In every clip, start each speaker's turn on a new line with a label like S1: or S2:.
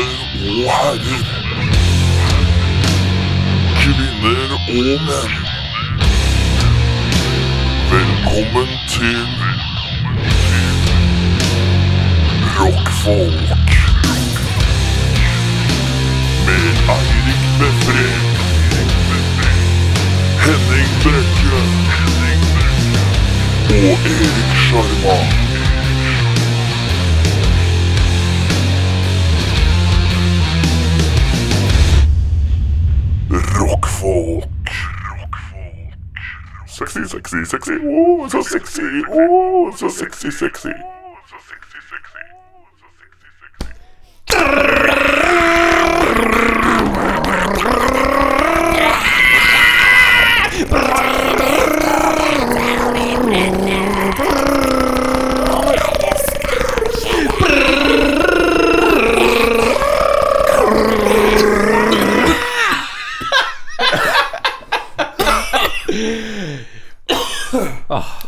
S1: og herrer. Kvinner og menn. Velkommen til Rockfolk. Med Eirik Befre. Henning Brekke. Og Erik Sjarma. Rockfolk. Sexy, sexy, sexy. Oh, så sexy. Oh, så sexy, sexy.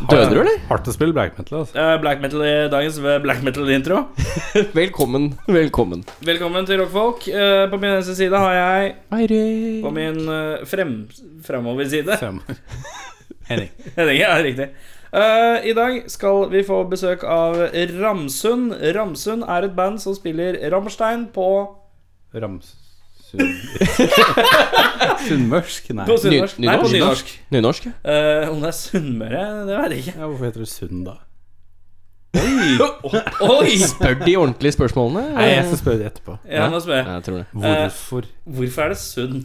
S2: Døde du, eller?
S3: Hardt å spille black metal, altså.
S4: Eh, Black metal i dagens eh, black metal-intro.
S2: Velkommen. Velkommen.
S4: Velkommen til rockfolk. Eh, På min venstre side har jeg
S2: Eirik.
S4: På min eh, frem, fremover side
S3: Stemmer. Henning.
S4: Henning, ja, riktig. Eh, I dag skal vi få besøk av Ramsund. Ramsund er et band som spiller Rammstein på,
S3: Ramsund Sunnmørsk? Nei.
S4: på sunnmørsk.
S2: Ny-
S4: Nei, på
S2: nynorsk?
S4: nynorsk.
S2: Nynorsk? ja.
S4: Eh, om det er Sunnmøre, det vet jeg ikke.
S3: Ja, hvorfor heter det Sund, da?
S4: Oi!
S2: Spør de ordentlige spørsmålene?
S3: Nei, jeg skal spørre det etterpå.
S4: Ja, nå spør jeg.
S2: Ja, jeg tror det.
S3: Hvorfor?
S4: Hvorfor er det Sund?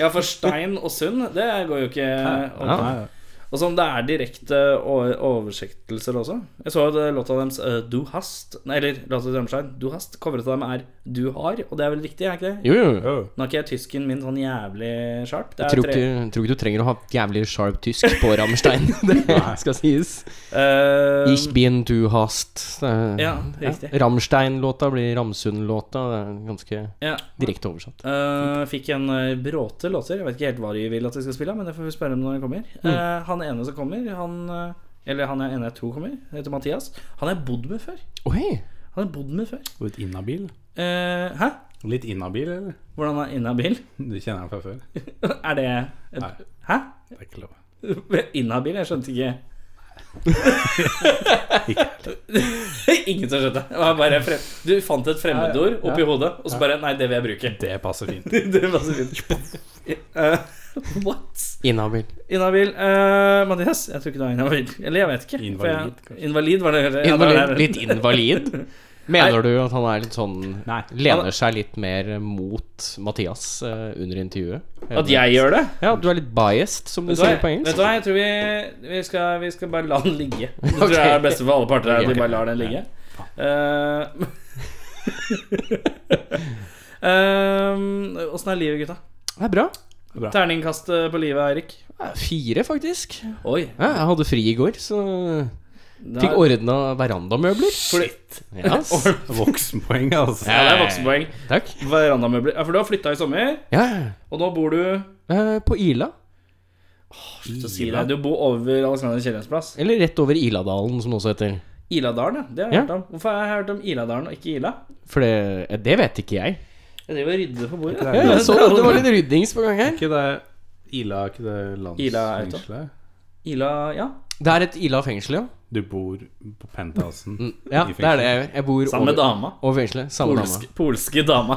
S4: Ja, for stein og sund, det går jo ikke opp.
S2: Ja.
S3: Nei,
S4: Og sånn, det er direkte o- oversettelser også. Jeg så at eh, låta deres eh, Du hast Nei, eller låta til Rammstein, Du hast, coveret til dem er Du har, og det er vel riktig, er ikke det?
S2: Jo, jo. jo.
S3: Åh.
S4: Nå er ikke jeg tysken min sånn jævlig sharp. Det
S2: Jeg
S4: er
S2: tror
S4: tre-
S2: ikke, tror ikke du trenger å ha jævlig sharp tysk på Rammstein. Det skal sies.
S4: Eh,
S2: Ich bin du hast. Det er-
S4: Ja, riktig.
S2: Ja. Rammstein-låta blir Ramsund-låta. Det er ganske
S4: ja.
S2: direkte oversatt.
S4: Eh, fikk en eh, bråte låter. Jeg vet ikke helt hva de vil at de skal spille, men det får vi spørre om når de kommer.
S2: Mm.
S4: Eh, han ene som kommer, han eh, Eller han ene jeg tror kommer, heter Mathias. Han har jeg bodd med før.
S2: Å hei!
S4: Han har jeg bodd med før.
S3: Litt inhabil?
S4: Eh, hæ?
S3: Litt inhabil, eller?
S4: Hvordan er inhabil?
S3: Du kjenner den fra før?
S4: er det et,
S3: Nei.
S4: Hæ?
S3: Det er ikke lov.
S4: Inhabil? Jeg skjønte ikke. Ingen som skjønte. Det var bare frem... Du fant et fremmedord oppi hodet, og så bare Nei, det vil jeg bruke.
S3: Det passer fint.
S4: det var så fint. Eh, what?
S2: Inhabil.
S4: Inhabil. eh, Mathias, jeg tror ikke du er inhabil. Eller jeg vet ikke. for jeg-
S3: Invalid, kanskje.
S4: Invalid, var det kanskje? Ja, det var
S2: Invalid.
S4: det.
S2: Litt invalid? Mener du at han er litt sånn
S3: Nei.
S2: Lener seg litt mer mot Mathias eh, under intervjuet?
S4: At jeg gjør det?
S2: Ja, du er litt biased, som du
S4: Vet du hva,
S2: sier på
S4: jeg- vet
S2: engelsk.
S4: du hva, jeg tror vi, vi, skal, vi skal bare la den ligge. Det tror jeg er det beste for alle parter. er At vi bare lar den ligge. Eh, um, Åssen er livet, gutta?
S2: Det er bra.
S4: Terningkast eh, på livet, Eirik.
S2: Ja, Fire, faktisk.
S4: Oi.
S2: Ja, jeg hadde fri i går, så
S4: det
S2: fikk
S4: er-
S2: ordna verandamøbler. Shit. Yes.
S3: Voksenpoeng, altså.
S4: Ja, det er voksenpoeng.
S2: Takk.
S4: Verandamøbler. Ja, for du har flytta i sommer,
S2: Ja,
S4: og nå bor du
S2: eh, på Ila.
S4: så sier jeg, Du bor over Alexander Kiellands plass.
S2: Eller rett over Iladalen, som det også heter.
S4: Iladalen, ja. Det har jeg hørt om. Hvorfor har jeg hørt om Iladalen og ikke Ila?
S2: For det, eh, det vet ikke jeg.
S4: Jeg driver og rydder på bordet.
S2: Ja, jeg så det var litt ryddings på gang her.
S3: Ikke det Ila, ikke det
S4: Ila er ute.
S3: landsfengselet?
S4: Ila, ja.
S2: Det er et Ila fengsel, ja.
S3: Du bor på penthousen.
S4: Mm,
S2: Ja, det er det jeg gjør. Jeg bor
S4: Sammen med
S2: over,
S4: dama.
S2: over fengselet. Samme
S4: Polske,
S2: dama.
S4: polske dama.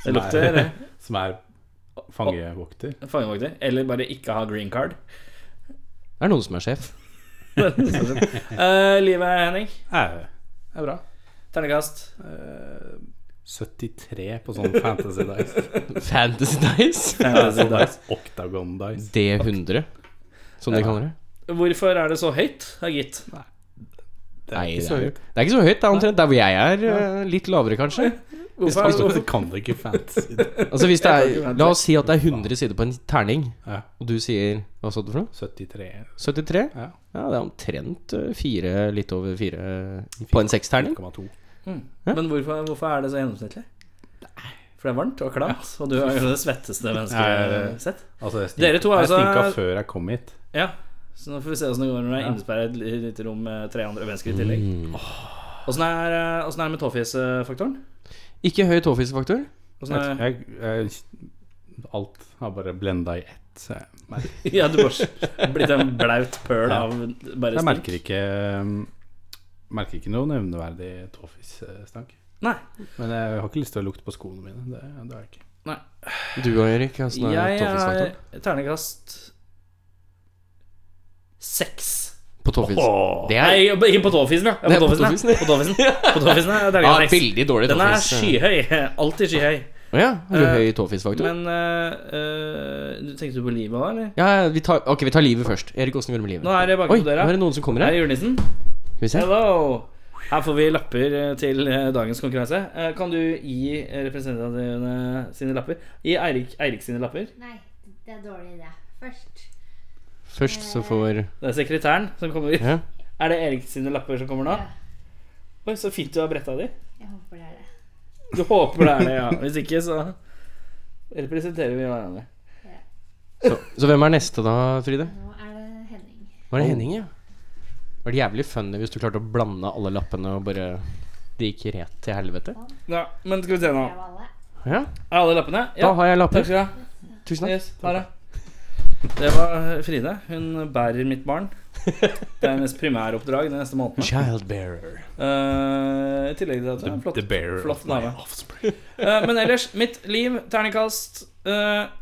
S4: Det
S3: Som
S4: lukter
S3: er, som er fangevokter.
S4: fangevokter. Eller bare ikke ha green card.
S2: Det er noen som er sjef.
S4: sånn Eh, livet, Henning.
S3: Er, er bra.
S4: Ternekast. Eh,
S3: 73 på sånn Fantasy Dice.
S2: Fantasy Dice.
S3: Fantasy Dice. Octagon Dice.
S2: D100, som de kaller det.
S4: Hvorfor er det så høyt, ja, gitt?
S3: Det er
S2: Nei, det
S3: ikke så
S2: er,
S3: høyt.
S2: det er ikke så høyt. Det er omtrent der hvor jeg er. eh, Litt lavere, kanskje.
S4: Hvorfor er det
S3: Du kan det ikke fantasy.
S2: Altså hvis det
S4: Jeg kan
S2: er
S4: ikke
S2: La oss si at det er 100 sider på en terning,
S3: Ja,
S2: og du sier Hva sa du for noe?
S3: 73
S2: 73?
S3: Ja.
S2: Ja, det er omtrent eh, fire, litt over fire eh, på en seksterning.
S3: 1,2.
S4: Men hvorfor, hvorfor er det så gjennomsnittlig? For det er varmt og klamt, og du er jo det svetteste mennesket
S3: Ja,
S4: jeg
S3: ja, ja.
S4: har sett.
S3: Altså, jeg, stink,
S4: Dere to er
S3: jeg
S4: altså-
S3: stinka før jeg kom hit.
S4: Ja, så nå får vi se åssen det går når du er innesperret i et lite rom med tre andre mennesker i
S2: Mm.
S4: tillegg. Åssen er, eh, hvordan er det med tåfisfaktoren?
S2: Ikke høy tåfisefaktor.
S4: Åssen er-
S3: Jeg, jeg, alt har bare blenda i ett. Så jeg, merker,
S4: Ja, du bare blitt en blaut pøl
S3: Ja.
S4: av bare
S3: jeg merker ikke um, Merker ikke noe nevneverdig tåfisstank.
S4: Nei.
S3: Men jeg har ikke lyst til å lukte på skoene mine. Det, det har jeg ikke.
S4: Nei.
S2: Du og Erik, åssen er
S4: Jeg
S2: toffismaken?
S4: er ternekast seks.
S2: På toffis.
S3: Åh.
S2: Det er
S4: Nei, ikke på tåfisen, ja.
S2: Nei,
S4: ja. På
S2: på
S4: tåfisen, ja. På tåfisen. På tåfisen er
S2: ja,
S4: ternekast seks.
S2: veldig dårlig
S4: Den er
S2: tåfis.
S4: skyhøy. Alltid skyhøy.
S2: Å ja, har du
S4: Eh,
S2: høy tåfisfaktor?
S4: Men eh, eh, du tenkte du på livet da, eller?
S2: Ja, ja, vi tar, ok, vi tar livet først. Erik, åssen går det med livet?
S4: Nå er det bak
S2: Oi,
S4: på
S2: nå
S4: døra.
S2: er det noen som kommer
S4: Hei,
S2: her.
S4: julenissen.
S2: Skal vi se.
S4: Hello! Her får vi lapper eh, til eh, dagens konkurranse. Eh, Kan du gi eh, representativene sine lapper? Gi Eirik, Eirik sine lapper.
S5: Nei, det er dårlig idé. Først.
S2: Først så får
S4: Det er sekretæren som kommer.
S2: Ja.
S4: Er det Erik sine lapper som kommer nå?
S5: Ja.
S4: Oi, så fint du har bretta de.
S5: Jeg håper det er det.
S4: Du håper det er det, ja. Hvis ikke, så representerer vi hverandre.
S2: Så, så hvem er neste da, Fride?
S5: Nå er det Henning.
S2: Var det Henning, ja? Det var jævlig funny hvis du klarte å blande alle lappene og bare Det gikk rett til helvete.
S4: Ja, men skal vi se nå.
S5: Jeg og alle.
S2: Ja,
S4: Er alle lappene?
S2: da
S4: Ja.
S2: har jeg
S4: Takk
S2: lapper.
S4: skal du ha.
S2: Tusen takk.
S4: Yes, her, ja. Det var eh, Fride. Hun bærer mitt barn. Det er hennes primæroppdrag de neste månedene.
S2: Childbearer.
S4: Eh, I tillegg til at hun er en flott,
S3: The bearer
S4: flott
S3: of my
S4: dame.
S3: offspring.
S4: Eh, men ellers, mitt liv, terningkast eh,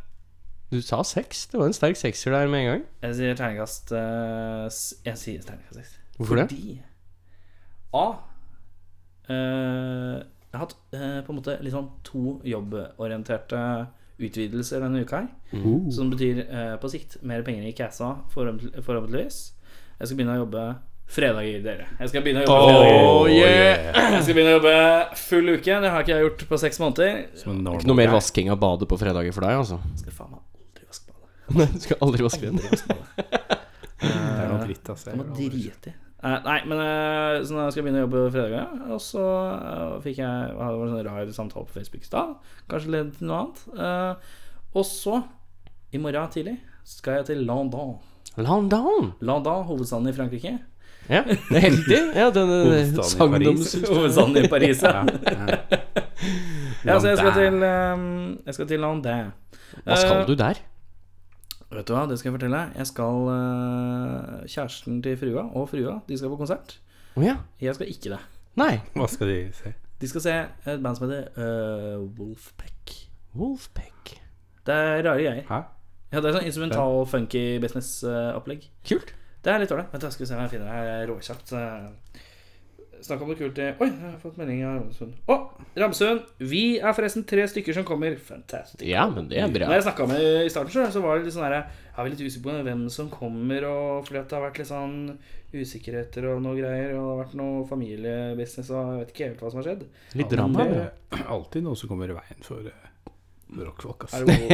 S2: Du sa seks. Det var en sterk sekser der med en gang.
S4: Jeg sier terningkast eh, s- Jeg sier terningkast seks.
S2: Hvorfor det?
S4: Fordi A eh, Jeg har hatt eh, på en måte litt sånn to jobborienterte utvidelser denne uka her.
S2: Mm.
S4: Som betyr eh, på sikt mer penger i cassa, forhåpentlig- forhåpentligvis. Jeg skal begynne å jobbe fredager, dere. Jeg skal begynne å jobbe
S3: Oh,
S4: fredager.
S3: yeah.
S4: Jeg skal begynne å jobbe full uke. Det har ikke jeg gjort på seks måneder.
S2: Ikke noe mer vasking av badet på fredager for deg, altså?
S4: Jeg skal faen meg aldri vaske badet.
S2: Nei, du skal aldri vaske den.
S3: Det er noe dritt, altså.
S4: Det må
S3: Jeg har aldri-
S4: drite i. Eh, nei, men eh, så når jeg skal begynne å jobbe fredag, ja, og så eh, fikk jeg det var en sånn rar samtale på Facebook i stad. Kanskje ledet til noe annet. Eh, og så, i morgen tidlig, skal jeg til London.
S2: London!
S4: London, hovedstaden i Frankrike.
S2: Ja, det er heldig. Ja, den, eh, den,
S3: Hovedstaden i
S2: sagnomsus-
S4: Hovedstaden i Paris, ja.
S3: Ja, ja.
S4: ja så jeg skal til, eh, jeg skal til London.
S2: Hva skal du der?
S4: Vet du hva, det skal jeg fortelle. Jeg skal eh, Kjæresten til frua og frua, de skal på konsert.
S2: Å ja.
S4: Jeg skal ikke det.
S2: Nei.
S3: Hva skal de si?
S4: De skal se et band som heter eh, Wolfpack.
S2: Wolfpack.
S4: Det er rare greier.
S3: Hæ?
S4: Ja, det er sånn instrumental, funky business-opplegg.
S2: Kult.
S4: Det er litt ålreit. Vent, da skal vi se om jeg finner det her råkjapt. Eh, Snakk om noe kult i Oi, jeg har fått melding av Ramsund. Å, Ramsund! Vi er forresten tre stykker som kommer. Fantastisk.
S2: Ja, men det er
S4: Når
S2: bra.
S4: jeg snakka med i starten, så- så var det litt sånn herre Er vi litt usikre på hvem som kommer, og fordi at det har vært litt sånn usikkerheter og noe greier, og det har vært noe familiebusiness, og jeg vet ikke helt hva som har skjedd.
S2: Litt drama.
S3: Det
S2: bra.
S3: er alltid noe som kommer i veien for eh, rockfolk, ass.
S4: Er det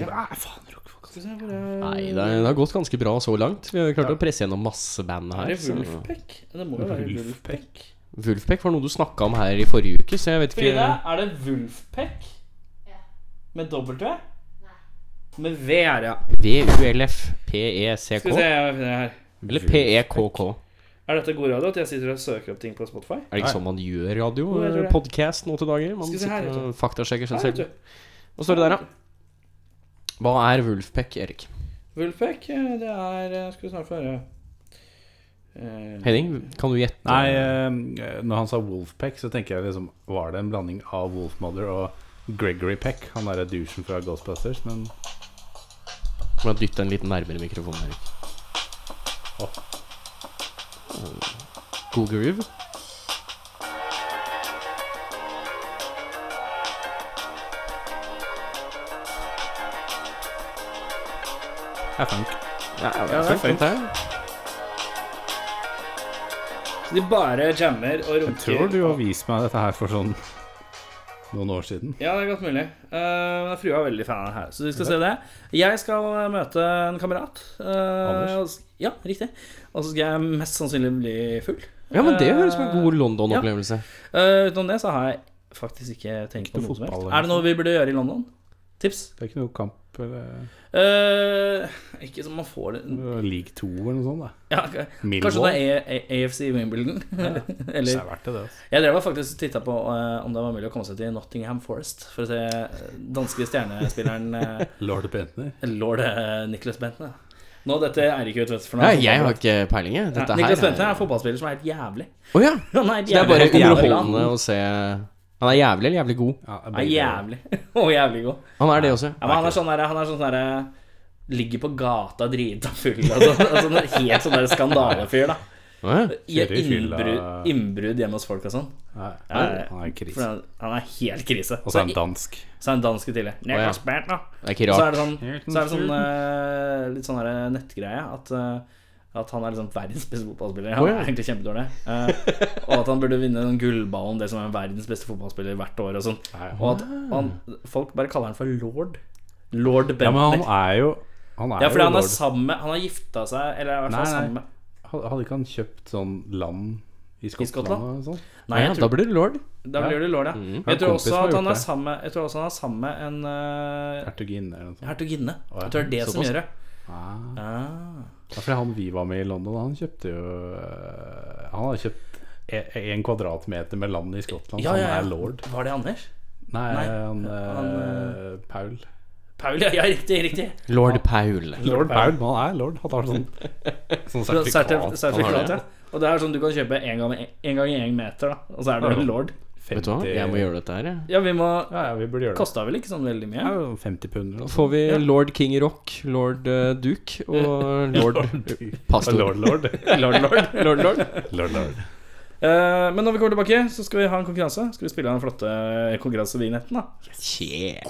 S3: Ja. Hva er faen rockfolk, ass?
S4: Skal vi se, hvor er-
S2: Nei, det er- det har gått ganske bra så langt. Vi har klart å presse gjennom masse band
S4: Er
S2: her.
S4: det
S2: Så.
S4: Wolfpack? Det må jo være
S3: Wolfpack.
S4: Wolfpack.
S2: Wolfpack var noe du snakka om her i forrige uke, så jeg vet
S4: Frida,
S2: ikke
S4: er det Wolfpack?
S5: Ja.
S4: Med dobbelt V? Med V er det, ja. Skal vi se,
S2: VULFPECK?
S4: jeg finner det her.
S2: E Eller E PEKK?
S4: Er dette god radio at jeg sitter og søker opp ting på Spotify?
S2: Er det ikke sånn man gjør
S4: Jo,
S2: radio?
S4: jeg tror det.
S2: Podkast nå til dager? Man
S4: Skal vi se her,
S2: sitter
S4: vet
S2: og faktasjekker seg
S4: Her, vet
S2: selv.
S4: du.
S2: Hva står det der, da? Hva er Wolfpack, Erik?
S4: Wolfpack, eh, det er eh, Skal vi snart få høre. Eh,
S2: Henning, kan du gjette?
S3: Nei, eh, når han sa Wolfpack, så tenker jeg liksom Var det en blanding av Wolfmother og Gregory Peck? Han derre douchen fra Ghostbusters, men
S2: Må jeg dytte en liten nærmere mikrofonen, Erik.
S3: Å.
S2: God groove.
S3: jeg funk.
S2: Ja,
S4: det er
S2: sånn
S4: fint. så de bare jammer og
S3: Jeg
S4: runker.
S3: tror du har vist meg dette her for sånn noen år siden.
S4: Ja, det er godt mulig. Eh, Men frua er veldig fan av det her, så vi skal se det. Jeg skal eh, møte en kamerat. eh, og s- Ja, riktig. Og så skal jeg mest sannsynlig bli full.
S2: Ja, men det høres ut som en god London-opplevelse.
S4: Eh, utenom det så har jeg faktisk ikke tenkt på
S3: noe
S4: noe som
S3: fotball,
S4: helst.
S3: eller
S4: Er det noe vi burde gjøre i London? Tips?
S3: Det er ikke noe kamp Cup eller
S4: Eh, ikke som man får det
S3: eller League 2 eller noe sånt. da
S4: ja, ok. Kanskje
S3: Millwall.
S4: det er A- A- AFC Wimbledon.
S3: Så
S4: Eller
S3: er verdt det, det. Altså.
S4: Jeg drev og faktisk titta på eh, om det var mulig å komme seg til Nottingham Forest for å se eh, danske stjernespilleren eh,
S3: Lord Bentner.
S4: lord eh, Nicholas Bentner. Nå, dette er ikke ut, vet du. for nå
S2: Nei,
S4: er
S2: jeg har
S4: fotball-
S2: ikke peiling, jeg. Dette
S4: Ja, Nicholas
S2: her
S4: Bentner er en fotballspiller som er helt jævlig.
S2: Å ja.
S4: Han er helt
S2: Det er bare
S4: jævlig.
S2: underholdende å se Han er jævlig eller jævlig god?
S3: Ja,
S4: Han er jævlig. Og jævlig god.
S2: Han er det også.
S4: Ja, men han er sånn derre Han er sånn derre Ligger på gata drita full. Altså, altså, en helt sånn der skandalefyr, da.
S2: Å ja.
S4: I
S3: Kjører i fylla.
S4: innbrudd, innbrudd hjemme hos folk og sånn.
S3: Nei,
S4: Ja,
S3: han er en
S4: For
S3: krise.
S4: han, han er helt krise.
S3: Og så er han dansk.
S4: Så er han dansk i tillegg. Niklas Bentner.
S2: Det er ikke
S4: Så er
S2: rart.
S4: det sånn, så er det sånn eh, litt sånn der nettgreie at, eh, at han er liksom verdens beste fotballspiller. Han
S2: Å, ja.
S4: er egentlig kjempedårlig. Eh, og at han burde vinne den gullballen, det som er verdens beste fotballspiller hvert år. Og, sånn. og at han, folk bare kaller han for lord. Lord
S3: Ja, men
S4: Bentner.
S3: han er jo Han er
S4: Ja, fordi
S3: jo
S4: han er
S3: lord.
S4: sammen med Han har gifta seg, eller er i hvert
S3: Nei,
S4: fall
S3: nei.
S4: sammen med
S3: Hadde ikke han kjøpt sånn land i Skottland?
S4: Skottland?
S3: og sånn?
S4: Nei,
S2: ja,
S4: jeg
S2: da
S4: tror,
S2: blir det lord.
S4: da blir det lord, ja. Men
S3: Ja,
S4: Jeg tror
S3: kompisen
S4: også
S3: Mm, har
S4: at han
S3: gjort
S4: er
S3: det.
S4: sammen med Jeg tror også han er sammen med en eh,
S3: Hertuginne eller noe sånt.
S4: hertuginne.
S3: Å, ja.
S4: Jeg tror det er det som
S2: Såpass.
S4: gjør det.
S3: Ah.
S4: Ah.
S3: Ja, fordi han vi var med i London, han kjøpte jo øh, Han har kjøpt e- en kvadratmeter med land i Skottland,
S4: Ja,
S3: så
S4: ja,
S3: han
S4: ja.
S3: er lord.
S4: Var det Anders?
S3: Nei,
S4: Nei,
S3: han, øh,
S4: han, eh,
S3: Paul.
S4: Paul, ja, ja riktig, riktig.
S2: Lord Paul.
S3: Lord Paul, men han er lord. Han har sånn, sånn
S4: Sertif-
S3: sertifikat.
S4: Sertifikat,
S2: det.
S4: ja. Og det er sånn du kan kjøpe en gang, en gang i en meter, da. Og så er du
S3: Ja.
S4: en lord.
S3: 50,
S2: Vet du hva, jeg må gjøre dette her, jeg.
S4: Ja, vi må
S3: Ja, ja, vi burde gjøre det.
S4: Kosta vel ikke sånn veldig
S3: Ja,
S4: mye?
S3: 50 pund eller noe sånt.
S2: Får vi lord King Rock, lord eh, Duke og lord Pastor.
S3: Lord, lord.
S4: Lord, lord.
S2: Lord, lord.
S3: lord, lord.
S4: Eh, men når vi kommer tilbake, så skal vi ha en konkurranse. Skal vi spille av den flotte konkurransevinjetten, da?
S2: Yeah.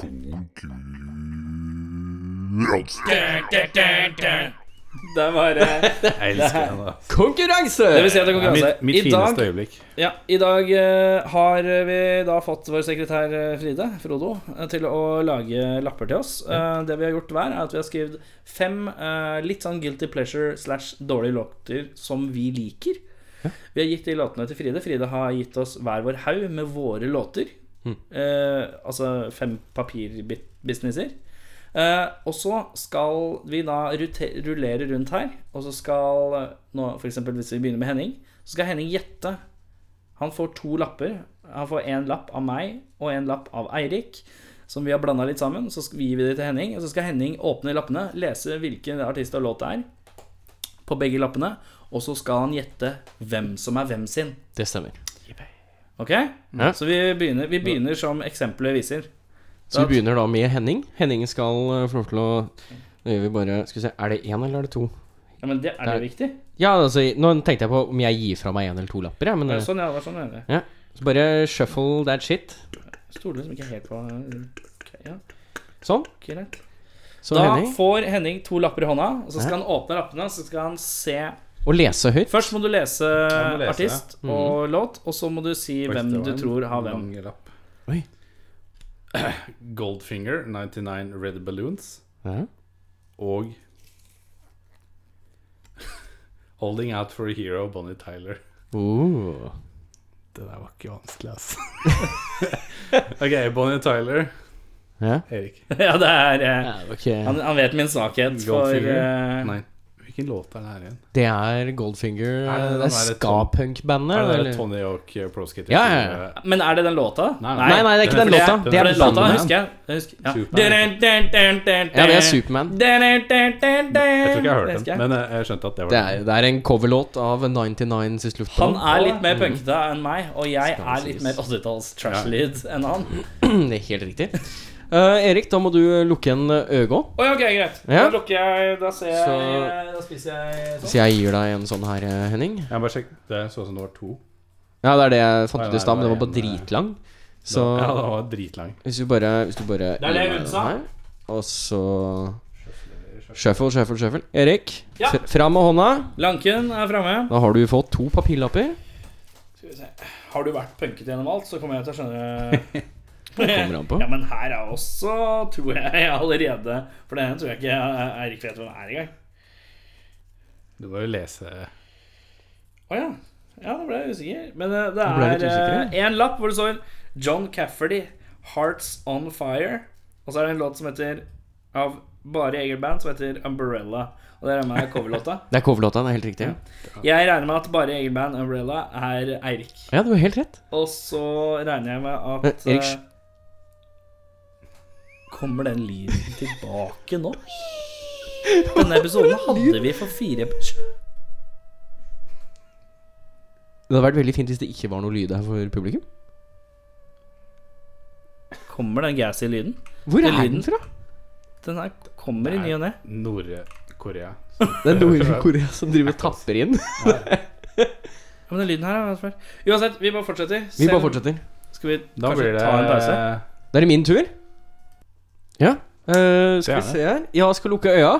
S4: Det var
S3: Jeg
S4: eh,
S3: elsker den. altså.
S2: Konkurranse!
S4: Det vil si at det er konkurranse.
S3: Mitt, mitt
S4: I dag,
S3: fineste øyeblikk.
S4: ja, i dag eh, har vi da fått vår sekretær eh, Fride, Frodo, eh, til å lage lapper til oss. Eh, det vi har gjort hver, er at vi har skrevet fem eh, litt sånn guilty pleasure slash dårlige låter som vi liker. Vi har gitt de låtene til Fride. Fride har gitt oss hver vår haug med våre låter. Eh, altså fem papirbusinesser. Eh, og så skal vi da rute- rullere rundt her, og så skal eh, nå, For eksempel hvis vi begynner med Henning, så skal Henning gjette. Han får to lapper. Han får én lapp av meg og én lapp av Eirik, som vi har blanda litt sammen. Så skal vi gi det til Henning, og så skal Henning åpne lappene, lese hvilken artist og låt det er, på begge lappene, og så skal han gjette hvem som er hvem sin.
S2: Det stemmer.
S4: Ok? Så vi begynner, vi begynner som eksempelet viser.
S2: Så vi begynner da med Henning. Henning skal eh, få lov til å Nå gjør vi bare Skal vi se, er det én eller er det to?
S4: Ja, men det, er det viktig?
S2: Ja, altså, nå tenkte jeg på om jeg gir fra meg én eller to lapper, jeg, men eh,
S4: Sånn, ja. Det var sånn, ja.
S2: ja. Så bare shuffle that shit.
S4: Jeg stoler liksom ikke helt på Ok, ja,
S2: Sånn.
S4: greit.
S2: Så
S4: Da
S2: Henning.
S4: får Henning to lapper i hånda, og så skal han åpne lappene. Så skal han se
S2: Og lese høyt.
S4: Først må du lese
S3: må lese, Mm.
S4: artist og låt, og så må du si hvem
S3: Oi, det var
S4: du
S3: en
S4: tror har hvem.
S3: lang lapp.
S2: Oi.
S3: Goldfinger, 99 Red Balloons
S2: Ja.
S3: og Holding Out for a Hero, Bonnie Tyler.
S2: Uh.
S3: Det der var ikke vanskelig, ass. ok, Bonnie Tyler.
S2: ja.
S3: Erik.
S4: ja, det er eh,
S2: Ja, ok.
S4: han, han vet min svakhet for
S3: Goldfinger?
S4: eh,
S3: Nei, hvilken låt er det her igjen?
S2: Det er Goldfinger.
S3: Er det den
S2: Det er
S3: der
S2: ska-punk-bandet.
S3: Er det
S2: eller?
S3: der Tony Hawk eh, Pro Skater?
S2: Ja, ja, ja.
S4: Men er det den låta?
S3: Nei,
S2: Nei, nei, det er ikke den
S4: for
S2: låta.
S4: det- for
S2: Det er
S4: den låta
S2: bandet.
S4: husker jeg. jeg husker, ja.
S3: Superman.
S2: Ja, det er Superman.
S3: Jeg tror ikke jeg har
S4: Det
S3: hørt den,
S4: husker jeg.
S3: men eh, jeg skjønte at det var
S2: Det er, det er en coverlåt av 99 Siste
S4: Han
S2: Luftballon.
S4: er litt mer punkete enn meg, og jeg
S2: Skal
S4: er litt
S2: sies.
S4: mer 80-talls trash-lyd enn han.
S2: Det er helt riktig. Eh, Erik, da må du lukke igjen øga.
S4: Oi, ok, greit.
S2: Ja.
S4: Da lukker jeg Da ser jeg
S2: Så-
S4: Da spiser jeg
S2: Så
S4: sånn.
S2: jeg gir deg en sånn her, eh, Henning.
S3: Jeg må bare sjekke. Det så ut som det var to.
S2: Ja, det er det jeg fant
S3: Nei,
S2: ut i
S3: nei,
S2: stad, men den
S3: det var
S2: var bare
S3: en, eh,
S2: dritlang. Så
S3: Ja, det var dritlang.
S2: hvis du bare Hvis du bare
S4: Det er det hun sa.
S2: Nei. Og så Shuffle, shuffle, shuffle. Erik,
S4: Ja.
S2: fr- fram med hånda.
S4: Lanken er framme.
S2: Da har du fått to papirlapper.
S4: Skal vi se. Har du vært punket gjennom alt, så kommer jeg til å skjønne
S2: Kommer an på.
S4: Ja, men her er også, tror jeg, jeg allerede For det ene tror jeg ikke Eirik vet hvem er engang.
S3: Du må jo lese
S4: Å ja. Ja, da ble jeg usikker. Men eh, det
S2: ble litt
S4: er
S2: usikker,
S4: eh, en lapp hvor det står John Cafferty, 'Hearts On Fire'. Og så er det en låt som heter av bare eget band som heter Umbrella. Og det regner jeg med er coverlåta.
S2: Det er coverlåta, det er helt riktig.
S4: Jeg regner med at bare eget band, Umbrella, er Eirik.
S2: Ja, du har helt rett.
S4: Og så regner jeg med at
S2: Men, Erik,
S4: eh, Kommer den lyden tilbake nå? Denne episoden hadde vi for fire
S2: Det hadde vært veldig fint hvis det ikke var noe lyd her for publikum.
S4: Kommer den gassy lyden?
S2: Hvor
S4: Den
S2: er
S4: lyden?
S2: den fra?
S4: Den her kommer i ny og ne.
S3: Nord-Korea.
S2: Det er Nord-Korea som driver og tapper inn.
S4: Ja, men den lyden her er fæl. Uansett, vi bare fortsetter.
S2: Vi bare
S4: Selv-
S2: fortsetter.
S4: Skal vi
S3: Da
S4: kanskje
S3: blir det
S4: ta en pause?
S2: Da er det min tur. Ja. eh, skal vi
S3: Gjerne.
S2: se her Ja, skal lukke øya.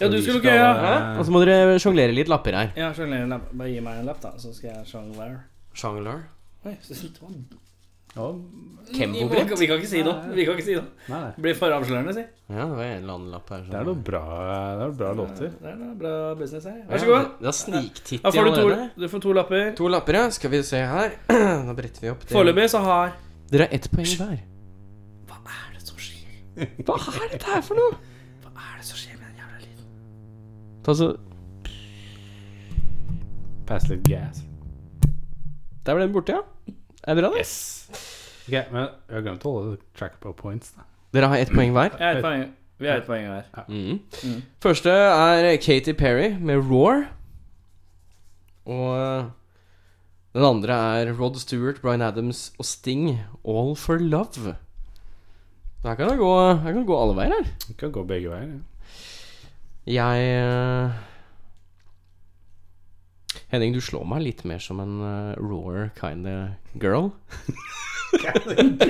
S4: Ja, du skulle lukke
S3: skal-
S4: øya.
S2: Og så må dere sjonglere litt lapper her.
S4: Ja, sjongler en lapp. Bare gi meg en lapp, da, så skal jeg sjonglere.
S2: Sjongler?
S4: Oi, så det var en-
S3: Ja,
S2: Kembobrett?
S4: Vi kan ikke si det. Vi kan ikke si det.
S3: nei, nei.
S4: Det blir for avslørende, si.
S2: Ja, det var en eller annen lapp her. som-
S3: Det er noen bra, det er noen bra låter.
S4: Det er noe bra business her. Vær så god.
S2: Ja, det- det er sniktitt
S4: Da får du
S2: allerede.
S4: to, du får to lapper.
S2: To lapper, ja. Skal vi se her. Da bretter vi opp. det.
S4: Foreløpig så har
S2: Dere har ett poeng hver.
S4: Hva er det som skjer?
S2: Hva er dette her for noe?
S4: Hva er det som skjer med den jævla lyden?
S2: Ta så
S3: Pass litt gas.
S2: Der ble den borte, ja. Er det bra, det?
S3: Ok, men jeg har glemt å holde track på points. da.
S2: Dere har ett poeng hver.
S4: Jeg har et poeng. Vi har et poeng hver.
S2: Mhm.
S4: Mm.
S2: Første er Katy Perry med 'Roar'. Og eh, den andre er Rod Stewart, Bryan Adams og Sting, 'All for Love'. Så her kan det gå, her kan det gå alle veier, her.
S3: Det kan gå begge veier. ja.
S2: Jeg eh, Henning, du slår meg litt mer som en eh, roar kind of girl.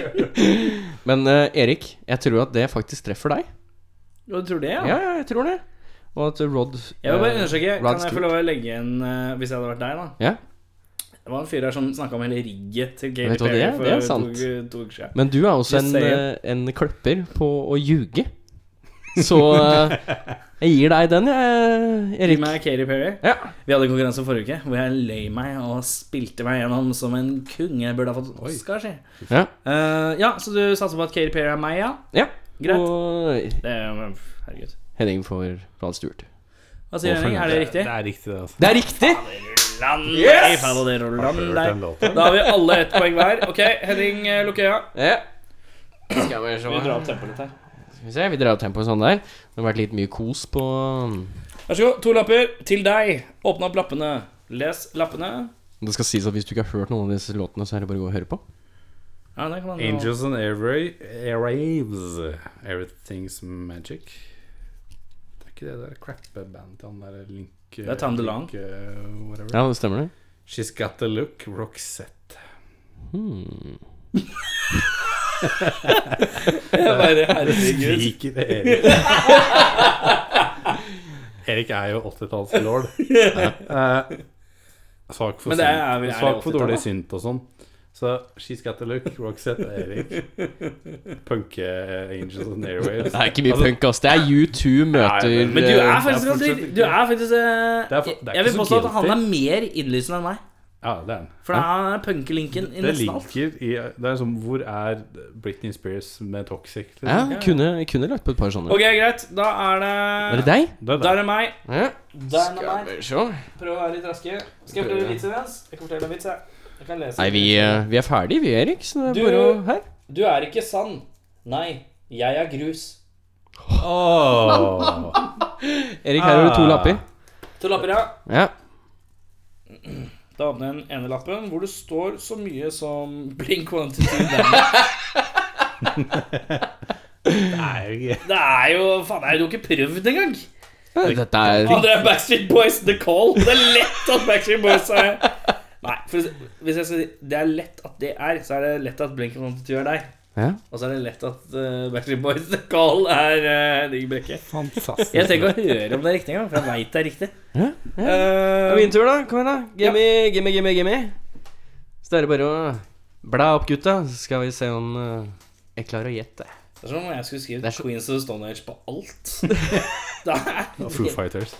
S2: Men eh, Erik, jeg tror at det faktisk treffer deg.
S4: Jo, Du tror det,
S2: Ja,
S4: ja?
S2: ja, jeg tror det. Og at Rod
S4: Jeg vil bare
S2: eh,
S4: undersøke,
S2: Rod
S4: kan jeg få
S2: Stewart.
S4: lov å legge inn eh, Hvis jeg hadde vært deg, da.
S2: Ja.
S4: Det var en fyr her som snakka om hele rigget til Katy
S2: Vet du hva,
S4: Perry
S2: det er- det er
S4: for
S2: sant.
S4: to, to uker siden.
S2: Men du er også
S4: Just
S2: en,
S4: saying.
S2: eh, en kløpper på å ljuge. Så eh, jeg gir deg den, jeg,
S4: Gi
S2: Erik.
S4: meg Katy Perry.
S2: Ja.
S4: Vi hadde en konkurranse forrige uke hvor jeg løy meg og spilte meg gjennom som en konge. Jeg burde ha fått
S3: Oi.
S4: Oscar, si.
S2: Ja.
S4: Eh, ja, så du satser på at Katy Perry er meg, ja?
S2: ja.
S4: Greit.
S2: Og
S4: Det er, men, pff, herregud.
S2: Henning får Rod Stewart.
S4: Hva sier Henning? Er det riktig?
S3: Det er riktig, det, altså.
S2: Det er riktig!
S4: Land,
S2: Yes!
S4: faen, det er
S3: Har du
S4: land
S3: hørt
S4: der.
S3: den låten?
S4: Da har vi alle ett poeng hver. Ok, Henning, eh, lukk øya.
S2: Ja. Skal vi se
S4: Vi drar opp tempoet litt her.
S2: Skal vi se, vi drar opp tempoet sånn der. Det har vært litt mye kos på um,
S4: Vær så god. To lapper til deg. Åpne opp lappene. Les lappene.
S2: Det skal sies at hvis du ikke har hørt noen av disse låtene, så er det bare å gå og høre på.
S4: Ja, det kan man jo-
S3: Angels and Airway- Airwaves. Everything's Magic. Det er ikke det der crappe bandet til han der Link Det
S4: er Tom DeLonge.
S3: whatever.
S2: Ja, det stemmer det.
S3: She's Got The Look, Roxette.
S2: Hmm.
S4: Jeg bare, herregud.
S3: Liker det, Erik. Erik er jo 80-tallslord. Eh, Svak for,
S4: Men det er- er vi-
S3: synt- svak
S4: er det
S3: for
S4: 80-tallet?
S3: dårlig synt og sånn. Så She's Got The Look, Roxette og Erik. Punke eh, Angels and Airwaves.
S2: Det er ikke mye punk, ass. Det er U2
S3: Nei,
S2: møter
S4: Altså- Men du er
S2: eh,
S3: Det er
S4: faktisk
S3: fortsatt
S4: ganske
S3: ikke-
S4: Du er faktisk eh,
S3: Det er for- det er
S4: Jeg
S3: ikke så
S4: vil påstå at han er
S3: guilty.
S4: mer innlysende enn meg.
S3: Ja, det er den.
S4: For da er punkelinken i
S3: Det
S4: nesten alt.
S3: ligger i Det er som Hvor er Britney Spears med Toxic? liksom?
S2: Ja, kunne, kunne lagt på et par sånne.
S4: Ok, greit. Da er det
S2: Er det deg?
S3: Det er
S4: Da
S3: der.
S4: er det meg.
S2: Ja.
S4: Da er det
S2: Skal
S4: meg.
S2: vi se.
S4: Prøv å være litt raske. Skal jeg fortelle en vits imens? Jeg kan fortelle en vits, jeg. Jeg kan lese.
S2: Nei, vi, eh, vi er ferdige, vi, Erik. Så det
S4: Du-
S2: er bare å Her.
S4: Du er ikke sann. Nei, jeg er grus.
S3: Åh.
S2: Erik, her har du to
S3: Ah.
S2: lapper.
S4: To lapper, ja.
S2: Ja.
S4: Da åpner jeg den ene lappen hvor det står så mye som Blink 122.
S3: Nei,
S4: Det er jo Faen, jeg har jo ikke prøvd engang.
S2: Dette er
S4: Andre er Backstreet Boys The Call. Det er lett at Backstreet Boys er Nei, for å si- hvis jeg skal si det er lett at det er, så er det lett at Blink 122 er deg.
S2: ja.
S4: Og så er det lett at eh, Backstreet Boys The Call er uh, Digg Brekke.
S3: fantastisk.
S4: Jeg trenger ikke å høre om det er riktig engang, for jeg veit det er riktig.
S2: Ja, ja. Det
S4: Eh,
S2: er min tur, da. Kom igjen, da. Gimme, gimme, gimme, gimme. Så det er det bare å bla opp, gutta. Så skal vi se om eh, jeg klarer å gjette.
S4: det er som om jeg skulle skrevet
S2: Det er så-
S4: Queens of the Stone Age på alt. det er,
S3: Foo Fighters.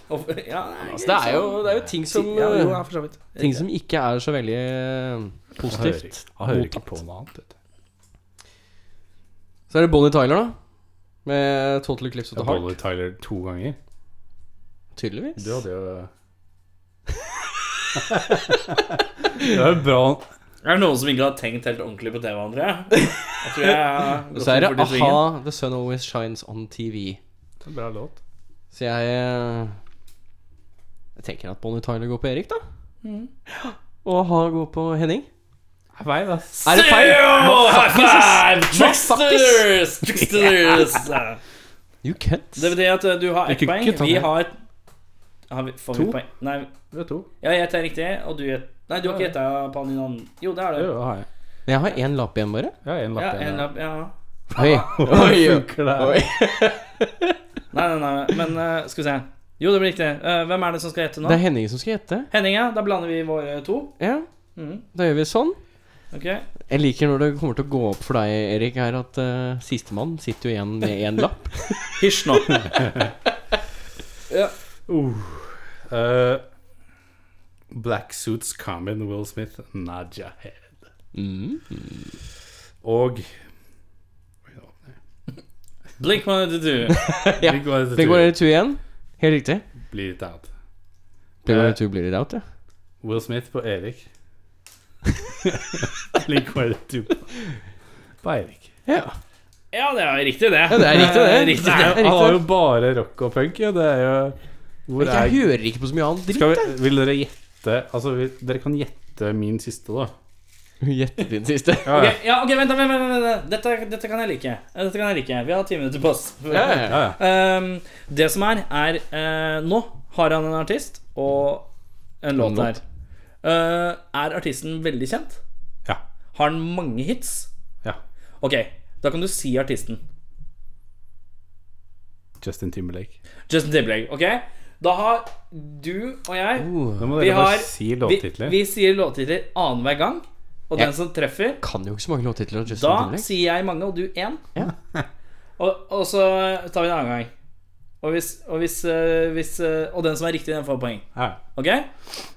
S4: ja,
S2: Altså, det, er jo, det er jo ting som
S4: ja, jo,
S2: eh,
S4: ja, for så vidt.
S2: Ting som ikke er så veldig eh,
S3: Han hører,
S2: positivt
S3: han hører ikke på
S2: mottatt.
S3: noe annet. Vet du.
S2: Så er det Bonnie Tyler, da. Med Total Eclipse of the
S3: Dolly
S2: Heart.
S3: Tyler to ganger.
S2: Tydeligvis.
S3: Du hadde jo Det er jo bra
S4: Er det noen som ikke har tenkt helt ordentlig på TV, André? Jeg tror jeg har
S2: Og
S4: gått
S2: så er det
S4: over til svingen.
S2: a-ha, The Sun Always Shines On TV.
S3: Det er en Bra låt.
S2: Så jeg eh, Jeg tenker at Bonnie Tyler går på Erik, da. Og a-ha går på Henning.
S3: Vei, ass.
S2: Er det feil?
S4: Zero! High five! Tricksters!
S2: Motherfuckers!
S4: Tricksters!
S2: You cunt.
S4: Det betyr at eh, du har ett
S3: Ikke
S4: poeng.
S3: kutt,
S4: Vi
S3: André.
S4: har, har vi, Får vi
S3: To.
S4: poeng? Nei,
S3: Du er to.
S4: ja, jeg gjetter riktig, og du gjetter Nei, du har ikke gjetta på han din andre. Jo, det er
S3: Jo,
S4: det.
S3: det har jeg.
S2: Jeg har én lapp igjen, bare.
S3: Jeg har én
S4: Ja,
S3: lapp
S4: en
S3: igjen.
S4: lapp, ja.
S2: Oi. Oi.
S3: Funker det?
S2: Oi.
S4: Nei, nei, nei, men eh, skal vi se. Jo, det blir riktig. Eh, hvem er det som skal gjette nå?
S2: Det er Henning som skal gjette.
S4: Henning, ja. Da blander vi våre to.
S2: Ja,
S4: Mhm,
S2: da gjør vi sånn.
S4: ok
S2: Jeg liker når det kommer til å gå opp for deg, Erik, her at eh, sistemann sitter jo igjen med én lapp.
S4: Hysj nå.
S3: Uh, eh, Black Suits Common, Will Smith, Naja Head.
S2: Mm.
S3: Og
S4: Blink 182.
S2: Ja,
S3: Big One
S2: Det går dere to igjen. Helt riktig.
S3: Blir litt out.
S2: Det går
S3: Eh.
S2: dere to blir litt out, ja.
S3: Will Smith på Erik. Blink 182 på Eirik.
S2: Ja,
S4: Ja, det er riktig, det.
S2: ja det er riktig, det.
S4: Eh, Riktig, det.
S2: er
S3: Han har jo
S2: riktig.
S3: bare rock og punk, ja. Det er jo Hvor
S2: Jeg
S3: er
S2: hører ikke på så mye annet dritt.
S3: Skal vi, Vil dere gjette Altså, vil, dere kan gjette min siste, da.
S2: Gjette din siste.
S3: Ja,
S4: Ok,
S3: ja.
S4: ja, ok, vent, da, vent, vent, vent, vent. Dette, dette kan jeg like. Eh, Dette kan jeg like. Vi har ti minutter på oss.
S2: Ja, ja, ja.
S3: ja, ja.
S4: Ehm, det som er, er eh, Nå har han en artist og en låt
S2: En
S4: her.
S2: låt.
S4: Eh, er artisten veldig kjent?
S3: ja.
S4: Har han mange hits?
S3: ja.
S4: Ok, da kan du si artisten.
S3: Justin Timberlake.
S4: Justin Timberlake. Ok? Da har du og jeg
S3: Nå
S2: Uh,
S3: må
S4: Vi
S3: dere
S4: har
S3: bare si
S4: vi,
S3: låttitler.
S4: vi sier låttitler annenhver gang, og
S2: Ja.
S4: den som treffer
S2: Kan jo ikke så mange låttitler av Justin
S4: Da
S2: Timberlake.
S4: sier jeg mange, og du én.
S2: Ja.
S4: og, og så tar vi en annen gang. Og hvis, og, hvis, eh, hvis, eh, og den som er riktig, den får poeng.
S3: Ja.
S4: Ok?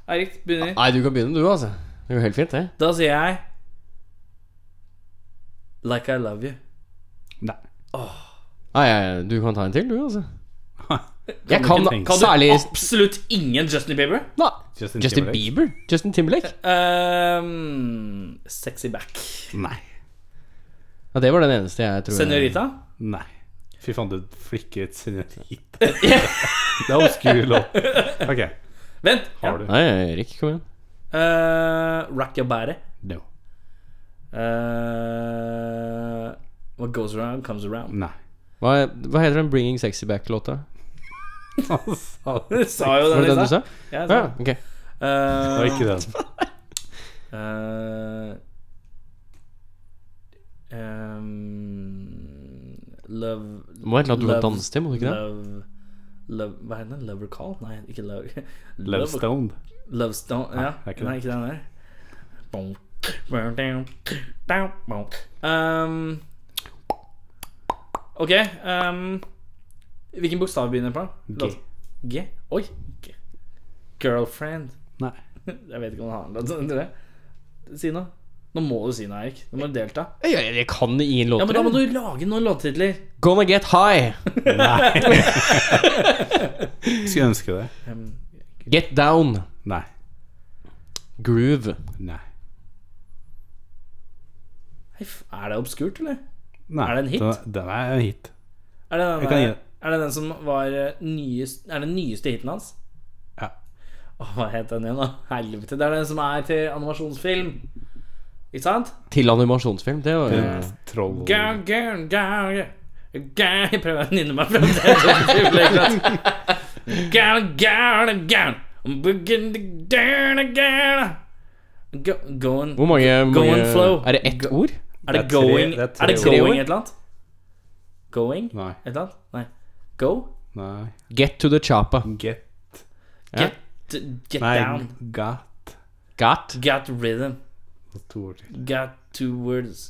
S4: Eirik begynner.
S2: Nei, du kan begynne, du, altså. Det går helt fint, det.
S4: Da sier jeg Like I love you.
S3: Nei.
S2: Nei, jeg- du kan ta en til, du, altså. Jeg kan,
S3: ikke tenke-
S2: kan særlig
S4: Absolutt ingen Justin Bieber.
S2: Nei,
S3: Justin
S2: Justin
S3: Timberlake.
S2: Bieber? Justin Timberlake?
S4: Ehm, sexy back.
S3: Nei.
S2: Ja, det var den eneste jeg tror jeg-
S4: Senorita.
S3: Nei. Fy faen, du flikket senorita. det er obskur låt. Ok,
S4: Vent.
S3: har du?
S2: Nei, Erik, kom igjen.
S4: Uh, Rack your body.
S3: No.
S4: Eh, what goes around, comes around.
S3: Nei.
S2: Hva, hva heter den 'Bringing Sexy Back'-låta?
S3: Han sa det.
S4: Du sa jo
S2: Var det
S4: den
S2: den du
S4: i stad.
S2: sa?
S4: Ja, jeg sa
S2: Ja,
S4: den.
S2: ok.
S3: Det
S4: Eh,
S3: var ikke den.
S4: Eh, ehm, love
S2: Det må være et eller annet du kan
S4: Love-
S2: danse til, må du ikke det?
S4: Love, love Hva heter den? Lover Call? Nei, ikke Love
S3: Love Stone.
S4: Love Stone Ja,
S3: det er ikke
S4: nei,
S3: det.
S4: ikke den der. Bonk, bonk, bonk, bonk, bonk. Um, ok um, Hvilken bokstav begynner på?
S3: G.
S4: Låt- G? Oi. G. Girlfriend.
S3: Nei.
S4: Jeg vet ikke om han har en låt. tror jeg. Si noe. Nå må du si noe, Erik. Nå må du delta.
S2: Jeg, jeg, jeg kan ingen låter.
S4: Ja, men da må
S2: jeg.
S4: du lage noen låttitler.
S2: Gonna Get High.
S3: Skulle ønske det.
S4: Um,
S2: Get Down.
S3: Nei.
S2: Groove.
S3: Nei.
S4: hei, f- er det obskurt, eller?
S3: Nei.
S4: Er det en hit?
S3: Den, den er en hit.
S4: Er det den,
S3: Jeg kan
S4: der-
S3: gi det.
S4: er det den som var eh, nyest, Er det den nyeste hiten hans?
S3: Ja.
S4: Åh, hva het den igjen, da? Helvete. Det er den som er til animasjonsfilm. Ikke sant?
S2: Til animasjonsfilm. Det var
S3: En troll...
S4: Ga, ga, ga, ga. Ga. Jeg prøver å nynne meg frem til det. Ga, ga, ga. Begin to down again. Go, going
S2: Hvor mange,
S4: Go
S2: mange
S4: and flow.
S2: Er det ett
S4: Go-
S2: ord?
S4: Er det,
S3: Det er tre-
S4: going
S3: det er
S4: er,
S3: tre
S4: det
S3: ord.
S4: going et eller annet? Going?
S3: Nei.
S4: Et eller annet? Nei. Go?
S3: Nei.
S2: Get to the choppa.
S3: Get.
S2: Ja.
S4: Get, get
S3: Nei,
S4: down.
S3: got.
S2: Got.
S4: Got rhythm.
S3: To ord til.
S4: Got two words.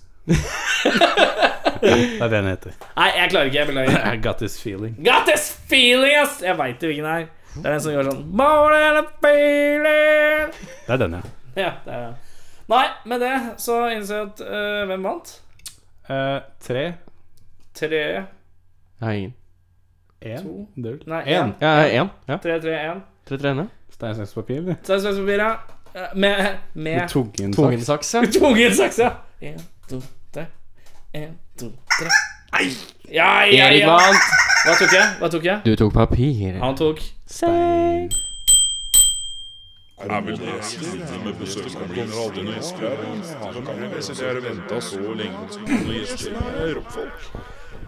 S3: Det er den heter.
S4: Nei, jeg klarer ikke. Jeg beklager.
S3: I got this feeling.
S4: Got this feeling, ass! Jeg veit jo hvilken det er. Det er den som gjør sånn More than a feeling.
S3: Det er den, ja.
S4: Ja, det er den. Nei, med det så eh, innser jeg at øh, Hvem vant?
S3: Eh, tre.
S4: Tre
S2: Jeg har ingen.
S3: Én?
S4: To.
S3: Det er vel
S4: Nei,
S3: En.
S4: én.
S2: Jeg har én. Ja.
S4: 3-3-1.
S2: Tre trene.
S3: Stein, saks, papir, eller?
S4: Stein, saks, papir, ja. Eh, Med,
S3: Med
S4: med
S3: tungen saks.
S2: Tungensaks, ja.
S4: tvungen saks, ja. En, to, tre. En, to, tre. Nei! Ja, ja,
S2: Erik
S4: ja.
S2: vant.
S4: Hva tok jeg? Hva tok jeg?
S2: Du tok papir.
S4: Han tok
S3: Stein.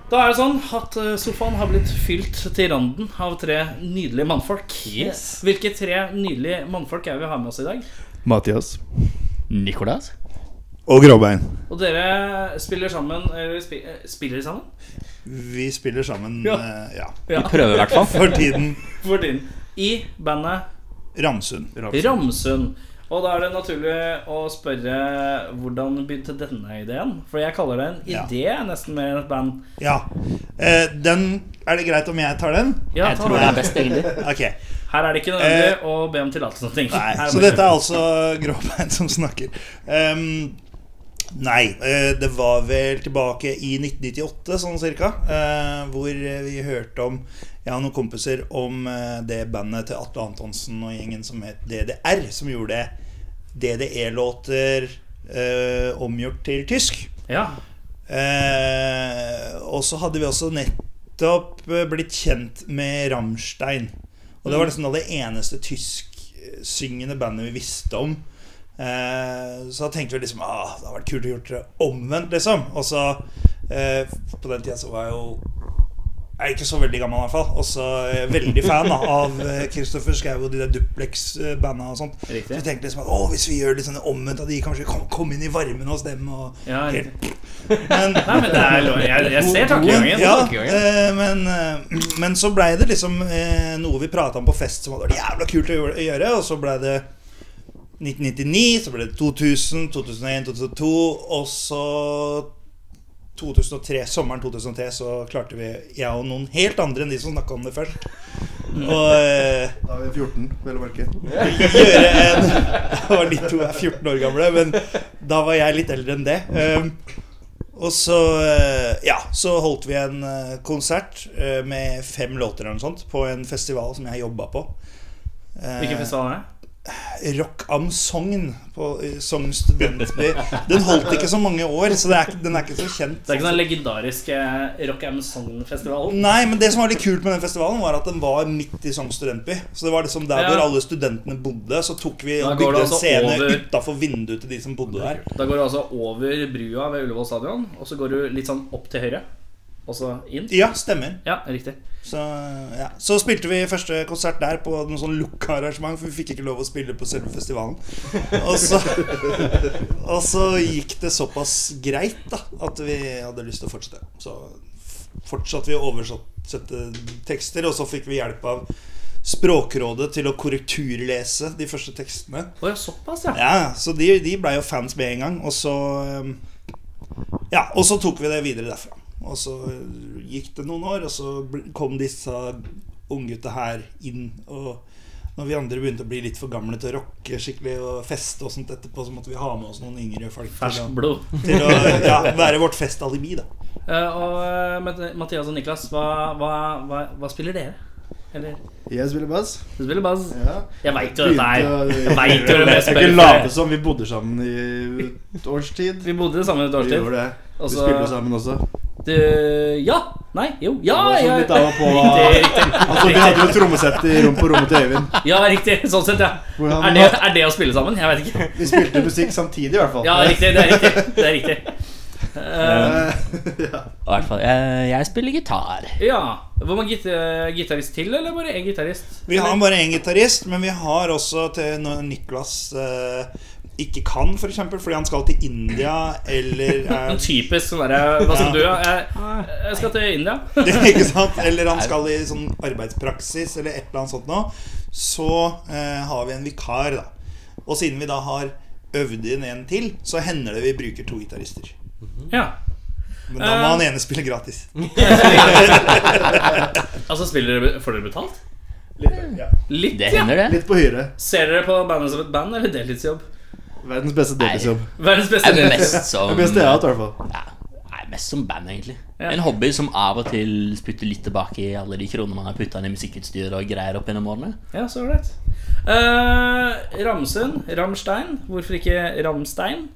S4: Da er det sånn at eh, sofaen har blitt fylt til randen av tre nydelige mannfolk.
S2: Yes.
S4: Hvilke tre nydelige mannfolk er det vi har med oss i dag?
S6: Mathias. Nicolas. Og Gråbein.
S4: Og dere spiller sammen Eller spi, eh, spiller sammen?
S6: Vi spiller sammen,
S4: Ja.
S6: eh, ja.
S4: Ja,
S2: Prøver i hvert fall.
S6: For tiden
S4: for tiden. I bandet
S6: Ramsund.
S4: Ramsund. Og da er det naturlig å spørre hvordan begynte denne ideen? For jeg kaller det en
S6: Ja.
S4: idé, nesten mer enn et band.
S6: Ja. Eh, Den Er det greit om jeg tar den?
S4: Ja,
S7: Jeg
S4: ta
S7: tror det
S4: det.
S7: er best, egentlig.
S6: Ok.
S4: Her er det ikke nødvendig å be om tillatelse. til ting.
S6: Eh, Nei.
S4: Her
S6: Så
S4: må du-
S6: dette er altså Gråbein som snakker. Ehm, nei, eh, det var vel tilbake i 1998, sånn cirka, eh, hvor vi hørte om jeg og noen kompiser om eh, det bandet til Atle Antonsen og gjengen som het DDR, som gjorde DDE-låter eh, omgjort til tysk.
S4: ja.
S6: Eh, og så hadde vi også nettopp eh, blitt kjent med Rammstein. Og det var liksom da det eneste tysksyngende bandet vi visste om. Eh, så da tenkte vi liksom ah, det hadde vært kult å gjort det omvendt, liksom. Og så eh, På den tida så var jeg jo jeg er ikke så veldig gammel, i hvert fall. Og så eh, veldig fan da, av eh, Kristoffer Schau og de der Duplex-banda og sånt. Så vi
S4: Riktig.
S6: tenkte liksom at å, hvis vi gjør litt sånn omvendt av de, kanskje vi kan komme inn i varmen hos dem. og
S4: Ja,
S6: Helt-
S4: riktig.
S6: men,
S4: Nei, men det er, lov. jeg, jeg ser tankegangen.
S6: ja, eh, men, eh, men så blei det liksom eh, noe vi prata om på fest som hadde vært jævla kult å gjøre- å gjøre, og så blei det 1999, så ble det 2000, 2001, 2002, og så 2003, Sommeren 2003 så klarte vi, jeg og noen helt andre enn de som snakka om det først,
S4: Mm.
S6: å eh,
S7: Da er vi 14, vel å merke.
S6: gjøre en Da var de to er 14 år gamle, men da var jeg litt eldre enn det. Um, og så eh, ja, så holdt vi en eh, konsert eh, med fem låter eller noe sånt på en festival som jeg jobba på. Eh,
S4: Hvilken festival er det?
S6: Rock am Sogn på eh, Sogn studentby. Den holdt ikke så mange år, så det er, ikke- den er ikke så kjent.
S4: Det er ikke den legendariske Rock Am Sogn-festivalen?
S6: Nei, men det som var litt kult med den festivalen, var at den var midt i Sogn studentby. Så det var liksom der
S4: Ja.
S6: hvor alle studentene bodde. Så tok vi
S4: Da går
S6: og
S4: det
S6: bygde en
S4: altså
S6: scene
S4: over-
S6: utenfor utafor vinduet til de som bodde der.
S4: Da går du altså over brua ved Ullevål stadion, og så går du litt sånn opp til høyre, og så inn.
S6: Ja, stemmer.
S4: Ja, riktig.
S6: Så, ja. så spilte vi første konsert der på noe sånn lukka arrangement, for vi fikk ikke lov å spille på selve festivalen. Og så, og så gikk det såpass greit da at vi hadde lyst til å fortsette. Så f- fortsatte vi å oversette tekster, og så fikk vi hjelp av Språkrådet til å korrekturlese de første tekstene.
S4: Å ja, såpass, ja.
S6: Ja, så de, de blei jo fans med en gang. Og så um, Ja, og så tok vi det videre derfra. Og så uh, gikk det noen år, og så bl- kom disse unggutta her inn. Og når vi andre begynte å bli litt for gamle til å rocke skikkelig og feste og sånt etterpå, så måtte vi ha med oss noen yngre folk til å,
S4: Ferskt blod.
S6: til å ja, være vårt festalibi, da.
S4: Eh, og eh, Mat- Mathias og Niklas, hva, hva, hva, hva spiller dere? Eller
S7: Jeg spiller bass.
S4: du spiller bass?
S7: Ja.
S4: Jeg veit jo dette her.
S7: Begynte å-
S4: Jeg vet jo hvem jeg
S7: Jeg skal ikke
S4: spør for.
S7: late som vi bodde sammen i et års tid.
S4: Vi bodde sammen et års
S7: Vi
S4: tid.
S7: gjorde det.
S4: Og
S7: Vi
S4: så-
S7: spilte sammen også.
S4: Du Ja! Nei, jo. Ja,
S7: Det var
S4: ja.
S7: sånn litt av og på
S4: Riktig, riktig.
S7: Altså, Vi hadde jo trommesett i rom på rommet til Øyvind.
S4: Ja, riktig. Sånn sett, ja.
S7: hvor han-
S4: Er det, er det å spille sammen? Jeg veit ikke.
S7: Vi spilte musikk samtidig, i hvert fall.
S4: Ja, riktig. Det er riktig. Det er riktig. Eh,
S7: Eh, ja.
S8: I hvert fall. Jeg, jeg spiller gitar.
S4: ja. Hvor mange git gitarist til, eller bare én gitarist?
S6: Vi har bare én gitarist, men vi har også til når Niklas eh, ikke kan, f.eks. For eksempel, fordi han skal til India eller er
S4: En typisk sånn derre Hva som du, ja? Jeg, jeg skal til India.
S6: ikke sant? Eller han skal i sånn arbeidspraksis eller et eller annet sånt nå. Så eh, har vi en vikar, da. Og siden vi da har øvd inn en til, så hender det vi bruker to gitarister.
S4: Ja.
S6: Men da
S4: Eh.
S6: må han ene spille gratis.
S4: Altså, spiller dere Får dere betalt?
S7: Litt, ja.
S4: Litt,
S8: Det
S4: ja.
S8: hender, det.
S7: Litt på hyre.
S4: Ser dere på bandet som et band eller deltidsjobb?
S7: Verdens beste deltidsjobb.
S4: Verdens
S8: Jeg
S4: beste
S8: blir mest som
S7: Det beste jeg har hatt, i hvert fall.
S8: ja, Nei, mest som band, egentlig.
S4: Ja.
S8: En hobby som av og til spytter litt tilbake i alle de kronene man har putta ned i musikkutstyr og greier opp gjennom årene.
S4: Ja, så ålreit. Uh, Ramsund, Ramstein. Hvorfor ikke Ramstein?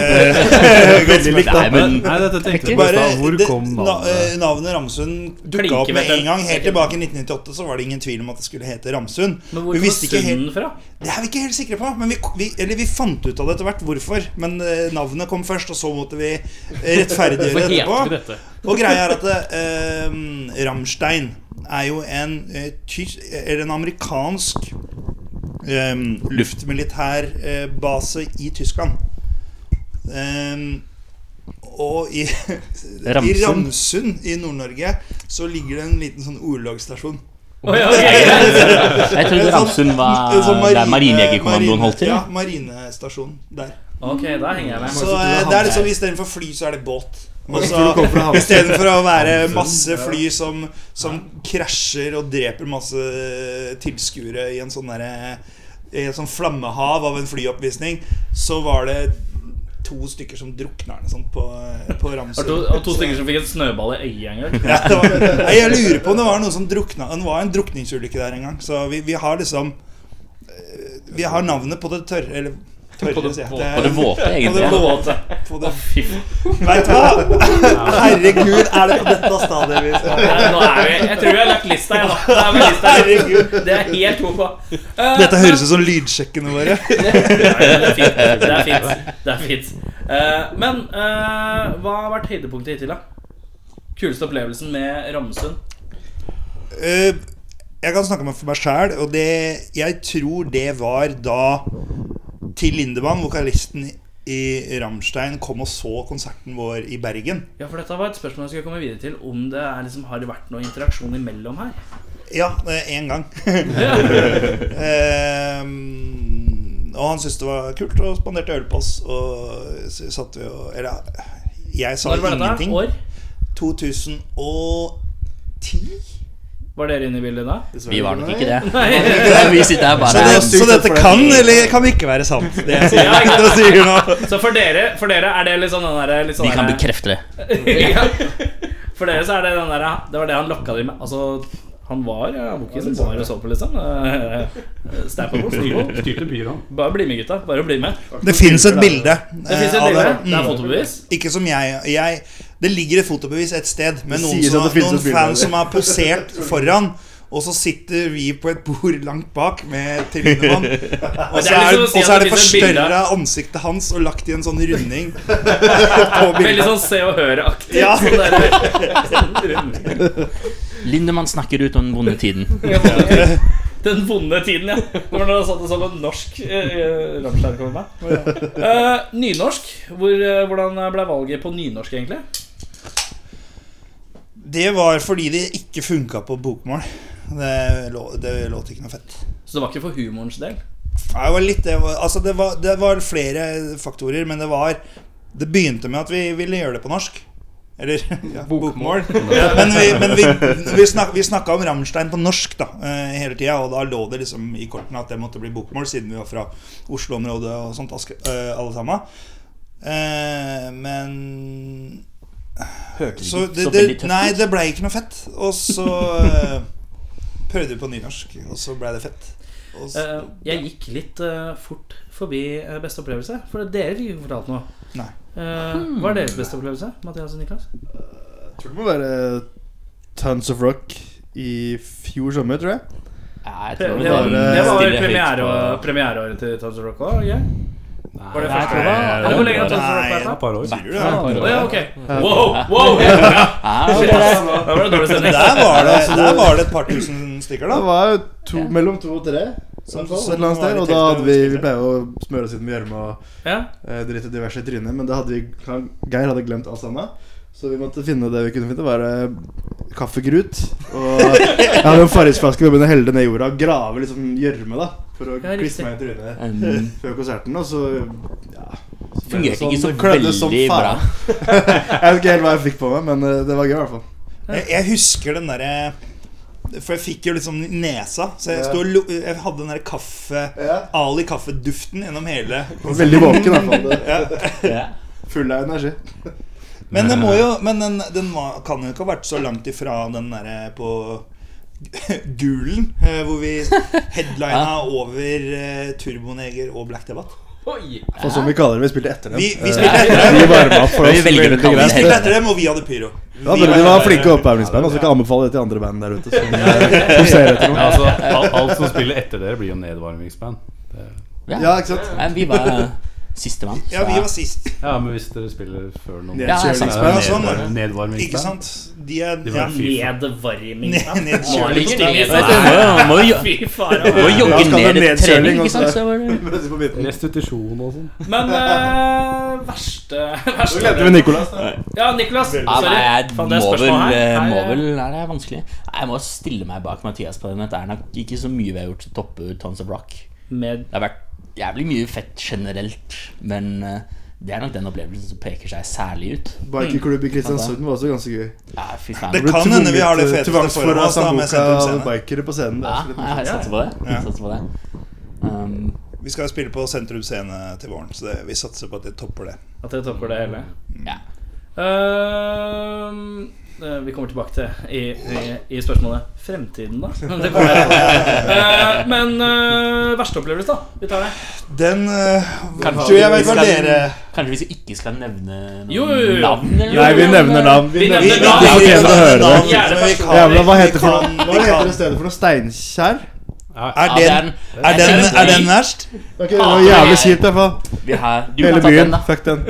S6: Veldig likt,
S8: Nei, men
S3: Nei, dette tenkte jeg på i
S6: Bare,
S3: stad. Hvor
S6: det,
S3: kom
S6: na- eh,
S3: navnet?
S6: navnet Ramsund dukka
S4: Klinker
S6: opp med
S4: med den.
S6: en gang. Helt tilbake i 1998 så var det ingen tvil om at det skulle hete Ramsund.
S4: Men
S6: Vi
S4: hvor kom
S6: visste ikke helt-
S4: Sund fra?
S6: Det er vi ikke helt sikre på, men vi, vi, eller vi fant ut av det etter hvert hvorfor. Men eh, navnet kom først, og så måtte vi rettferdiggjøre
S2: Hvorfor heter vi
S6: etterpå.
S2: dette?
S6: Og greia er at eh, Rammstein er jo en, eh, tys- eller en amerikansk eh, luftmilitær eh, base i Tyskland. Eh, og i, i
S8: Ramsund.
S6: Ramsund i Nord-Norge så ligger det en liten sånn orlogsstasjon.
S4: Å, ja, ok.
S8: jeg trodde Ramsund var
S6: En sånn
S8: der Marinejegerkommandoen
S6: marine-
S8: holdt til.
S6: Ja, marinestasjon der.
S4: ok, da henger jeg med.
S6: Så eh, det er liksom istedenfor fly, så er det båt. Og så
S7: tror du kommer fra Hamsun?
S6: Istedenfor å være masse fly som, som krasjer og dreper masse tilskuere i en sånn derre i et sånn flammehav av en flyoppvisning, så var det to stykker som drukna eller noe sånt på, på
S4: Det var to,
S6: Ramsund.
S4: og to stykker som fikk en snøball i øyet en gang.
S6: Ja, det var, nei, jeg lurer på om det var noen som drukna Det var en drukningsulykke der en gang. Så vi, vi har liksom eh, Vi har navnet på det tørre Eller
S2: På
S6: tørre,
S2: det
S6: sier jeg.
S2: våte.
S8: Og det våte,
S6: Det er- På
S8: egentlig.
S6: det
S8: Ja.
S6: våte. På det
S4: Fy faen.
S6: Veit du hva? Herregud, er det på dette stadiet vi skal
S4: Nei, nå er vi, jeg tror vi har lagt lista, jeg, da. Da er vi lista.
S6: Herregud.
S4: Det er helt ok. Eh,
S6: Dette høres ut som lydsjekkene våre.
S4: men Det er fint. Det er fint. Det er fint. Eh, men eh, hva har vært høydepunktet hittil, da? Kuleste opplevelsen med Ramsund?
S6: Eh, Jeg kan snakke meg for meg sjæl, og det, jeg tror det var da Til Lindemann, vokalisten i Rammstein, kom og så konserten vår i Bergen.
S4: Ja, for dette var et spørsmål jeg skulle komme videre til. Om det er, liksom, har vært noe interaksjon imellom her?
S6: Ja, én gang. Ehm, og han syntes det var kult og spanderte øl på oss. Og så satt vi og Eller jeg sa
S4: Når var dette?
S6: ingenting.
S4: År?
S6: 2010?
S4: Var dere inne i bildet da?
S8: Vi var nok ikke det.
S4: Nei.
S8: Vi sitter her
S6: Så, det,
S8: bare
S6: så dette kan eller kan ikke være sant, det jeg sier,
S4: Ja, ikke sant.
S6: det jeg sier nå.
S4: Så for dere, for dere er det litt sånn den derre litt sånn
S8: Vi kan
S4: derre-
S8: bekrefte det.
S4: Ja. For dere så er det den der Det var det han lokka de med. Altså, han var ja, Wokisen var og så på, liksom. Eh, Stappable, Steeple.
S3: Styrte byer han.
S4: Bare bli med, gutta. Bare bli med.
S6: Det fins et bilde.
S4: Det fins et
S6: eh, av
S4: bilde. Det er
S6: Mm.
S4: fotobevis.
S6: Ikke som jeg, jeg Det ligger et fotobevis et sted med
S7: Det
S6: noen,
S7: sies
S6: som,
S7: at det finnes
S6: noen
S7: et bilde av
S6: fans
S7: det.
S6: som har posert foran. Og så sitter vi på et bord langt bak med Till Lindemann. Og så
S4: Det er
S6: er,
S4: liksom å si
S6: og så
S4: at
S6: er
S4: det finnes
S6: det
S4: et bilde.
S6: forstørra ansiktet hans og lagt i en sånn runding. På
S4: Veldig
S6: bildet.
S4: sånn Se og Hør-aktig.
S6: Ja.
S4: Sånn der- sånn rundt.
S8: Lindemann snakker ut om den vonde tiden.
S4: Den vonde tiden, ja. Det var da jeg satt og så på norsk eh, Rammstein kom med. Eh, nynorsk. Hvor, eh, hvordan ble valget på nynorsk, egentlig?
S6: Det var fordi det ikke funka på bokmål. Det, lå, det låt ikke noe fett.
S4: Så det var ikke for humorens del.
S6: Nei, det var litt det. var- Altså, det var, det var flere faktorer, men det var Det begynte med at vi ville gjøre det på norsk. Eller ja, bokmål. Men vi, men vi, vi, snak, vi snakka om Rammstein på norsk da, eh, hele tida, og da lå det liksom i kortene at det måtte bli bokmål, siden vi var fra Oslo-området og sånt, Aske, eh, alle sammen. Eh, men så det,
S8: så veldig
S6: det,
S8: tøft
S6: Nei, det blei ikke noe fett. Og så eh, prøvde vi på nynorsk, og så blei det fett. Og så,
S4: Eh, jeg gikk litt eh, fort forbi eh, beste opplevelse, for dere fikk ikke fortalt noe.
S6: Nei.
S4: Eh, hva er deres beste opplevelse, Mathias og Niklas?
S7: Jeg tror det må være eh, Tons of Rock i fjor sommer, tror jeg.
S8: Ja, jeg
S4: Det
S8: tror
S4: var,
S8: den
S4: det var vel
S8: stiller høyt
S4: premiere,
S8: på-
S4: premiereåret til Tons of Rock òg? Var det første?
S8: Nei, jeg tror det var-
S4: Er det hvor lenge har Tons of Rock
S6: Nei,
S3: Det
S4: vært
S3: var
S4: da?
S3: et par år.
S6: sier du det?
S4: Å ja, ok. Wow, wow! Ja,
S8: Ja,
S4: shit, ass. Da var det dårlig stemning.
S6: Der var, det, altså, der var det et par tusen stykker,
S7: Det
S6: da.
S7: var jo to, mellom to og tre.
S6: Som-
S7: Så
S6: som
S7: et eller annet
S6: var i
S7: sted, og da
S6: teltet
S7: hadde vi,
S6: og
S7: vi pleier å smøre oss inn med gjørme og
S4: Ja.
S7: eh, drite diverse i trynet, men det hadde vi, han- Geir hadde glemt alt sammen. Så vi måtte finne det vi kunne finne. Var det kaffegrut. Og jeg hadde en farrisflaske og begynte å helle det ned i jorda og grave litt sånn gjørme da, for å
S4: Ja, riktig.
S7: klistre meg i trynet
S8: Um,
S7: før konserten. Og så ja, så ble det
S8: Fungerte
S6: Sånn
S8: ikke så
S7: det klødde som
S8: veldig bra.
S7: faen. Jeg vet ikke helt hva jeg fikk på meg, men eh, det var gøy i hvert fall.
S6: Jeg, jeg husker den derre For jeg fikk jo liksom nesa. Så jeg,
S7: Ja.
S6: sto og lo, jeg hadde den derre kaffe Ali kaffeduften gjennom hele
S7: Veldig våken i hvert fall. Det.
S8: Ja.
S7: Full av energi.
S6: Men, det må jo, men den, den var, kan jo ikke ha vært så langt ifra den derre på Gulen, eh, hvor vi headlina over eh, Turboneger og Black Debatt.
S2: Oi!
S7: Og Sånn som vi kaller det, vi spilte etter dem.
S6: Vi,
S7: Eh,
S6: vi spilte etter
S7: vi
S6: dem,
S7: varma opp for
S8: Vi
S7: oss
S8: velger å
S7: veldig
S8: kalle
S6: vi
S7: greit.
S8: det-
S6: spilte etter dem og vi hadde pyro.
S7: Ja,
S6: Vi
S7: dere de var
S6: var-
S7: flinke oppvarmingsband. Og så kan jeg anbefale det til andre band der ute som, eh, som ser etter noe.
S3: Altså, alt, alt som spiller etter dere, blir jo nedvarmingsband. Det-
S7: Ja, ikke sant?
S8: Nei, vi var sistemann.
S6: Ja, vi var sist.
S3: Ja, men hvis dere spiller før noen
S8: Ja, jeg sa det.
S7: Nedkjølingsband.
S6: sånn var det. Ikke
S3: Nedvarmingsband.
S6: sant? De er
S3: De
S6: ja.
S3: var- Fy faen.
S4: Nedvarming.
S6: Ned- nedkjøling.
S8: Må jo
S4: Fy
S8: må
S4: faen.
S8: jo jogge
S7: skal det
S8: ned et
S7: nedkjøling
S8: trening, ikke
S7: også.
S8: sant? Så var det
S7: Plutselig på midten.
S3: Restitusjon og sånn.
S4: Men eh, verste,
S7: Så
S4: verste
S7: glemte vi Nicolas.
S4: Ja, Niklas. Sorry.
S8: Ja, nei, jeg
S4: Faen,
S8: må
S4: det er
S8: vel,
S4: spørsmålet her.
S8: eh, må
S4: Her, eh,
S8: vel Nei, det er vanskelig. Nei, Jeg må stille meg bak Mathias på den. at Det er nok ikke så mye vi har gjort til å toppe Tons of Rock.
S4: Med
S8: Det har vært jævlig mye fett generelt, men eh, det er nok den opplevelsen som peker seg særlig ut.
S7: Bikerklubb i Kristiansund var også ganske gøy.
S8: Ja, fy faen.
S6: Det kan hende vi har det feteste foran oss, da,
S7: Sambuca
S6: med Sentrum
S7: og
S6: Scene.
S7: bikere på scenen. Det
S8: Ja,
S7: er så litt
S8: jeg satser på det. Jeg satser på det. Um,
S6: Vi skal spille på Sentrum Scene til våren, så det, vi satser på at det topper det.
S4: at jeg topper det hele.
S8: ja.
S4: Ehm, eh, vi kommer tilbake til i, i, i spørsmålet fremtiden, da. Det kommer jeg til. Eh, men eh, verste opplevelse, da? Vi tar det.
S6: Den øh,
S8: Kanskje
S6: tror jeg
S8: vi
S6: vet hva
S8: skal-
S6: dere
S8: Kanskje hvis vi ikke skal nevne
S4: Jo, jo, jo.
S8: noen navn? eller
S4: Nei,
S8: noe?
S4: vi nevner
S7: navn.
S4: Vi
S6: Vi-
S4: nevner
S6: vi-
S4: navn.
S7: Ja,
S6: vi-
S7: ok,
S6: vi-
S7: da hører vi.
S6: navn,
S4: Gjerne
S6: men vi
S4: person.
S6: kan-
S7: Jævla, hva
S6: vi
S7: heter det for
S6: kan-
S7: noe?
S6: vi
S7: Hva
S6: kan-
S7: heter det stedet for noe? Steinkjer?
S3: Ja,
S6: Er
S8: Ja,
S6: den,
S8: det er-
S6: er den, er den verst?
S7: Ok, det var jævlig kjipt, i hvert fall.
S8: Vi har, du
S7: Hele
S8: kan ta
S7: byen.
S8: den, da.
S7: Fuck den.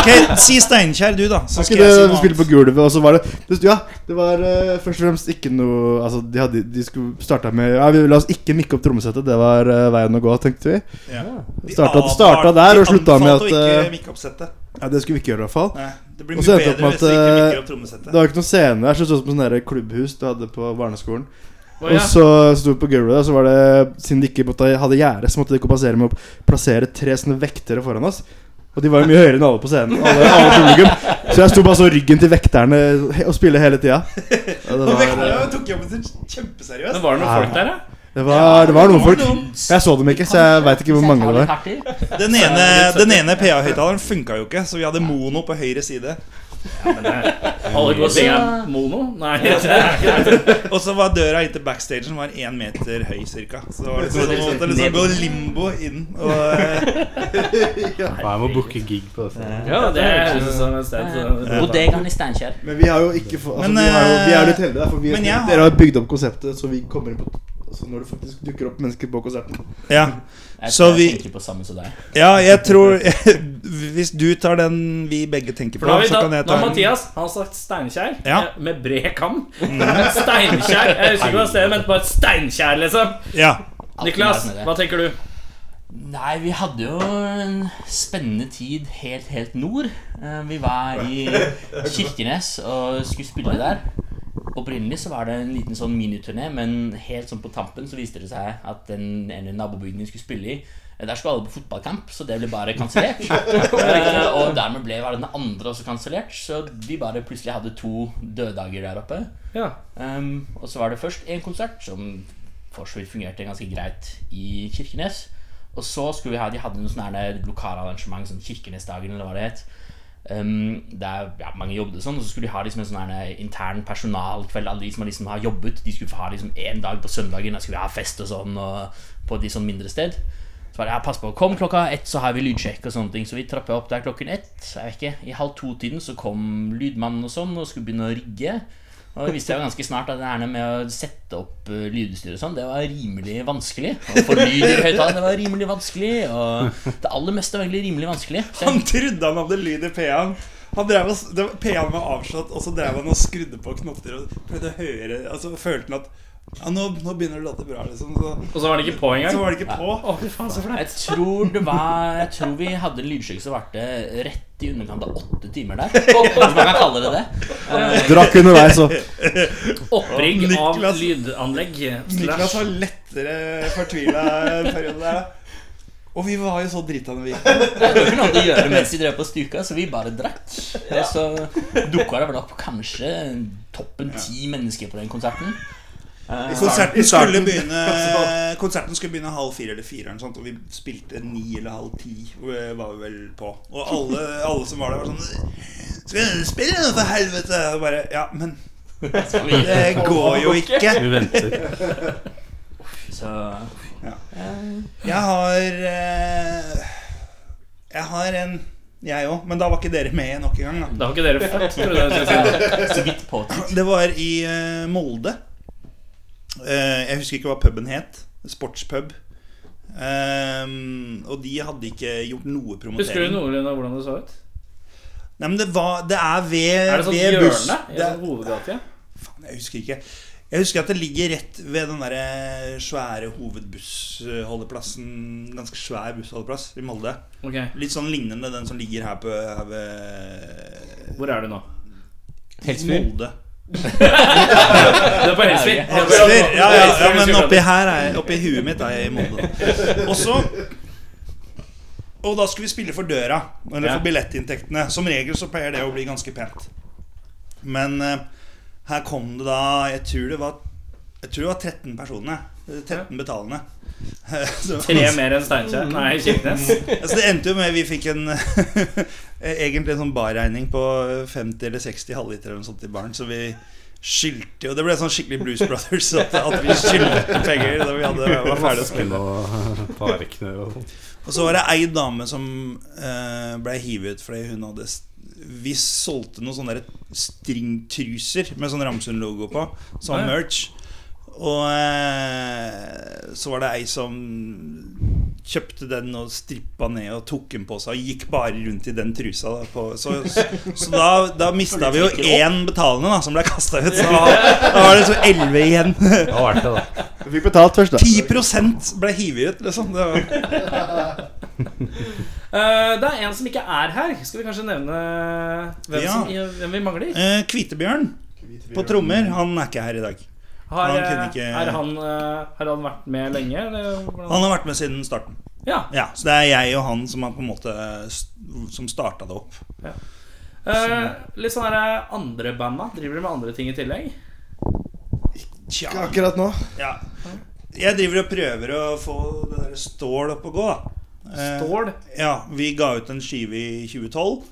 S6: Ok, Si Steinkjer, du, da. Så
S7: Var
S6: skal
S7: ikke
S6: jeg si
S7: det vi
S6: noe
S7: spilte på
S6: annet.
S7: gulvet, og så var det det- Ja, det var eh, først og fremst ikke noe Altså, de, hadde, de skulle starta med Ja, vi, la oss ikke mikke opp trommesettet, det var eh, veien å gå, tenkte vi.
S6: Ja. De
S7: Starta,
S6: advarte-
S7: starta der og slutta med at
S6: De anbefalte å ikke
S7: eh,
S6: mikke opp settet.
S7: Ja, det skulle vi ikke gjøre, i hvert fall.
S6: Nei, Det blir
S7: Og
S6: mye
S7: så endte det opp
S6: bedre
S7: med
S6: hvis
S7: at,
S6: du ikke
S7: eh,
S6: mikker opp
S7: Det var
S6: trommesettet.
S7: ikke noe scene der, så det så ut som sånn der klubbhus du hadde på barneskolen.
S4: Å, ja.
S7: Og så sto vi på gulvet, og så var det Siden de ikke måtte, hadde gjerde, så måtte de ikke passere med å plassere tre sånne vektere foran oss. Og de var jo mye høyere enn alle på scenen. Alle, alle publikum. Så jeg sto bare så ryggen til vekterne he- og spille hele tida. Ja, det,
S6: Og
S7: var,
S6: Vekterne tok jobben sin kjempeseriøst.
S4: Men var det noen folk der, da?
S7: det, var, det var noen folk. Jeg så dem ikke, så jeg veit ikke hvor mange det var.
S6: Den ene, den ene PA-høyttaleren funka jo ikke, så vi hadde mono på høyre side.
S4: eh, Alle går og sier mono? Nei. det er ikke det.
S6: Og så var døra inn til backstagen var én meter høy, cirka. Så det var liksom, man måtte liksom gå limbo inn. Og, eh,
S3: jeg må booke gig på det stedet.
S4: Ja, det høres ut som et sted. så-
S8: Altså, Bodegaen i Steinkjer.
S7: Men vi har jo ikke fått altså,
S6: Men,
S7: vi, har jo, vi er jo
S6: eh,
S7: litt heldige, der, for vi,
S6: men jeg har-
S7: dere har bygd opp konseptet så vi kommer inn på altså, Når det faktisk dukker opp mennesker på konserten.
S6: ja.
S8: Jeg,
S6: Så
S8: jeg
S6: vi-
S8: tenker på samme som deg.
S6: ja, jeg tror Hvis du tar den vi begge tenker på,
S4: For da har vi
S6: så
S4: da,
S6: kan jeg
S4: nå har
S6: ta den.
S4: Mathias han har sagt Steinkjer
S6: Ja. Mm.
S4: eh, med bred kam. Steinkjer. Jeg husker ikke hva stedet men bare Steinkjer, liksom.
S6: Ja.
S8: Alt
S4: Niklas,
S8: med det.
S4: hva tenker du?
S8: Nei, vi hadde jo en spennende tid helt, helt nord. Eh, Vi var i Kirkenes og skulle spille der. Opprinnelig så var det en liten sånn miniturné, men helt sånn på tampen så viste det seg at den ene nabobygden vi skulle spille i eh, der skulle alle på fotballkamp, så det ble bare kansellert. Eh, og dermed ble var den andre også kansellert, så vi bare plutselig hadde to døddager der oppe.
S4: Ja.
S8: Um, og så var det først en konsert som for så vidt fungerte ganske greit i Kirkenes. Og så skulle vi ha, de hadde noe sånn her lokalarrangement, sånn Kirkenesdagen eller hva det het. Um, der ja, mange jobbet og sånn, og så skulle de ha liksom en sånn her intern personalkveld. Alle de som liksom har jobbet, de skulle få ha liksom én dag på søndagen, der skulle vi ha fest og sånn, og på de sånn mindre sted. Så var det, ja, pass på, kom klokka ett, så har vi lydsjekk og sånne ting. Så vi trappa opp der klokken ett. Jeg vet ikke, I halv to-tiden så kom lydmannen og sånn og skulle begynne å rigge. Og det viste jeg jo ganske snart at det her med å sette opp eh, lydutstyr og sånn, det var rimelig vanskelig. Å få lyd i høyttaleren, det var rimelig vanskelig. Og det aller meste var egentlig rimelig vanskelig. Så jeg-
S6: Han trodde han hadde lyd i PA-en. Han drev og, det var- PA-en var avslått, og så drev han og skrudde på knotter og prøvde å høre Og så følte han at ja, nå, nå begynner det å låte bra, liksom. Så,
S4: Og så var det ikke på
S6: så
S4: engang.
S6: var det ikke på.
S4: Å, fy faen, så flaut.
S8: Jeg tror det var Jeg tror vi hadde en lydsjekk som varte rett i underkant av åtte timer der. Hvis man kan kalle det Eh, det.
S7: Drakk underveis og
S4: Opprigg av
S6: Niklas-
S4: lydanlegg.
S6: Niklas var
S4: Slash.
S6: lettere fortvila en periode der. Og vi var jo så drita når vi gikk.
S8: Det var ikke noe annet å gjøre mens vi drev på stuka, så vi bare drakk. Og så dukka det vel opp kanskje toppen ti mennesker på den konserten.
S6: Konserten
S7: I Eh, starten. Altså.
S6: skulle begynne Konserten skulle begynne halv fire eller fire, eller noe sånt, og vi spilte ni eller halv ti. eh, Var vi vel på Og alle, alle som var der, var sånn Skal du spille nå, for helvete? Og bare Ja, men det går jo ikke.
S3: Vi venter.
S8: Så
S6: Jeg har eh, Jeg har en, jeg òg. Men da var ikke dere med nok en gang. da
S4: Da har ikke dere født, tror jeg. jeg skulle si.
S8: så vidt på
S6: Det var i eh, Molde. Eh, jeg husker ikke hva puben het. Sportspub. Ehm, og de hadde ikke gjort noe
S4: Husker du
S6: promotering.
S4: noenlunde hvordan det så ut?
S6: Nei, men det, var, det er ved,
S4: Er det sånn
S6: ved buss.
S4: hjørne? I
S6: Eh, Det
S4: sånn hovedgate?
S6: faen, jeg husker ikke. Jeg husker at det ligger rett ved den der eh, svære hovedbussholdeplassen. Ganske svær bussholdeplass i Molde.
S4: Ok,
S6: Litt sånn lignende den som ligger her, på, her ved
S4: Hvor er du nå?
S2: Helsfyr?
S6: Molde.
S4: Det er på Helsfyr.
S6: Helsfyr. Ja, ja, ja, men oppi her er Oppi huet mitt er jeg i Molde. Og så Og da skulle vi spille for døra, eller
S4: Ja.
S6: for billettinntektene. Som regel så pleier det å bli ganske pent. Men eh, her kom det da Jeg tror det var Jeg tror det var 13 personer. eh, 13 betalende. Så-
S4: Tre mer enn Steinkjer. Nei, Kirkenes.
S6: Altså, det endte jo med vi fikk en egentlig en sånn barregning på 50 eller 60 halvliter eller noe sånt til barn. Så vi skyldte jo Det ble sånn skikkelig Blues Brothers at, at vi skyldte penger da vi hadde, var ferdig å spille.
S3: og tallerkener og sånn. sånt.
S6: Og så var det ei dame som eh, ble hivet ut fordi hun hadde s- Vi solgte noen sånne der stringtruser med sånn Ramsund-logo på, som
S4: Ah, ja.
S6: merch. Og eh, så var det ei som kjøpte den og strippa ned og tok den på seg og gikk bare rundt i den trusa. Da, på, så så, så da, da mista vi jo én betalende da, som ble kasta ut. Så da, da var det så elleve igjen.
S3: Det var verdt det, da.
S7: Vi fikk betalt først, da.
S6: 10 ble hivet ut, liksom. Det var
S4: Eh, det er en som ikke er her. Skal vi kanskje nevne hvem,
S6: Ja.
S4: som, hvem vi mangler?
S6: Eh, Kvitebjørn på trommer, han er ikke her i dag.
S4: Har,
S6: Han
S4: eh,
S6: kunne ikke-
S4: er han, eh, har han vært med lenge? Eller hvordan?
S6: Han har vært med siden starten.
S4: Ja.
S6: Ja, Så det er jeg og han som er på en måte st- Som starta det opp.
S4: Eh, litt sånn her eh, andre banda. Driver de med andre ting i tillegg?
S6: Tja.
S7: Ikke akkurat nå.
S6: Ja. Jeg driver og prøver å få det der stål opp å gå, da. Eh,
S4: Stål?
S6: Ja, vi ga ut en skive i 2012.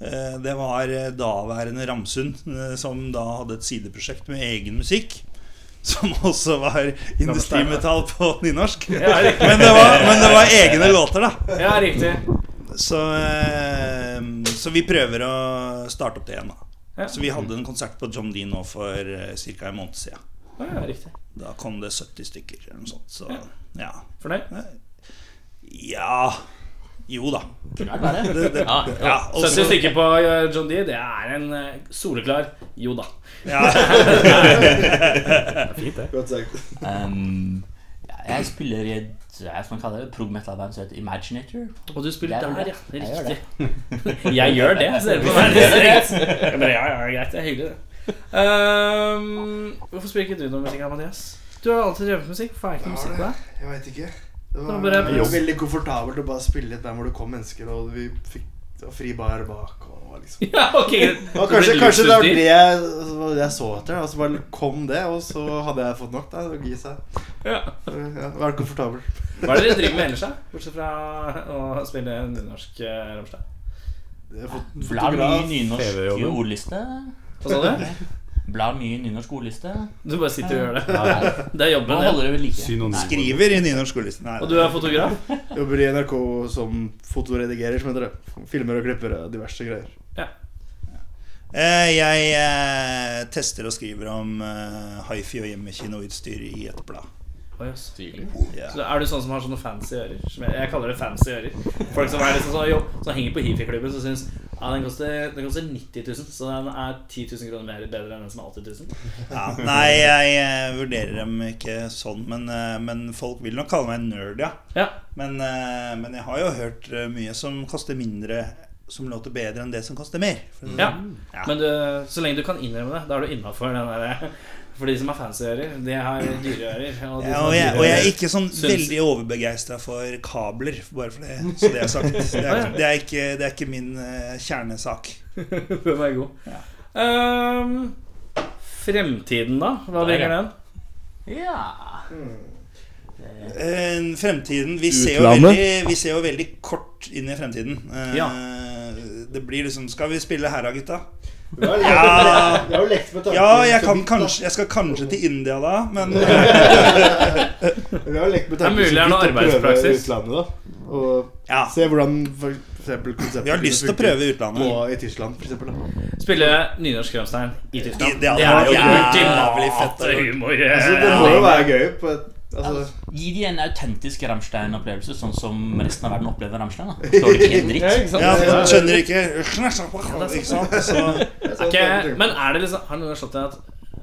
S6: Eh, Det var eh, daværende Ramsund, eh, som da hadde et sideprosjekt med egen musikk. Som også var industrimetall på nynorsk.
S4: Ja, riktig.
S6: Men det var, men det var egne låter, da.
S4: Ja, riktig.
S6: Så, eh, så vi prøver å starte opp det igjen, da.
S4: Ja.
S6: Så vi hadde en konsert på John D nå for ca. en måned siden.
S4: Ja, riktig.
S6: Da kom det 70 stykker eller noe sånt. Så ja.
S4: Fornøyd?
S6: Ja Jo da.
S8: Kunne vært verre.
S6: Det, det,
S8: Ja,
S6: ja, og
S4: 70
S6: så-
S4: stykker på eh, John D, det er en eh, soleklar jo da.
S6: ja.
S3: Fint, det.
S7: Godt sagt.
S8: Um, ja, jeg spiller i et hva skal man kalle det, prog metal-band som heter Imaginator.
S4: Og du spiller
S8: Jeg gjør
S4: der,
S8: det.
S4: ja. Det er
S8: Jeg gjør
S4: riktig. Jeg gjør det, ser du på meg. Det er greit. Jeg bare, Ja, ja, greit. Det er hyggelig, det. Ehm, hvorfor spiller ikke du noe musikk, da, Mathias? Du har alltid drevet med musikk. Hvorfor er det ikke musikk på deg?
S7: Jeg veit ikke. Det
S4: var
S7: var,
S4: bare-
S7: det var veldig komfortabelt å bare spille et band hvor det kom mennesker, og vi fikk det var fri bar bak. Og det var liksom.
S4: Ja, ok
S7: Det var kanskje, kanskje det var det jeg, det var det jeg så etter. Og så bare kom det, og så hadde jeg fått nok. Da, og gi seg.
S4: Ja.
S7: Ja, Være komfortabel.
S4: Hva er det dere driver med ellers, da? Bortsett fra å spille nynorsk eh, Rammstein.
S7: Jeg har fått
S8: Blar mye
S7: fotograf.
S8: i nynorsk
S3: TV-jobben.
S8: ordliste.
S4: Hva sa du?
S8: Blar mye i nynorsk ordliste.
S4: Du bare sitter og gjør det.
S3: Ja, ja.
S4: Det er
S8: Nå
S4: jobben
S8: holder
S4: din.
S8: det ved like.
S3: Synonym.
S6: Skriver i nynorsk ordliste. Nei,
S4: Og du er fotograf?
S7: Jobber i NRK som fotoredigerer, som heter det. Filmer og klipper og diverse greier.
S6: Eh, Jeg eh, tester og skriver om eh, hifi og hjemmekinoutstyr i et blad.
S4: Oi, ass. Tydelig.
S6: Ja.
S4: Så er du sånn som har sånne fancy ører? Som jeg, jeg kaller det fancy ører. Folk som, er liksom så, jo, som henger på hifi-klubben som syns ja, den, koster, den koster 90 000, så den er 10 000 kroner mer bedre enn den som er 80 000.
S6: Ja, nei, jeg eh, vurderer dem ikke sånn, men, eh, men folk vil nok kalle meg nerd, ja.
S4: Ja.
S6: Men, eh, men jeg har jo hørt eh, mye som koster mindre, som låter bedre enn det som koster mer. For å si det
S4: ja.
S6: sånn. Ja.
S4: Men du, så lenge du kan innrømme det, da er du innafor den derre For de som har fancy ører, de har dyre ører. Og de
S6: Ja,
S4: som
S6: og, jeg,
S4: har dyre
S6: og jeg er
S4: ører-
S6: ikke sånn
S4: Syns-
S6: veldig overbegeistra for kabler, bare for det. Så det er sagt. Det er, det er, ikke, det er ikke min eh, kjernesak.
S4: Den er god. Ehm, fremtiden, da? Hva
S8: Der,
S4: bringer
S8: ja.
S4: den?
S8: Ja
S6: Eh, Fremtiden Vi ser, jo
S7: Utlandet?
S6: veldig, vi ser jo veldig kort inn i fremtiden. Eh, Det blir liksom Skal vi spille her da, gutta? Ja,
S7: Jeg har jo lekt med tanken
S6: ja jeg,
S7: så
S6: kan
S7: vidt, da.
S6: kanskje, jeg skal kanskje til India da, men eh,
S7: Vi har jo lekt med
S9: Det er
S7: tanken
S9: mulig
S7: så
S9: det er noe
S7: vidt å prøve
S9: arbeidspraksis.
S7: utlandet, da. Og
S6: ja.
S7: se hvordan for eksempel konseptet
S6: Vi har lyst til å prøve utlandet.
S7: På i Tyskland, for eksempel. Da.
S4: Spille nynorsk Ramstein i Tyskland.
S6: Det hadde
S4: Det er
S6: vært
S4: jo
S6: jævlig fett.
S4: Det er humor.
S7: Altså, det må jo være gøy. På et, altså,
S8: Gi de en autentisk Rammstein-opplevelse, sånn som resten av verden opplever Rammstein. da Så er det ikke en
S2: Ja,
S8: dritt
S2: ikke sant?
S6: Ja, men skjønner ikke Ikke sant? Så
S7: det er sånn
S4: Ok,
S7: ting.
S4: men er det liksom Har noen gang slått deg at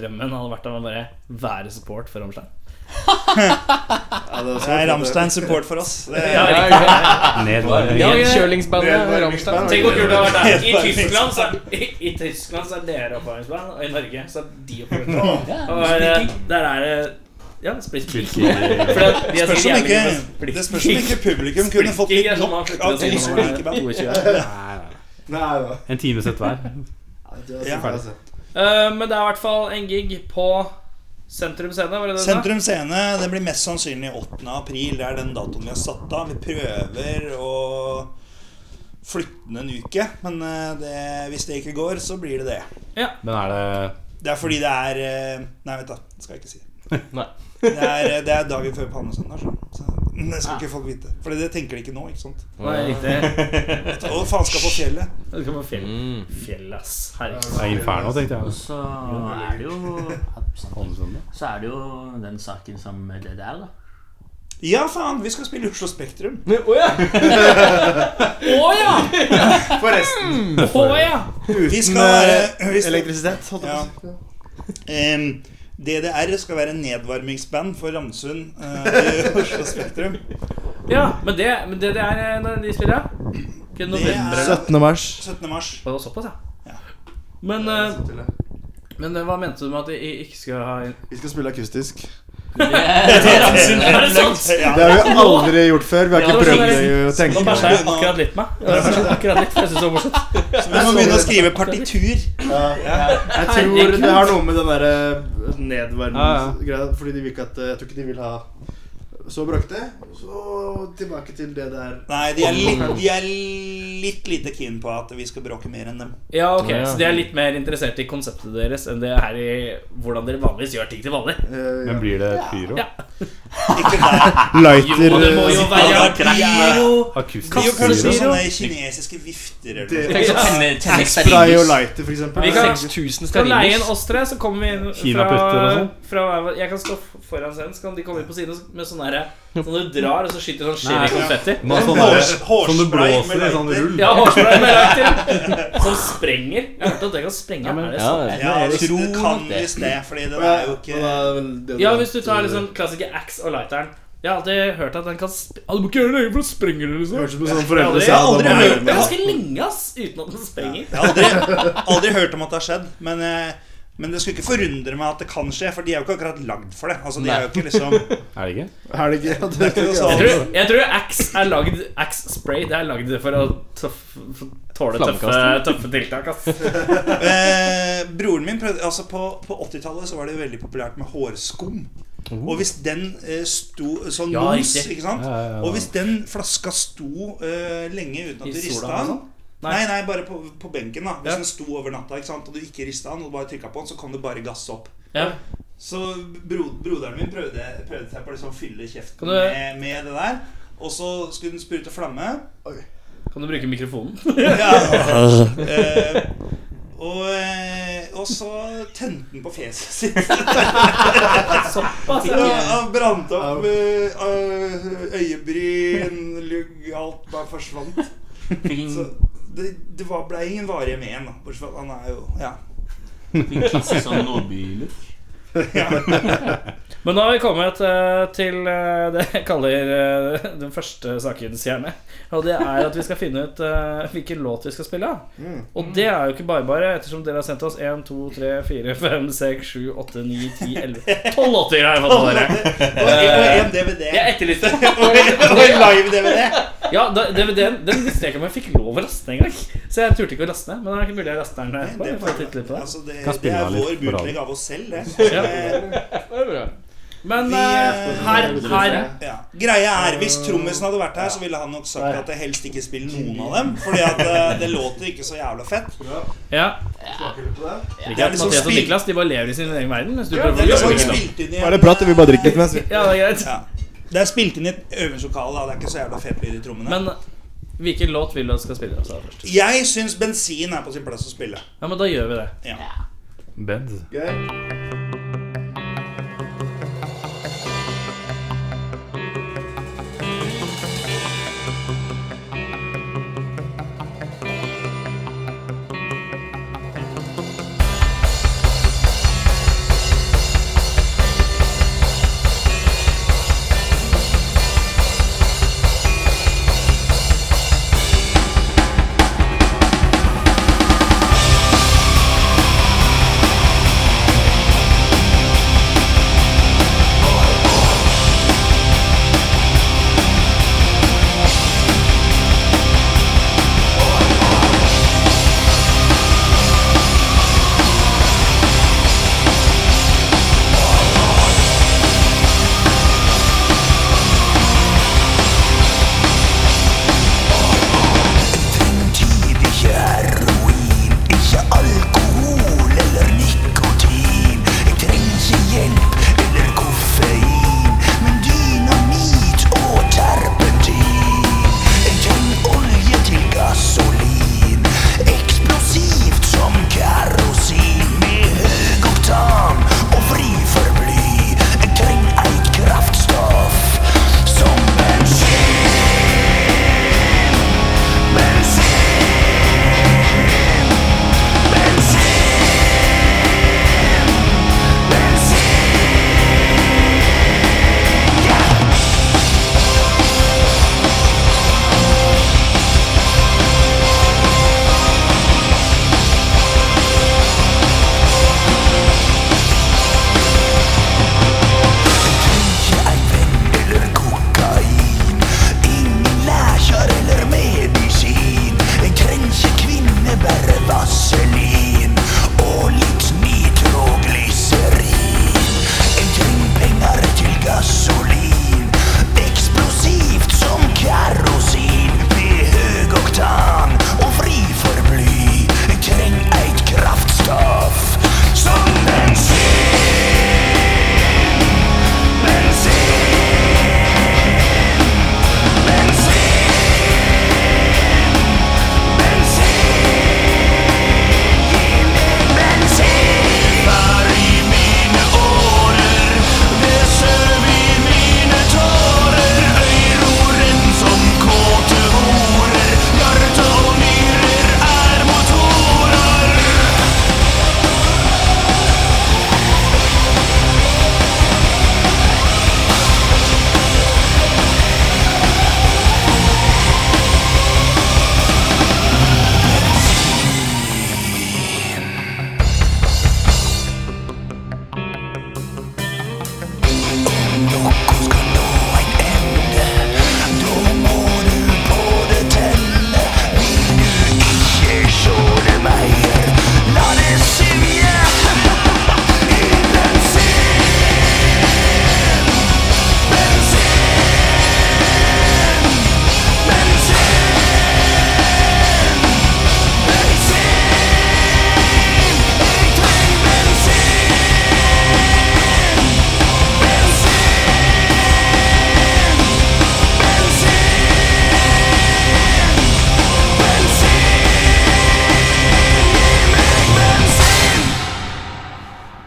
S4: drømmen hadde vært å bare være support for Ramstein?
S7: ja, det er
S6: det er
S7: sånn-
S6: Ramstein support for oss. Det
S4: Ja,
S6: er,
S2: Ja,
S3: Nedvarming.
S2: ja,
S4: Ja,
S2: Nedkjølingsbandet Rammstein.
S4: Tenk hvor kult det hadde vært. da. I Tyskland så er, i, i Tyskland så er dere oppvarmingsband, og i Norge så er de oppvarmingsband.
S8: Ja,
S4: Og eh,
S8: splitting.
S4: der er det Ja, splitt
S3: Fylker.
S4: For det- de er
S6: spørs om
S4: sikkert
S6: ikke,
S4: jævlig gode
S6: det
S4: på
S6: spørs om ikke publikum kunne fått
S4: Splitting er
S6: litt
S4: sånn man
S6: nok
S4: slutter å
S6: av
S4: si
S6: til
S4: når man er
S6: splikeband.
S4: 22.
S7: Nei, da.
S3: En times ett hver.
S7: Ja. Altså.
S4: Eh, Men det er i hvert fall en gig på Sentrum Scene, var det det du sa?
S6: Sentrum Scene det blir mest sannsynlig 8. april. Det er den datoen vi har satt av. Vi prøver å flytte den en uke, men eh, det, hvis det ikke går, så blir det det.
S3: Men er det
S6: Det er fordi det er eh, Nei, vent, da. Det skal jeg ikke si.
S2: Nei.
S6: Det er, eh, det er dagen før palmesøndag. Så så det
S4: Ah.
S6: skal ikke folk vite. For det tenker de ikke nå. ikke sant?
S4: Nei, riktig.
S6: Å, faen skal på fjellet.
S4: Det skal på fjell.
S6: Mm.
S4: Fjell, ass. Herregud.
S3: det er Inferno, tenkte jeg.
S8: Så er det jo
S3: Holmesøndag.
S8: Så er det jo den saken som det der, da.
S6: Ja, faen! Vi skal spille i Oslo Spektrum.
S2: Å ja!
S4: Å ja!
S7: Forresten,
S4: Å ja!
S6: Vi skal være vi skal,
S7: elektrisitet, holdt jeg på å si.
S6: Ehm, DDR skal være nedvarmingsband for Ramsund eh, i Oslo Spektrum.
S4: Ja, Men det, men det, det er eh, når de spiller, ja? Ikke november eller
S7: 17. mars.
S6: 17. mars.
S4: Å, det var såpass, ja.
S6: Ja.
S4: Men, eh, men eh, hva mente du med at jeg ikke skal ha inn
S7: Vi skal spille akustisk.
S4: Er det sant?
S6: Ja.
S7: Det har vi aldri gjort før. Vi har ikke
S4: Ja, det var
S7: prøvd det. å
S4: Nå
S7: tenke
S4: bæsja jeg akkurat litt på meg. Jeg bæsja Akkurat litt, for jeg synes det var morsomt.
S6: Så vi må begynne å skrive partitur.
S7: Jeg tror det har noe med den derre nedvarmingsgreia Fordi de vil ikke at eh, Jeg tror ikke de vil ha så bråkete. Så tilbake til det der eh,
S6: Nei, de er litt, de er litt lite keen på at vi skal bråke mer enn dem.
S4: Ja, ok,
S2: Ja, ja.
S4: Så de er litt mer interessert i konseptet deres enn det er i hvordan dere vanligvis gjør ting til vanlig.
S7: eh,
S3: Men blir det pyro?
S4: Ja.
S6: Ikke der.
S7: Lighter eh,
S4: Og det må jo være pyro.
S6: Det er jo
S3: Akustisk
S6: kanskje
S3: pyro?
S6: sånne kinesiske vifter eller noe.
S7: Det-
S8: Så tenne-
S7: Spray
S8: tenne
S7: og
S8: stearinlys.
S7: lighter, for eksempel.
S4: Vi kan-
S2: 6000
S4: Skal leie inn
S2: stearinlys.
S4: oss tre, så kommer vi inn fra,
S3: Kinaputter og sånn.
S4: fra hver vår- Jeg kan stå f- foran scenen, så kan de komme inn på siden med sånn derre Sånn du drar, og så skyter sånn skjer i konfetti.
S3: Men sånn
S6: Hårs-
S3: der- Som du
S6: hårspray med
S3: blåser i sånn
S6: lighter.
S3: rull?
S4: Ja, hårspray med lighter. Som sprenger. Jeg har hørt at det kan sprenge. er det
S2: Ja,
S4: sant?
S6: Ja,
S8: Jeg
S6: hvis
S8: tror
S6: det kan
S8: nok det.
S6: hvis det, fordi den
S7: Ja,
S6: er jo
S7: og
S6: ikke
S7: da er vel det
S4: Ja,
S7: du-
S4: hvis du tar liksom klassiske axe og lighteren. Jeg har alltid hørt at den kan sp ja, Du må ikke gjøre det, for da sprenger det,
S7: Det
S4: liksom.
S7: Høres ut som sånn foreldre
S4: Jeg
S7: sa
S4: har
S6: aldri
S7: da må
S6: hørt
S7: man gjøre
S4: Det er
S7: med.
S4: ganske lenge, ass, uten at den sprenger.
S6: Jeg har aldri, aldri hørt om at det har skjedd, men, eh, men det skulle ikke forundre meg at det kan skje, for de er jo ikke akkurat lagd for det. Altså, de er jo ikke liksom
S3: Er det ikke?
S7: Er det ikke? Ja, det er
S6: ikke noe
S7: ikke
S4: Jeg
S6: sånn.
S4: tror, jeg tror axe er lagd Axe spray det er lagd for å tøff, for tåle tøffe,
S2: Flammekast.
S4: tøffe tiltak, ass.
S6: eh, Broren min prøvde Altså, på, på 80-tallet så var det jo veldig populært med hårskum. Og hvis den eh, sto Sånn
S4: Oh. Ja,
S6: mos,
S4: riktig.
S6: ikke sant?
S3: Ja, ja, ja.
S6: Og hvis den flaska sto eh, lenge uten
S4: I
S6: at du
S4: sola
S6: rista
S4: og
S6: den
S4: sånn? Nei.
S6: Nei, nei, bare på, på benken, da. Hvis
S4: Ja.
S6: den sto over natta ikke sant? og du ikke rista den, og du bare trykka på den, så kom det bare gass opp.
S4: Ja.
S6: Så bro, broderen min prøvde, prøvde seg på å liksom fylle
S4: Kan
S6: kjeften
S4: du-
S6: med, med det der. Og så skulle den sprute flamme.
S4: Kan du bruke mikrofonen?
S6: Ja. Eh, og, eh, og så tente den på fjeset sitt.
S4: Såpass,
S6: Og
S4: ja.
S6: han brant opp eh, eh, øyebryn, lugg, alt bare forsvant.
S8: Fikk
S6: Så
S8: en-
S6: det, det var, ble ingen varige med igjen, da. Bortsett fra at han er jo Ja.
S8: fikk en klasse sånn nordbylook.
S4: Men nå har vi kommet eh, til eh, det jeg kaller eh, den første sakens kjerne. Og det er at vi skal finne ut eh, hvilken låt vi skal spille. av.
S6: Mm.
S4: Og det er jo ikke bare bare, ettersom dere har sendt oss 1, 2, 3, 4, 5, 6, 7, 8, 9, 10, 11 12 låter har jeg fått av dere.
S6: Og en og en DVD.
S4: Jeg etterlyste
S6: Og en og en live-DVD.
S4: Ja, da- DVD-en den visste jeg ikke om jeg fikk lov å laste ned engang. Så jeg turte ikke å laste ned. Men det er ikke mulig jeg laster den
S6: Nei,
S4: etterpå.
S6: det,
S4: Jeg får titte litt på det.
S6: altså, det,
S3: Kan
S6: det
S3: spille
S6: er
S3: litt
S6: vår
S3: på radio.
S6: bootleg av oss selv, det. Eh,
S2: Det er bra.
S4: Men
S6: Vi,
S4: eh,
S6: eh,
S4: her, her
S6: Ja. Greia er, Hvis trommisen hadde vært her, så ville han nok sagt at det helst ikke spill noen av dem. Fordi at eh, det låter ikke så jævla fett.
S4: Ja.
S6: Det er
S4: Mathias
S6: liksom
S4: og
S6: spilt,
S4: Niklas de bare lever i sin egen verden. Mens du
S6: det
S4: prøver
S6: er
S4: å
S6: liksom
S4: lage det.
S6: spilt inn i
S7: Nå er det prat, vi bare drikker litt mens vi
S4: Ja, det er greit.
S6: Ja. Det er spilt inn i et øvingslokale, da. Det er ikke så jævla fett lyd i trommene.
S4: Men hvilken låt vil du at skal spille altså, først?
S6: jeg syns bensin er på sin plass å spille.
S4: Ja, men da gjør vi det.
S3: Benz.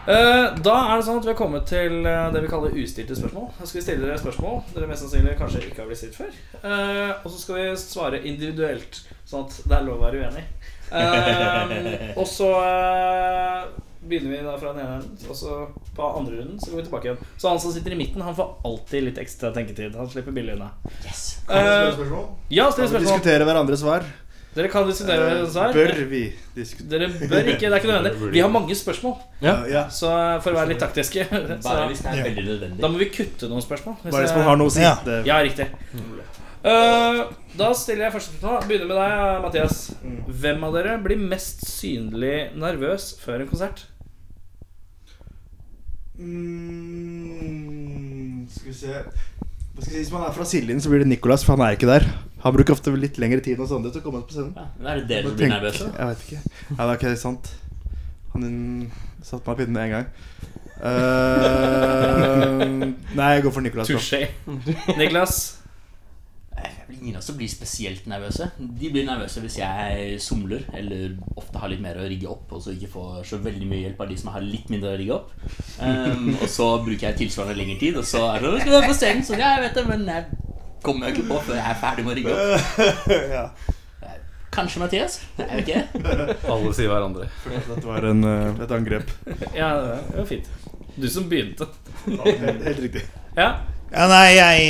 S4: Eh, Da er det sånn at vi har kommet til eh, det vi kaller ustilte spørsmål. Da skal vi stille dere spørsmål dere mest sannsynlig kanskje ikke har blitt stilt før. Eh, Og så skal vi svare individuelt, sånn at det er lov å være uenig. Eh, og så eh, begynner vi da fra den ene enden, og så på andre runden så går vi tilbake igjen. Så han som sitter i midten, han får alltid litt ekstra tenketid. Han slipper billig unna.
S8: Yes.
S4: Eh, ja,
S7: Kan
S4: still
S7: vi
S4: spørsmål.
S7: diskutere hverandres svar?
S4: Dere kan diskutere
S7: Eh,
S4: deres svar.
S7: Bør vi diskutere?
S4: Dere bør ikke. Det er ikke nødvendig. Vi har mange spørsmål,
S7: Ja.
S4: så for å være litt taktiske så
S8: Bare hvis det er veldig nødvendig.
S4: Da må vi kutte noen spørsmål. hvis
S7: Bare hvis
S4: jeg-
S7: man har noe å si.
S6: Ja.
S7: Det-
S4: Ja, riktig. Eh, da stiller jeg første spørsmål. Begynner med deg, Mathias.
S8: Mm.
S4: Hvem av dere blir mest synlig nervøs før en konsert?
S7: Mm, skal vi se Hva skal jeg si, Hvis man er fra Siljen, så blir det Nicolas, for han er ikke der. Han bruker ofte litt lengre tid enn oss andre til å komme oss på scenen.
S8: Ja, men er det dere
S7: Må
S8: som blir
S7: tenke-
S8: nervøse?
S7: Jeg vet ikke. Ja, det er ikke sant. Han din satte meg på pinnen med en gang. Eh, nei, jeg går for Nicolas. da.
S4: Touché. Niklas?
S8: Jeg blir Ingen av oss som blir spesielt nervøse. De blir nervøse hvis jeg somler, eller ofte har litt mer å rigge opp, og så ikke får så veldig mye hjelp av de som har litt mindre å rigge opp. Ehm, og så bruker jeg tilsvarende lengre tid, og så er det sånn Skal vi være på scenen? Så ja, jeg vet det, men jeg kommer jo ikke på før jeg er ferdig med å rigge opp.
S6: ja.
S8: Kanskje Mathias? Jeg vet ikke.
S3: Alle sier hverandre.
S7: Dette var en, eh, et angrep.
S4: Ja, det var fint. Du som begynte.
S7: Helt, helt riktig.
S4: Ja.
S6: Ja, nei, jeg,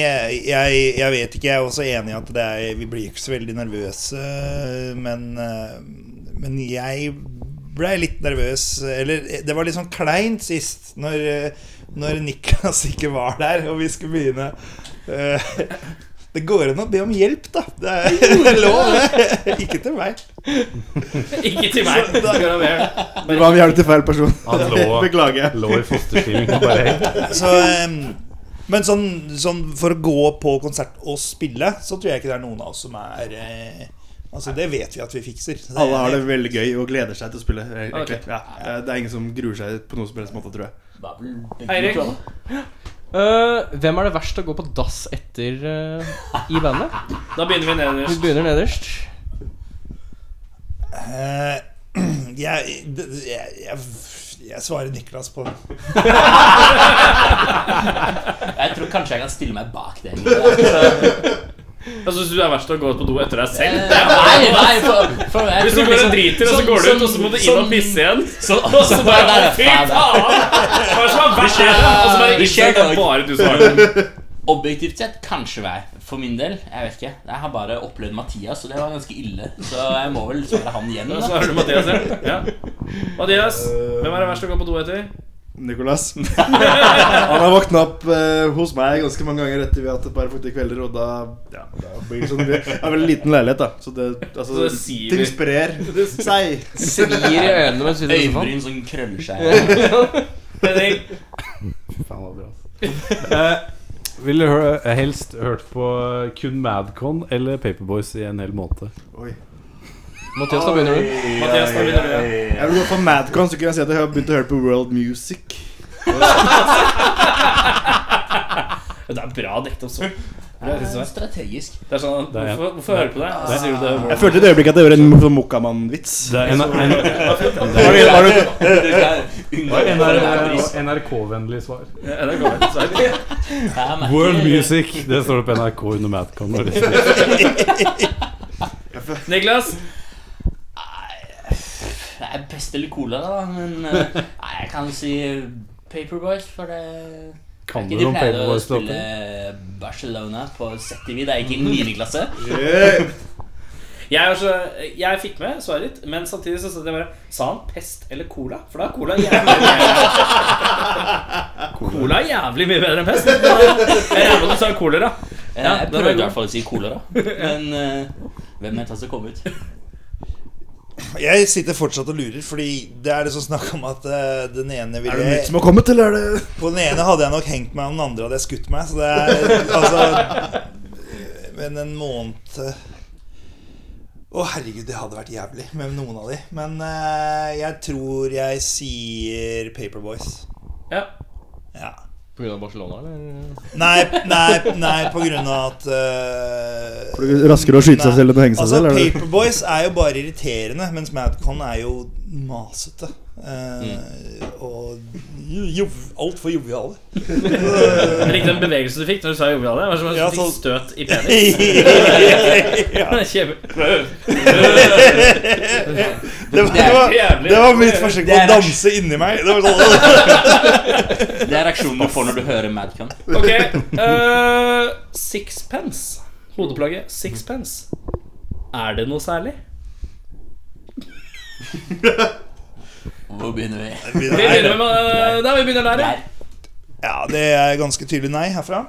S6: jeg, jeg vet ikke. Jeg er også enig i at det er, vi blir ikke så veldig nervøse. Men, eh, men jeg ble litt nervøs. Eller det var litt sånn kleint sist, når, eh, når Niklas ikke var der, og vi skulle begynne. Eh, Det går an å be om hjelp, da. Det er, det er lov, det. Ikke til meg.
S4: Ikke til meg.
S6: Så da-
S7: Det var hjelp til feil person.
S3: Han lå,
S7: Beklager.
S3: lå i fosterstilling og bare helt
S6: Så, ehm, men sånn, sånn for å gå på konsert og spille, så tror jeg ikke det er noen av oss som er eh, Altså, det vet vi at vi fikser. Så
S7: Alle har det veldig gøy og gleder seg til å spille. eh, egentlig.
S4: Ok.
S7: Ja, eh, det er ingen som gruer seg på noen som helst måte, tror jeg.
S8: Da er vel begge
S4: Eirik?
S8: to, da.
S2: Eh, hvem er det verst å gå på dass etter eh, i bandet?
S4: Da begynner vi
S2: Vi
S4: nederst.
S2: begynner nederst.
S6: Eh, jeg, det- jeg, jeg, jeg svarer Niklas på det.
S8: Jeg tror kanskje jeg kan stille meg bak det. egentlig.
S4: Jeg syns Altså, du er verst til å gå ut på do etter deg selv.
S8: Eh, Nei, nei, for, for jeg
S4: Hvis du
S8: tror
S4: går
S8: liksom-
S4: og driter, og så
S8: sånn-
S4: går du ut,
S8: sånn-
S4: og så må du inn og
S8: sånn-
S4: pisse igjen.
S8: Så,
S4: Og så bare
S8: der,
S4: «Å, Fy
S8: faen, da.
S4: faen! Hva er det som er verst? her?» Og så bare
S8: Vi
S4: innser
S8: skjer
S4: du at
S8: dag.
S4: bare du som har den.
S8: Objektivt sett, kanskje meg. For min del, jeg vet ikke. Jeg har bare opplevd Mathias, og det var ganske ille. Så jeg må vel svare han igjen.
S4: Og så
S8: Da.
S4: har du Mathias her. Ja. Mathias, hvem er det verst å gå på do etter?
S7: Nicolas. Han har våkna opp eh, hos meg ganske mange ganger etter vi har hatt et par fuktige kvelder, og da, ja, da blir det sånn Det er veldig liten leilighet, da, så det, altså,
S4: Så det sier vi.
S7: ting sprer seg.
S2: Svir i øynene mens vi sitter i sofaen.
S8: Øyebryn som krøller seg.
S4: Henrik,
S3: Faen, det var bra. altså. Eh, Ville hø- helst hørt på kun Madcon eller Paperboys i en hel måned.
S7: Oi.
S2: Mathias, da begynner du.
S4: Mathias, da begynner du. ja.
S7: Jeg vil gå for Madcon, så kan jeg si at jeg har begynt å høre på world music.
S4: Det er bra dekt opp sånn.
S8: Det er strategisk.
S4: Det er sånn,
S3: Det er jeg.
S4: Hvorfor, hvorfor høre på deg? Og så sier du det.
S7: Jeg følte et øyeblikk at jeg gjorde en sånn Mokkamann-vits.
S3: Det er en, en,
S7: Var det- var det-
S8: Du skal unngå
S3: en,
S8: enhver pris.
S3: NRK-vennlig svar.
S4: Ja, det går bra. Så er det-
S8: Jeg merker-
S3: World Music, det står det på NRK under Madcon. når det står.
S4: Niklas,
S8: Det er pest eller cola, da. Men eh, nei, jeg kan si Paperboys, for det
S3: Kan
S8: Ikke
S3: du
S8: de
S3: noen
S8: pleide å spille
S3: Paperboys-låter?
S8: Barcelona på ZTV da jeg gikk i 9. klasse.
S7: Yeah.
S4: jeg, er så, jeg fikk med svaret ditt, men samtidig så sa jeg bare Sa han pest eller cola? For da er cola jævlig Cola er jævlig mye bedre enn pest. Jeg regner med at du sa kolera.
S8: Ja, Eh,
S4: den var
S8: jeg prøvde i
S4: god.
S8: hvert fall å si cola, da. Men eh, hvem vet hva som kom ut?
S6: Jeg sitter fortsatt og lurer, fordi det er liksom snakk om at eh, den ene
S7: Er det noe
S6: ville
S7: nytt som har kommet, eller er det
S6: På den ene hadde jeg nok hengt meg, og den andre hadde jeg skutt meg. Så det er altså Men en måned eh, Å, herregud, det hadde vært jævlig med noen av de. Men eh, jeg tror jeg sier Paperboys.
S4: Ja.
S6: Ja.
S2: På grunn av Barcelona, eller?
S6: Nei, nei, nei, på grunn av at eh,
S7: For det er Raskere å skyte seg
S6: Nei.
S7: selv enn å henge seg
S6: Altså,
S7: selv? er det-
S6: Paperboys er jo bare irriterende, mens Madcon er jo masete. Eh, Og jo, jo, altfor joviale.
S4: Jeg likte den bevegelsen du fikk når du sa joviale. Det var som om du
S6: Ja,
S4: fikk
S6: sånn.
S4: støt i penis.
S6: ja.
S4: Kjempe-
S6: Det var, det, var, det var mitt forsøk på
S8: Det
S6: å
S8: er-
S6: danse inni meg. Det var sånn,
S8: Det er reaksjonen du får når du hører Madcon.
S4: Ok. eh, sixpence. Hodeplagget sixpence. Er det noe særlig?
S8: Hvor begynner vi?
S4: Vi begynner med, eh, Nei, vi begynner der, ja.
S8: Der.
S6: ja, det er ganske tydelig nei herfra.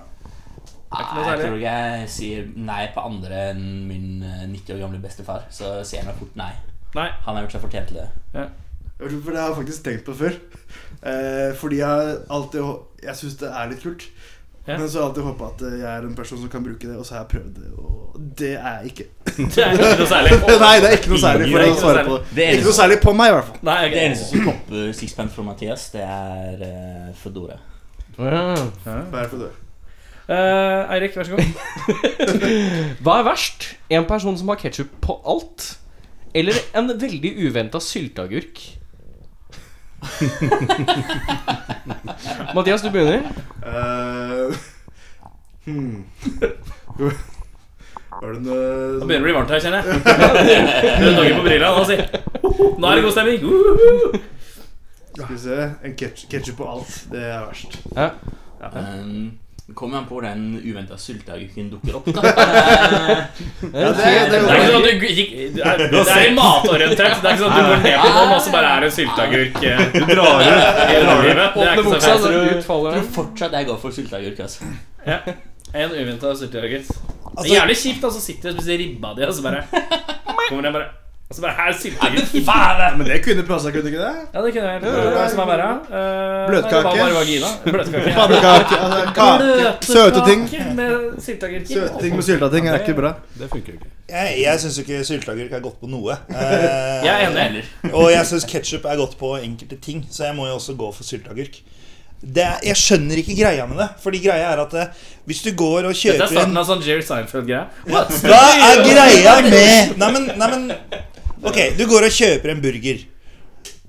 S4: ikke
S8: Nei,
S4: noe
S8: jeg
S4: særlig.
S8: tror ikke jeg sier nei på andre enn min eh, 90 år gamle bestefar. Så sier jeg meg fort nei.
S4: Nei.
S8: Han har gjort seg fortjent til det.
S7: For det har jeg faktisk tenkt på før. Eh, fordi jeg alltid hå- Jeg syns det er litt kult.
S4: Ja.
S7: Men så har jeg alltid håpa at jeg er en person som kan bruke det, og så har jeg prøvd det, og det er jeg ikke.
S4: Det er ikke noe særlig.
S7: Nei, det er ikke noe særlig
S4: Det
S7: for
S4: er
S7: å
S4: ikke noe
S7: svare
S4: særlig.
S7: på det.
S8: Det
S7: Ikke noe særlig på meg, i hvert fall.
S4: Nei,
S8: Det
S4: ok.
S8: eneste som popper sixpence for Mathias, det er uh, Fedora.
S2: Ja.
S7: Bare for det.
S4: Eh, Eirik, vær så god.
S2: Hva er verst? En person som har ketsjup på alt? Eller en veldig uventa sylteagurk? Mathias, du begynner.
S7: Eh, hmm. Var det
S4: Nå
S7: noe
S4: begynner det å bli varmt her, kjenner jeg. Rød dager på brilla. Nå, si. nå er det god stemning. Uh!
S7: Skal vi se. En ketsjup på alt. Det er verst.
S8: Um, det kommer an på hvor den uventa sylteagurken dukker opp. da
S7: Ja, det, det,
S4: Det er ikke sånn at du gikk Det er, det er matorientert. Det er ikke sånn at du går ned på noen, og så bare er det en sylteagurk. Du drar ut livet. Det er
S2: Åpne
S4: ikke
S2: buksa, altså.
S4: så
S2: så
S4: feil.
S2: ut faller
S8: Jeg
S2: den.
S8: tror fortsatt jeg går for sylteagurk. Altså.
S4: En uventa sylteagurk. Det er
S6: Altså,
S4: jævlig kjipt, altså. Sitter og spiser ribba di, og så bare kommer den bare Og så bare Her er sylteagurk.
S7: men det kunne passa, kunne det ikke det?
S4: Ja, det kunne jeg gjort. Hva som er verre? Eh,
S7: Bløtkake.
S4: nei, Det var bare vagina. Bløtkake. ja.
S7: Pannekake, altså, kake, søte ting.
S4: Bløtkake Med sylteagurk.
S7: Søte ting med sylteting er ikke bra.
S3: Det funker jo ikke.
S6: jeg jeg syns ikke sylteagurk er godt på noe. Eh,
S4: Jeg er enig.
S8: Eller
S6: og jeg syns ketsjup er godt på enkelte ting, så jeg må jo også gå for sylteagurk. Det er, jeg skjønner ikke greia med det. Fordi greia er at eh, hvis du går og
S4: Dette er
S6: kjøper en
S4: starten av sånn Jerry Seinfeld-greie.
S6: Hva er greia med Nei, men, nei, men Ok, du går og kjøper en burger.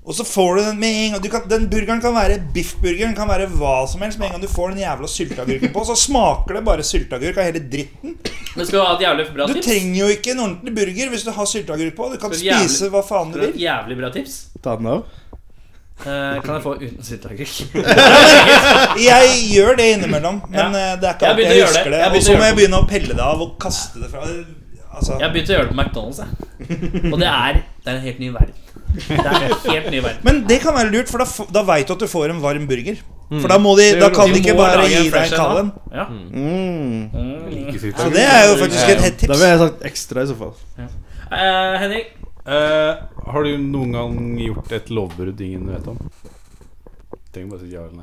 S6: Og så får du den med en gang du kan, Den burgeren kan være biffburgeren, kan være hva som helst. Med en gang du får den jævla sylteagurken på, så smaker det bare sylteagurk av hele dritten.
S4: Men skal du ha et jævlig bra
S6: Du
S4: tips?
S6: trenger jo ikke en ordentlig burger hvis du har sylteagurk på. Du kan
S4: Så jævlig-
S6: spise hva faen du
S4: Skal du ha Et
S6: vil.
S4: jævlig bra tips?
S7: Ta den av.
S4: Eh, kan jeg få uten sylteagurk?
S6: Jeg gjør det innimellom, men eh, det er ikke
S4: Jeg
S6: alltid
S4: begynte å gjøre
S6: jeg
S4: det.
S6: husker det.
S4: Jeg begynte
S6: Og
S4: å
S6: så må
S4: gjøre
S6: jeg begynne å pelle det av og kaste det fra Altså,
S4: Jeg begynte å gjøre det på McDonald's. Jeg. Og det er, det er en helt ny verden. Det er en helt ny verden
S6: Men det kan være lurt, for da, f- da veit du at du får en varm burger. For da, må de,
S4: Mm. Det
S6: da
S4: gjør
S6: kan
S4: du. De
S6: de ikke
S4: må
S6: bare
S4: lage en
S6: gi deg
S4: fresh
S6: en
S4: en,
S6: kald
S4: da.
S6: en.
S4: Ja.
S7: Mm.
S3: Ikke
S6: Så
S3: sylteagurk.
S6: det er jo faktisk et hett
S7: Da
S6: tips.
S7: ville jeg sagt ekstra i så fall.
S4: Eh, Henrik,
S3: Eh, har du noen gang gjort et lovbrudd ingen vet om? Trenger bare si ja eller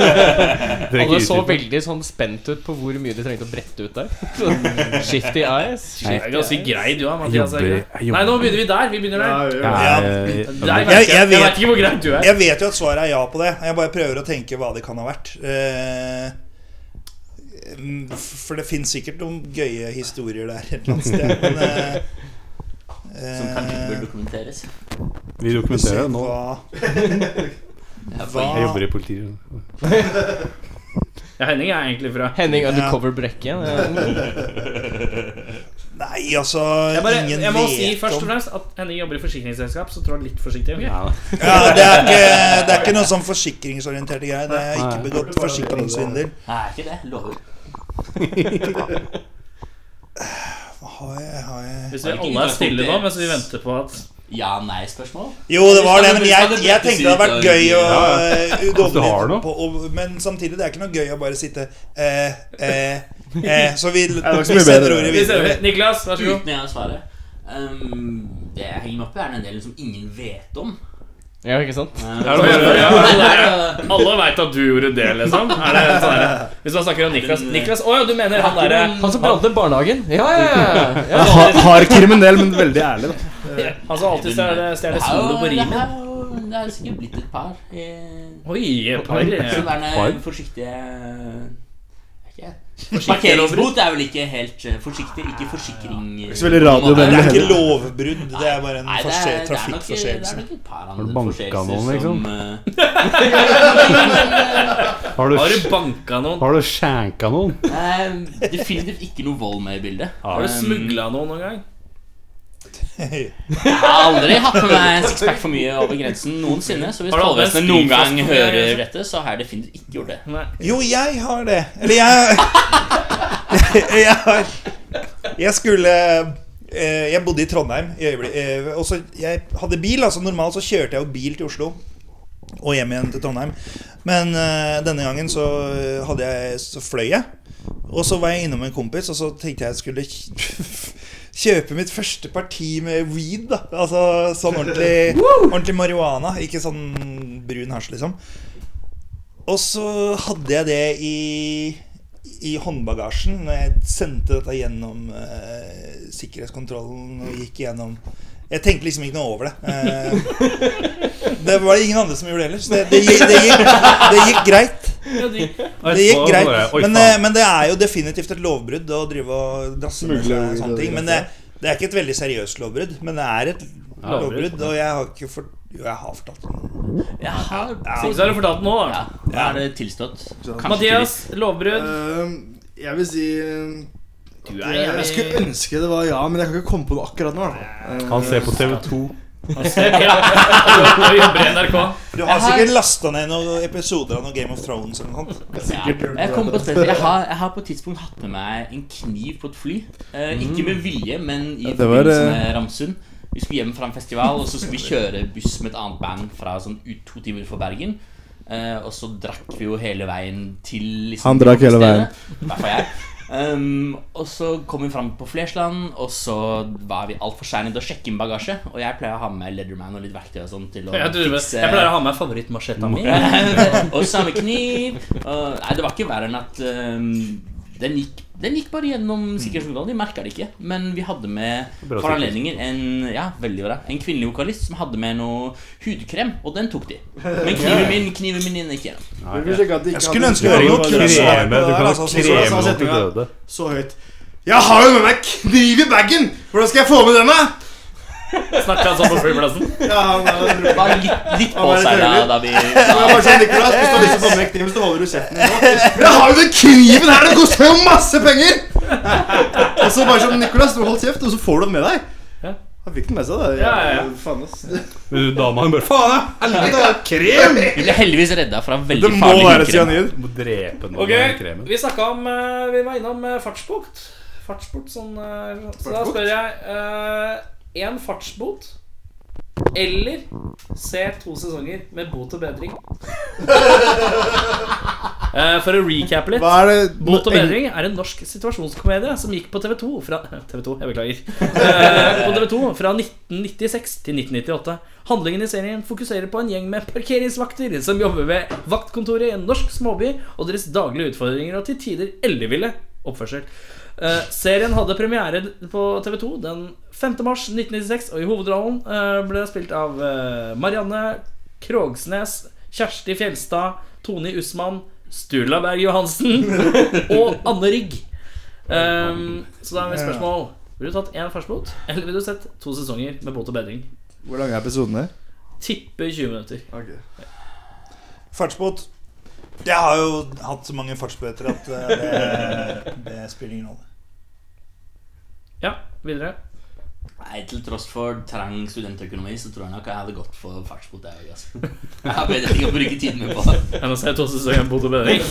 S3: nei. Trenger
S2: Alle
S3: ikke
S2: så
S3: utdype.
S2: veldig sånn spent ut på hvor mye de trengte å brette ut der. Shifty eyes.
S4: det er ganske grei du er,
S3: Jeg
S4: Mathias. er
S3: jobber,
S4: det ikke? Nei, nå begynner vi der. Vi begynner der.
S6: Ja.
S3: Jeg,
S4: Der vet
S6: Jeg-
S4: jeg, jeg,
S6: jeg vet-
S4: vet ikke hvor grei du er.
S6: Jeg vet jo at svaret er ja på det. Jeg bare prøver å tenke hva det kan ha vært. Eh, mm, For det fins sikkert noen gøye historier der et eller annet sted. Men eh,
S8: som kanskje
S6: eh,
S8: bør dokumenteres.
S3: vi dokumenterer det nå.
S6: hva-
S8: Jeg får
S6: Hva-
S3: Jeg jobber i politiet.
S4: Ja, Henning er egentlig fra
S2: Henning undercover Brekke. det-
S6: Nei, altså
S4: jeg, bare,
S6: Ingen
S4: jeg må si
S6: vet
S4: først og
S6: om
S4: fremst at Henning jobber i forsikringsselskap, så trår litt forsiktig. ok?
S3: Ja,
S6: ja, det, er ikke, det er ikke noe sånn forsikringsorienterte greier. Det er ikke begått forsikringssvindel.
S8: Nei, ikke det. Lover.
S6: Har jeg, har jeg
S4: Hvis vi alle er stille nå mens vi venter på at
S8: Ja-nei-spørsmål?
S6: Jo, det var det, men
S8: Hvis
S6: jeg,
S8: hadde
S6: jeg tenkte det hadde vært gøy å
S3: Ja,
S6: eh,
S3: Hvis du har noe.
S6: doble litt på og- Men samtidig, det er ikke noe gøy å bare sitte eh, eh, eh, Så vi,
S7: nok så
S6: vi
S7: mye
S6: sender
S7: bedre.
S6: ordet
S4: Vi ser-
S6: videre.
S4: Niklas, vær så god.
S8: Uten jeg å svare. Um, det jeg henger meg opp i, er den delen som ingen vet om.
S2: Ja, ikke sant?
S8: Um,
S4: Ja, alle alle veit at du gjorde det, liksom. Er det sånn der, hvis man snakker om Niklas Niklas, Å ja, du mener han derre
S2: Han som brant ned barnehagen? Ja, ja, ja. ja.
S7: Hard, hard kriminell, men veldig ærlig, da.
S4: Han som alltid stjeler stjeler solo på
S8: Det
S4: rimen?
S8: er jo det er jo sikkert blitt et par. eh,
S4: Oi, et par
S8: Som er
S3: Par?
S8: den forsiktige ikke- Parkeringsbot er vel ikke helt eh, forsiktig. Ikke forsikring
S7: Ikke så veldig radiovennlig
S6: Det er ikke
S7: heller.
S6: lovbrudd, det er bare en
S8: Nei, det
S6: forse-
S8: er, det er nok- Det er
S6: trafikkforseelse.
S8: nok et par
S3: du
S8: andre
S3: banket
S8: forseelser
S3: noen, liksom?
S8: som eh,
S3: Har du,
S4: Har du banka noen?
S3: har du skjenka noen?
S8: Nei, definitivt ikke noe vold med i bildet.
S4: Har du
S8: Um,
S4: smugla noen noen gang?
S8: Jeg har aldri hatt med meg en sixpack for mye over grensen noensinne. Så hvis
S4: Har du hatt med en
S8: tollvesenet noen gang
S4: spritflaske for mye,
S8: hører
S4: liksom?
S8: dette, så har jeg definitivt ikke gjort det.
S4: Nei.
S6: Jo, jeg har det. Eller jeg Jeg har Jeg skulle eh, Jeg bodde i Trondheim i øyeblikk, eh, og så jeg hadde bil. Altså Normalt så kjørte jeg jo bil til Oslo og eh, hjem igjen til Trondheim. Men eh, denne gangen så hadde jeg Så fløy jeg. Og så var jeg innom en kompis, og så tenkte jeg jeg skulle kjøpe mitt første parti med weed. da Altså sånn ordentlig, ordentlig marihuana, ikke sånn brun hasj, liksom. Og så hadde jeg det i, i håndbagasjen når jeg sendte dette gjennom eh, sikkerhetskontrollen og gikk gjennom Jeg tenkte liksom ikke noe over det. Eh, det var det ingen andre som gjorde det heller, så det, det, gikk, det, gikk, det gikk greit. Det gikk greit. Men, eh, men det er jo definitivt et lovbrudd å drive og drasse med seg
S7: Smugle-
S6: sånne ting. Men det, det er ikke et veldig seriøst lovbrudd. Men det er et lovbrudd, og jeg har ikke fort... Jo, jeg har fortalt om det.
S8: Ja,
S4: Så har du fortalt nå, da.
S8: ja, da er det tilstått. Kanskje
S4: Mathias, lovbrudd.
S7: Ehm, jeg vil si eh,
S8: Du er
S7: jeg, jeg skulle ønske det var ja, men jeg kan ikke komme på noe akkurat nå. da. Eh,
S9: Han ser på TV2.
S4: Ja. Du jobber i NRK.
S6: Du har
S8: Jeg har-
S6: sikkert lasta ned noen episoder av noe Game of Thrones eller noe sånt.
S8: Ja. Jeg, kom på et sted. jeg, har, jeg har på et tidspunkt hatt med meg en kniv på et fly. Eh, ikke med vilje, men i
S7: Mm. Det var,
S8: forbindelse
S7: eh,
S8: med Ramsund. Vi skulle hjem fra en festival, og så skulle vi kjøre buss med et annet band fra sånn ut to timer for Bergen. Eh, og så drakk vi jo hele veien til liksom,
S7: Han drakk hele veien.
S8: I hvert fall jeg. Um, og så kom vi fram på Flesland, og så var vi altfor seine til å sjekke inn bagasje. Og jeg pleier å ha med meg Leatherman og litt verktøy og sånn til å
S4: Jeg, tror, jeg pleier å ha med favorittmasjetta mi.
S8: og samme kniv. Og, nei, det var ikke verre enn at ehm, den, gikk, den gikk bare gjennom sikkerhetskontrollen. De merka det ikke. Men vi hadde med
S9: Bra
S8: for anledningen en, ja, veldig bra, en kvinnelig vokalist som hadde med noe hudkrem, og den tok de. Men kniven min kniven min gikk gjennom.
S7: vi får sjekke at det ikke
S6: Jeg skulle
S7: hadde-
S6: ønske det var noe
S7: det
S6: krem.
S7: var-
S9: Kreme, du kan ha
S6: Altså, så-
S9: kreme
S7: så- så-
S9: mot de
S7: setninga.
S9: døde.
S7: Så høyt. Jeg har jo med meg kniv i bagen! Hvordan skal jeg få med den, da?
S4: Snakka han sånn på flyplassen?
S7: Ja, han, han,
S8: Det var litt, litt
S7: Å, var det
S8: påseila
S7: trevlig?
S8: da vi da,
S7: Det var sånn, Nicolas, hvis du har lyst til å få med kniven, så holder du kjeften din. nå. Jeg har jo den kniven her! Den koster jo masse penger! Og så bare sånn, Nicolas, du hold kjeft, og så får du den med deg.
S4: Ja.
S7: Han fikk den med seg, da.
S4: Ja, ja, ja.
S7: Faen, ass.
S9: Men du, Dama hun bare Faen, jeg! helvete, krem!
S8: Vi ble heldigvis redda fra
S7: Det
S8: veldig
S7: må
S8: farlig
S7: være
S8: hudkrem.
S7: cyanid.
S9: Du må drepe noen
S4: Ok,
S9: med den kremen.
S4: vi snakket om eh, Vi var innom eh, fartsbot. Fartsbot, sånn eh, Så da spør jeg Én fartsbot eller se to sesonger med bot og bedring. Eh, for å recappe litt
S7: Hva er det
S4: Bot og bedring er en norsk situasjonskomedie som gikk på TV2 fra TV2, jeg beklager. Eh, På TV2 fra 1996 til 1998. Handlingen i serien fokuserer på en gjeng med parkeringsvakter som jobber ved vaktkontoret i en norsk småby, og deres daglige utfordringer og til tider elleville oppførsel. Eh, serien hadde premiere på TV2 den 5. mars 1996, og i hovedrollen eh, ble det spilt av eh, Marianne Krogsnes, Kjersti Fjelstad, Tone Usman, Sturla Berg Johansen og Anne Rygg. Ehm, så da er mitt spørsmål Vil du tatt én fartsbot, eller vil du sett to sesonger med bot og bedring?
S7: Hvor lang er episoden her?
S4: Tipper 20 minutter.
S6: Fartsbot. Jeg har jo hatt så mange fartsbøter at eh, det, det spiller ingen rolle.
S4: Ja, videre.
S8: Nei, Til tross for trang studentøkonomi, så tror jeg nok jeg hadde gått for fartsbot. Jeg, òg, altså. jeg vet ikke å bruke tiden min på det.
S4: Jeg må se to sesonger med bot og bedring.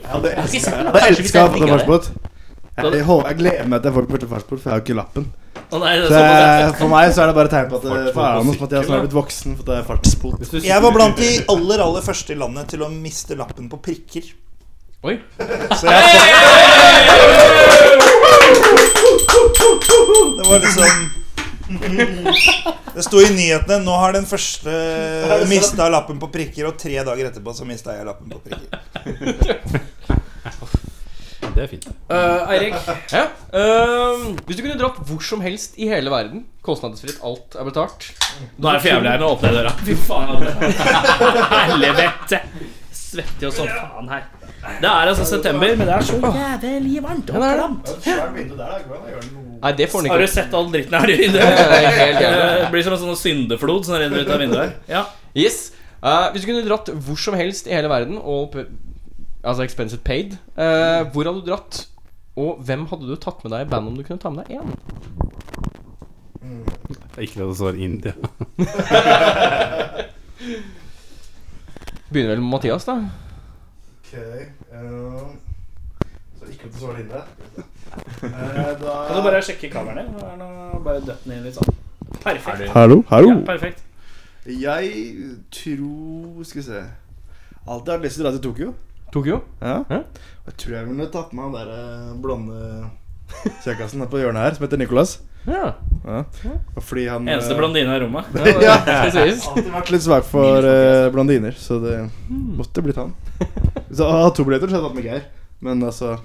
S7: Jeg hadde
S8: ikke
S7: elsket
S8: sett
S7: jeg
S8: den.
S7: hadde
S8: Kanskje hvis
S7: elsket å
S8: jeg
S7: ha fått
S8: fikk
S7: en
S8: av det.
S7: fartsbåt. Jeg, jeg, håper- jeg gleder meg til jeg får første fartsbåt, for jeg har jo ikke lappen.
S4: Å nei, det er
S7: Så
S4: såpass.
S7: jeg, for meg så er det bare tegn på at det-
S9: Fartsbot på
S7: faen, ass,
S9: sykkel,
S7: Mathias nå er
S9: da.
S7: blitt voksen. For det er fartsbot.
S9: Hvis du
S6: Jeg var blant de aller aller første i landet til å miste lappen på prikker.
S2: Oi.
S6: Så jeg har fått Det var liksom Det sto i nyhetene Nå har den første mista lappen på prikker, og tre dager etterpå så mista jeg lappen på prikker.
S9: sitter- Det er fint.
S2: Eh, Eirik, ja? Ehm, hvis du kunne dratt hvor som helst i hele verden, kostnadsfritt, alt er betalt
S4: Nå er det for jævlig her. Nå åpner jeg døra. Fy faen. Helvete. Svetter jo som faen her. Det er altså september, men det er så jævlig varmt og
S2: Ja, det er det.
S4: klamt.
S2: Nei, det får han
S4: Har
S2: ikke.
S4: du sett all dritten her? i Det
S2: Det er helt jævlig.
S4: Det blir som en sånn syndeflod som renner ut av vinduet her. Ja.
S2: Yes. Eh, hvis du kunne dratt hvor som helst i hele verden, og p altså expensive paid, eh, hvor hadde du dratt? Og hvem hadde du tatt med deg i bandet om du kunne ta med deg én?
S9: Ikke la det svare India.
S2: Begynner vel med Mathias, da.
S4: Kan du bare sjekke kameraet ditt? Er det noe- Bare døtt ned litt sånn. Perfekt.
S7: Hallo,
S4: Ja, perfekt.
S7: Jeg tror Skal vi se Alltid hatt lyst til å dra til Tokyo.
S2: Tokyo?
S7: Ja.
S2: Ja.
S7: Jeg tror jeg ville tatt med han der eh, blonde kjekkasen på hjørnet her, som heter Nicolas.
S2: Ja.
S7: Ja. Og fordi han eh,
S4: Eneste blondine i rommet.
S2: ja, det skal sies.
S7: Alltid vært litt svak for
S4: altså.
S7: eh, blondiner, så det
S4: Hmm.
S7: måtte blitt han. Så å ha to billetter, så hadde jeg tatt med Geir. Men altså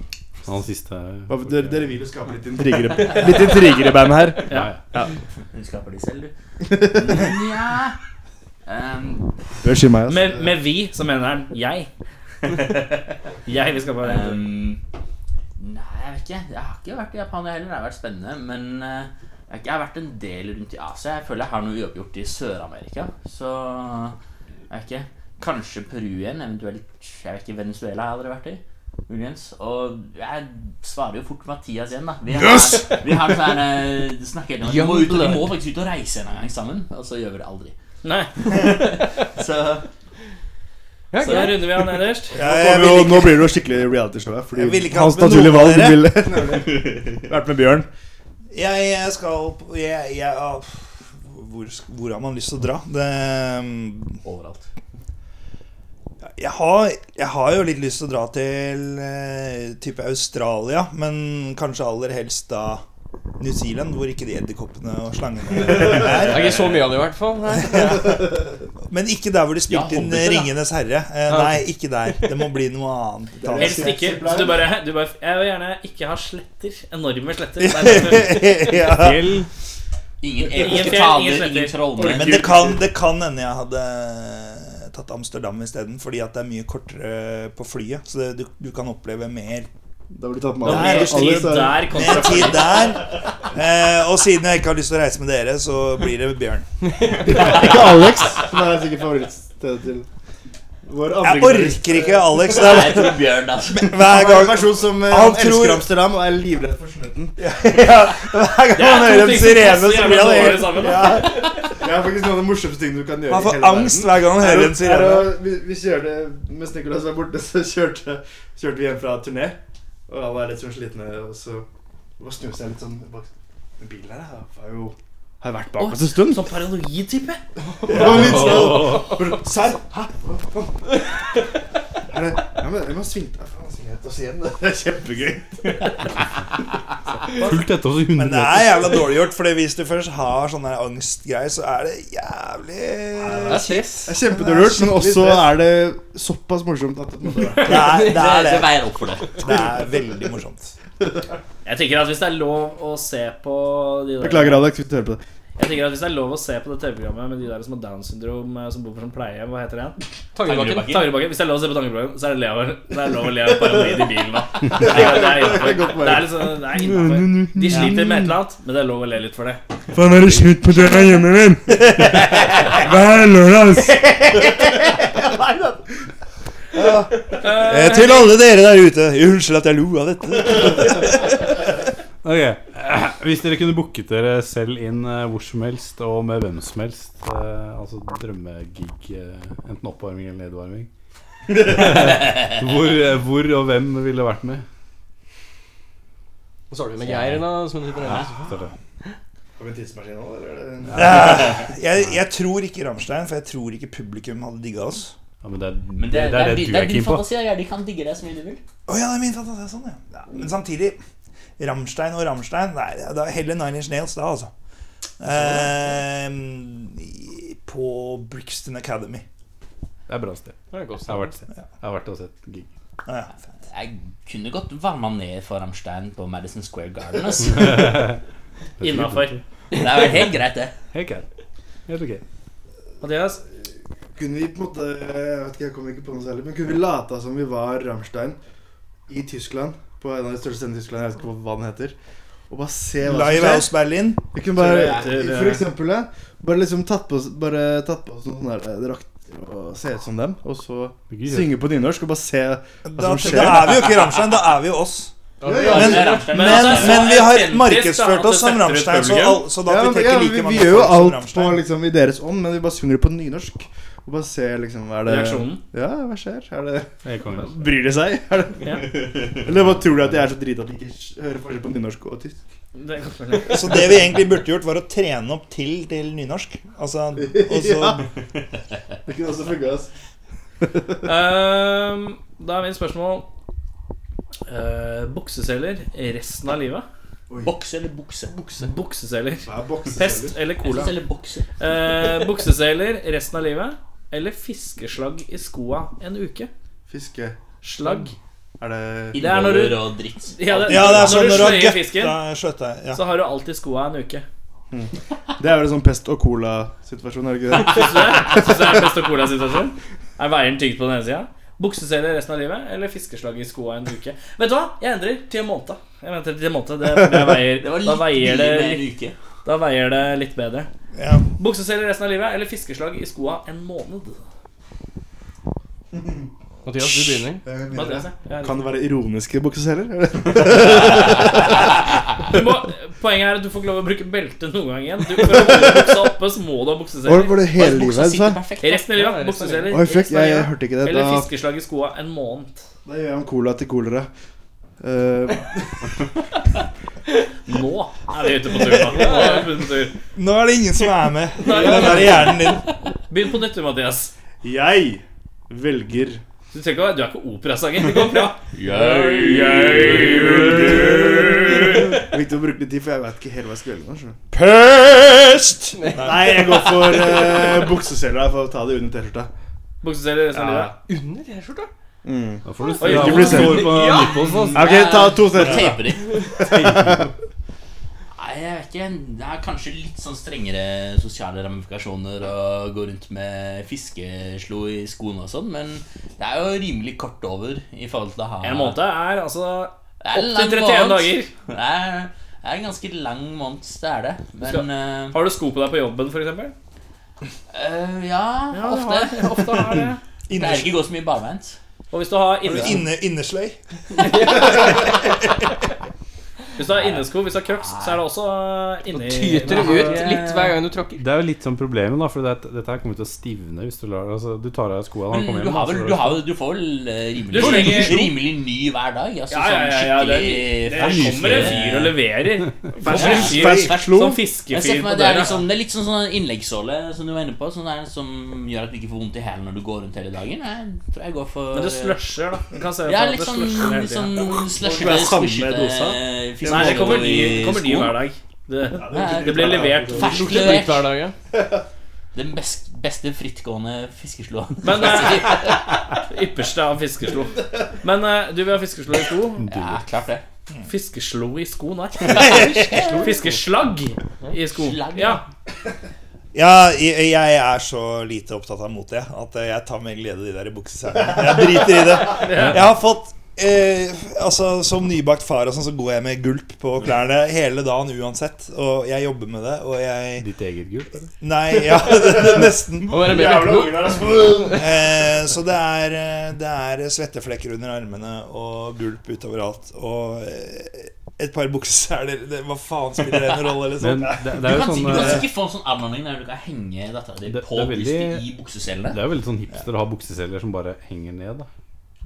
S9: Han siste
S7: hva- Dere, dere vil jo skape litt intriger, litt intriger i bandet her.
S8: Hun skaper de selv, du. Nja Ehm,
S7: Bør skylde meg, altså.
S4: Med, med vi så mener han jeg. Jeg vi skal bare
S8: ehm, Nei, jeg vet ikke. Jeg har ikke vært i Japan jeg heller. Det har vært spennende. Men eh, jeg har ikke- jeg har vært en del rundt i Asia. Jeg føler jeg har noe uoppgjort i Sør-Amerika. Så jeg vet ikke. Kanskje Peru igjen. Eventuelt jeg vet ikke, Venezuela har jeg aldri vært i. Muligens. Og jeg svarer jo fort Mathias igjen, da. Vi har, yes! vi har sånn her, eh, snakker hele tiden om at vi, må ut- vi må faktisk ut og reise en gang sammen. Og så gjør vi det aldri.
S4: Nei,
S8: Så
S2: Ja,
S4: så da
S2: greit.
S4: runder vi han nederst.
S6: Jeg,
S7: Nå blir
S6: jeg, vil
S7: jo-
S6: ikke,
S7: Nå blir det jo skikkelig realityshow her. Fordi
S6: Jeg vil ikke ha
S7: hans
S6: med noen
S7: naturlige valg
S6: av dere.
S7: ville vært med Bjørn.
S6: jeg, jeg skal jeg, jeg, ah, hvor, sk- hvor har man lyst til å dra? Det, mm,
S8: overalt.
S6: jeg, har, jeg har jo litt lyst til å dra til eh, type Australia, men kanskje aller helst da New Zealand, hvor ikke de edderkoppene og slangene
S2: Det er
S6: er.
S2: ikke så mye av det, i hvert fall. Nei.
S6: Men ikke der hvor de spilte
S8: Ja,
S6: inn
S8: Hobbiter, da.
S6: 'Ringenes herre'. Eh,
S2: Ja.
S6: Nei, ikke der. Det må bli noe annet.
S4: Helst ikke. Så du bare, du bare Jeg vil gjerne ikke ha sletter. Enorme sletter. Det er derfor-
S6: ja.
S9: Fjell.
S8: Ingen
S4: Ingen
S8: episke
S4: fjell, ingen
S8: taler,
S4: sletter.
S8: ingen trollmenn.
S6: Men det kan, det kan hende jeg hadde tatt Amsterdam isteden, fordi at det er mye kortere på flyet. Så det, du, du kan oppleve mer,
S7: Da blir det tatt med
S4: Det er
S6: Nei,
S4: mer
S7: alle.
S6: Augustin,
S4: tid
S7: Alle er-
S4: der
S6: mer
S4: kontra
S6: tid der. Eh, og siden jeg ikke har lyst til å reise med dere, så blir det Bjørn.
S7: Ikke Alex, som er sikkert favorittstedet til vår
S6: Jeg
S7: andre
S6: orker ikke Alex.
S8: Nei,
S6: Det er
S8: jeg tror Bjørn, altså.
S7: Han
S6: hver
S7: er en
S6: gang,
S7: person som eh,
S6: Han
S7: elsker
S6: tror-
S7: Amsterdam og er livredd for slutten.
S6: ja, hver gang man hører en sirene, så blir han helt
S4: Ja.
S7: Det er faktisk noe av det morsomste tingene du kan gjøre.
S6: Man
S7: i
S6: får
S7: hele
S6: angst
S7: verden.
S6: hver gang man
S7: Er
S6: hører
S7: å-
S6: en sirene.
S7: er å- Vi, vi kjørte Mens Nicolas var borte, så kjørte, kjørte vi hjem fra turné. Og alle var litt sånn slitne, og så og snur seg litt sånn bak Den bilen her da, var jo har vært bak oss en stund.
S4: Sånn paranoid type.
S7: Ja, litt sånn. Serr? Hæ? Hva faen? Er det, ja, men jeg må svinge faen, svinge etter oss igjen. Det er kjempegøy.
S9: Fulgt etter oss i 100
S6: Men det
S9: meter.
S6: er jævla dårlig gjort, for hvis du først har sånne her angstgreier, så er det jævlig
S2: Det er stress.
S7: Det er kjempedårlig gjort, men også er det såpass morsomt at det måtte være.
S6: Det er det. Er
S8: Det
S6: det.
S8: veier opp for det.
S6: det er veldig morsomt.
S4: Jeg tenker at hvis det er lov å se på de der,
S7: Beklager, Alex. Hvis du hører på det.
S4: Jeg tenker at hvis det er lov å se på det TV-programmet med de der som har Downs syndrom, eh, som bor på sånn pleiehjem, hva heter det igjen?
S2: Tangebakken.
S8: Tangerudbakken.
S4: Tangerudbakken. Hvis det er lov å se på Tangerudbakken, så er det lov å- det er lov å le av paranoid i bilen. Da. Det er, det er, innenfor. det er liksom det er innenfor. De sliter med et eller annet, men det er lov å le litt for det.
S9: Faen, er det slutt på døra hjemme min? Hver lørdag, ass.
S6: Eh, til alle dere der ute, unnskyld at jeg lo av dette.
S9: Ok, eh, Hvis dere kunne booket dere selv inn eh, hvor som helst og med hvem som helst, eh, altså drømmegig, eh, enten oppvarming eller nedvarming hvor, eh, hvor og hvem ville vært med?
S2: Så starter vi med Geir, da. Som sitter der.
S9: Starter.
S7: Har vi en tidsmaskin nå, eller? er det-
S6: Eh, Jeg, jeg tror ikke Rammstein, for jeg tror ikke publikum hadde digga oss.
S9: Ja, men det er,
S8: Men det,
S9: det, er det
S8: din-
S9: du er
S8: din
S9: keen på.
S8: fantasi. Geir. De kan digge deg så mye de vil.
S6: Å ja, det er min fantasi. Sånn, ja. ja. Men samtidig, Rammstein og Rammstein Nei, det er heller Nine Inch Nails da, altså. Eh, i- på Brixton Academy.
S9: Det er bra sted.
S2: Det er godt.
S9: Jeg har vært, jeg har vært og sett gig.
S6: Å, ja.
S8: Jeg kunne godt varma ned for Rammstein på Madison Square Garden. Altså.
S4: Innafor.
S8: Det er vel helt greit, det.
S9: Helt greit. Helt ok.
S4: Mathias,
S7: Kunne vi på en måte Jeg vet ikke, jeg kommer ikke på noe særlig, men kunne vi lata som vi var Rammstein i Tyskland? På en av de største stedene i Tyskland, jeg vet ikke hva den heter. Og bare se hva
S6: Live House Berlin.
S7: Vi kunne bare,
S4: Så det heter-
S7: for eksempel, ja, bare liksom tatt på oss, bare tatt på oss noen sånne der eh, drakter og se ut som dem, og så synge på nynorsk og bare se
S6: Da, da
S7: som skjer?
S6: er vi jo ikke Rammstein, da er vi jo oss.
S8: Det
S6: Men-
S8: er Rammstein.
S6: Men,
S4: altså, så
S6: men vi
S4: autentisk, da,
S6: har
S4: at
S6: markedsført
S4: det
S6: oss som
S4: setter ut
S6: Rammstein, så,
S4: publikum.
S6: all, så da at vi
S7: ja,
S6: trekker
S7: vi,
S6: like
S7: vi
S6: mange
S7: gjør jo
S6: folk som
S7: alt på,
S6: Rammstein.
S7: liksom, i deres ånd, men vi bare synger det på nynorsk. Og bare se liksom hva er det
S4: reaksjonen.
S7: Ja, hva skjer? Er det,
S9: Helt konge.
S7: bryr de seg? Er det,
S4: Ja.
S7: eller bare tror de at de er så drita at de ikke hører forskjell på nynorsk og tysk?
S4: Det kan være.
S6: Så det vi egentlig burde gjort, var å trene
S7: Sånn.
S6: opp til til nynorsk. Altså, og så
S7: Det kunne også funka, ass.
S4: Ehm, da er mitt spørsmål eh, Bukseseler resten av livet?
S8: Bokse eller bukse? Bukse.
S4: Bukseseler.
S7: Hva er bokseseler?
S4: Pest eller cola?
S8: Eller bokse.
S4: Eh, bukseseler resten av livet? Eller fiskeslagg i skoa en uke?
S7: Fiske.
S4: Slagg.
S7: Er det
S4: Det er når du-
S8: Innover og dritt.
S6: Ja, det er sånn når du har
S4: sløyer fisken,
S6: gøtta skjøtta ja.
S4: så har du alltid skoa en uke.
S7: Det er vel en sånn pest og cola-situasjon, er det ikke det?
S4: Syns du det? Syns du det er best og cola-situasjon? Er veieren tygd på den ene sida? Bukseseler resten av livet, eller fiskeslag i skoa en uke? Vet du hva? Jeg endrer til en måned. Jeg venter til en måned. Det, det veier,
S8: Det var
S4: da,
S8: litt
S4: veier det
S8: mye med en
S4: litt,
S8: uke.
S4: da veier det litt bedre.
S6: ja.
S4: Bukseseler resten av livet, eller fiskeslag i skoa en måned?
S2: Mathias, du begynner.
S4: Mathias, jeg- jeg-
S7: Kan det være ironiske bukseseler?
S4: Du må, poenget er at du får ikke lov å bruke belte noen gang igjen. Du, for å holde buksa oppe, så må du ha bukseseler.
S7: Var det hele
S8: Buksa
S7: livet? Så?
S8: sitter perfekt. da.
S4: Resten av
S2: Ja,
S4: livet,
S2: resten av livet.
S4: bukseseler.
S7: Oi, fuck,
S4: resten av
S7: jeg,
S4: livet.
S7: hørte ikke det.
S4: Eller
S7: Da,
S4: fiskeslag i skoa en måned.
S7: da gjør jeg om cola til kolera. Eh,
S4: Nå er vi ute på tur. Da. Nå er vi ute på tur.
S6: Nå er det ingen som er med i
S4: Nei.
S6: den der hjernen din.
S4: Begynn på nytt, du, Mathias.
S7: jeg velger
S4: Du, trenger ikke, å være- du er ikke operasanger. Det går bra.
S7: Viktig å bruke litt tid, for jeg vet ikke helt hva jeg skal velge. nå, skjønner du.
S6: Pest!
S7: Nei, jeg går for uh, bukseseler for å ta det under T-skjorta.
S4: Bukseseler resten av livet.
S2: Under T-skjorta?
S9: Da får du
S4: Oi,
S9: se hva
S7: ikke
S9: det
S7: bli sint.
S9: står på nipples. ass.
S7: Ok, ta to
S8: Nå
S7: T-skjorter.
S8: taper de. Nei, jeg vet ikke. Det er kanskje litt sånn strengere sosiale ramifikasjoner å gå rundt med fiskeslo i skoene og sånn, men det er jo rimelig kort over i forhold til å ha
S4: En måned er altså
S8: Det er en
S4: opptil
S8: lang
S4: 31
S8: måned.
S4: dager.
S8: Det er, det er en ganske lang måned, det er det. Men
S4: Skal-
S8: eh,
S4: Har du sko på deg på jobben, f.eks.?
S8: eh, ja, ofte.
S4: Har, ofte har det.
S8: Jeg pleier ikke å gå så mye barbeint.
S4: Og hvis du har, inne,
S6: Inne, innesløy.
S4: hvis du har innesko, hvis du har crocs, så er det også eh, inni
S2: Tyter det ut litt hver gang du tråkker.
S9: Det er jo litt sånn problemet, da, for det, dette her kommer til å stivne hvis du lar altså, Du tar av deg skoene han
S8: Men
S9: kommer
S8: du,
S9: hjem.
S8: har vel,
S9: altså,
S8: du, har, vel- du får vel eh,
S4: Du
S8: rimelig,
S4: slenger-
S8: rimelig ny hver dag? Altså
S4: Ja, ja, ja, ja,
S8: sånn
S4: det,
S8: skikkelig eh,
S4: det kommer en fyr og leverer. Kommer en fyr
S7: Fersk slo.
S4: Sånn
S8: Jeg ser
S4: fiskefyr
S8: for
S4: på
S8: meg, det, er
S4: døra.
S8: liksom, det er litt sånn sånn innleggssåle som du var inne på, som, er, som gjør at du ikke får vondt i hælen når du går rundt hele dagen. Jeg tror jeg går for
S4: Men det slusher, da. Du kan se
S8: Ja,
S4: for deg
S8: litt
S4: at det slusher hele
S8: sånn, litt
S4: tiden.
S8: sånn
S7: Må
S8: slushete,
S7: det være samme dosa?
S8: squishete
S4: Nei, det kommer ny,
S8: eh,
S4: kommer ny hver dag. Det, det blir levert.
S8: Ferskt
S2: Ikke dritt hver
S8: levert.
S2: dag, ja.
S8: Den best, beste frittgående fiskesloa.
S4: Men eh, Ypperste av fiskeslo. Men eh, du vil ha fiskeslo i sko?
S8: Ja, klart det.
S4: Fiskeslo i sko, nei. Fiskeslagg i sko.
S8: Slagg, ja.
S4: Ja.
S6: Ja, jeg, jeg er så lite opptatt av mote jeg, at jeg tar med glede de der bukseselene. Jeg driter i det. Jeg har fått eh, Altså, som nybakt far og sånn, så går jeg med gulp på klærne hele dagen uansett. Og jeg jobber med det, og jeg
S9: Ditt eget gull.
S6: Nei, ja, det, det, nesten.
S2: Å være baby.
S6: Eh, så det er, eh, det er svetteflekker under armene og gulp utover alt. Og eh, et par bukseseler det- Hva faen spiller det en rolle,
S9: Men
S6: liksom?
S9: det, det
S8: Du
S9: er jo
S8: kan
S9: sånn
S8: sikkert
S9: eh,
S8: sikkert få en sånn anordning der du kan henge dattera di
S9: Det-
S8: på
S9: det er veldig-
S8: brystet i
S9: Det
S8: bukseselene.
S9: er jo veldig sånn hipster å ha bukseseler som bare henger ned, da.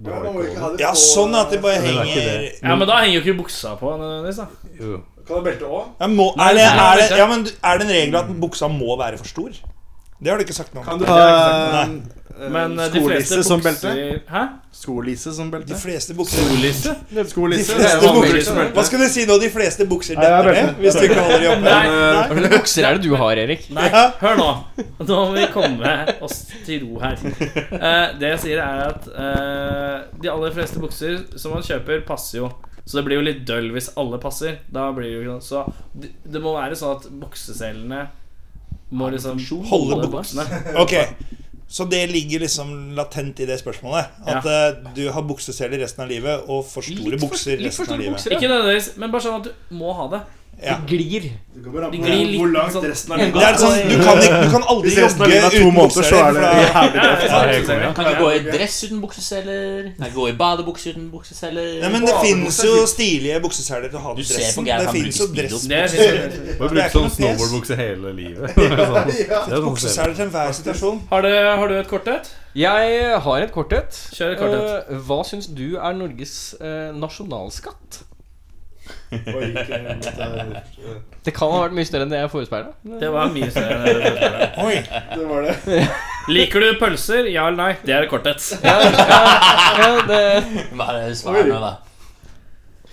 S9: Du har jo ikke
S6: Ja, sånn at det bare
S9: Men det er ikke
S6: henger
S9: det.
S4: ja, men da henger jo ikke buksa på. nødvendigvis, da.
S9: Jo.
S7: Kan du belte òg?
S6: ja, må, er, det,
S4: nei,
S6: er, det,
S4: ikke.
S6: ja, men, er det en regel at buksa må være for stor? Det har du ikke sagt noe om.
S7: Kan du ha
S4: Men eh, de fleste
S7: eh, skolisse som belte?
S4: bukser Hæ?
S7: Skolisse som belte?
S6: De fleste bukser De
S7: Skolisse?
S6: fleste
S2: vanlig liksom.
S6: bukser Hva skulle du si nå? De fleste bukser
S7: Nei, jeg
S6: detter
S7: vet
S6: ned? Hvis du ikke holder de oppe?
S8: eh,
S4: Nei.
S2: Hva slags bukser er det du har, Erik?
S4: Nei, hør nå. Nå må vi komme oss til ro her. Eh, det jeg sier, er at eh, de aller fleste bukser som man kjøper, passer jo. Så det blir jo litt døll hvis alle passer. Da blir det jo ikke noe- Så det, det må være sånn at bukseselene må liksom
S6: Holde
S4: buksene.
S6: Ok, så det ligger liksom latent i det spørsmålet. At eh, du har bukseseler resten av livet, og for store bukser resten av livet.
S4: Ikke nødvendigvis, men bare sånn at du må ha det.
S6: Ja.
S2: Glir.
S4: De glir litt
S7: Hvor langt
S4: sånn-
S7: resten av
S6: Det
S7: livet
S6: er sånn, du kan, ikke, du kan aldri
S7: Hvis resten av
S6: jogge
S7: livet er to
S6: uten
S7: måneder, så er
S6: bukseseler.
S7: det
S6: for da-
S7: jævlig
S4: Ja, ja,
S9: jeg
S4: bukseseler.
S8: Kan ikke gå i dress uten bukseseler. Kan ikke gå i badebukse uten bukseseler.
S6: Nei, men det finnes jo stilige bukseseler til å ha
S8: Du
S6: til
S8: ser
S6: dressen.
S8: på Geir,
S6: Det
S8: han
S6: finnes jo
S8: bruker
S6: dress
S4: Det er-
S9: Du har
S6: Det er
S9: brukt
S6: ikke noe
S9: sånn
S6: fjes.
S9: snowboardbukse hele livet. Det er sånn- det er sånn ser
S6: Bukseseler til enhver situasjon.
S4: Har, du, har du et kort et?
S2: Jeg eh, har et kort et.
S4: Kjør et kort et.
S2: Eh, hva syns du er Norges eh, nasjonalskatt?
S7: eh,
S2: Det kan ha vært mye større enn det jeg forespeila.
S4: Det var mye større. enn det du trodde.
S6: Oi,
S7: Det var det.
S4: Liker du pølser? Ja eller nei? Det er kortet.
S2: Ja, det
S8: Hva er det svaret nå, da?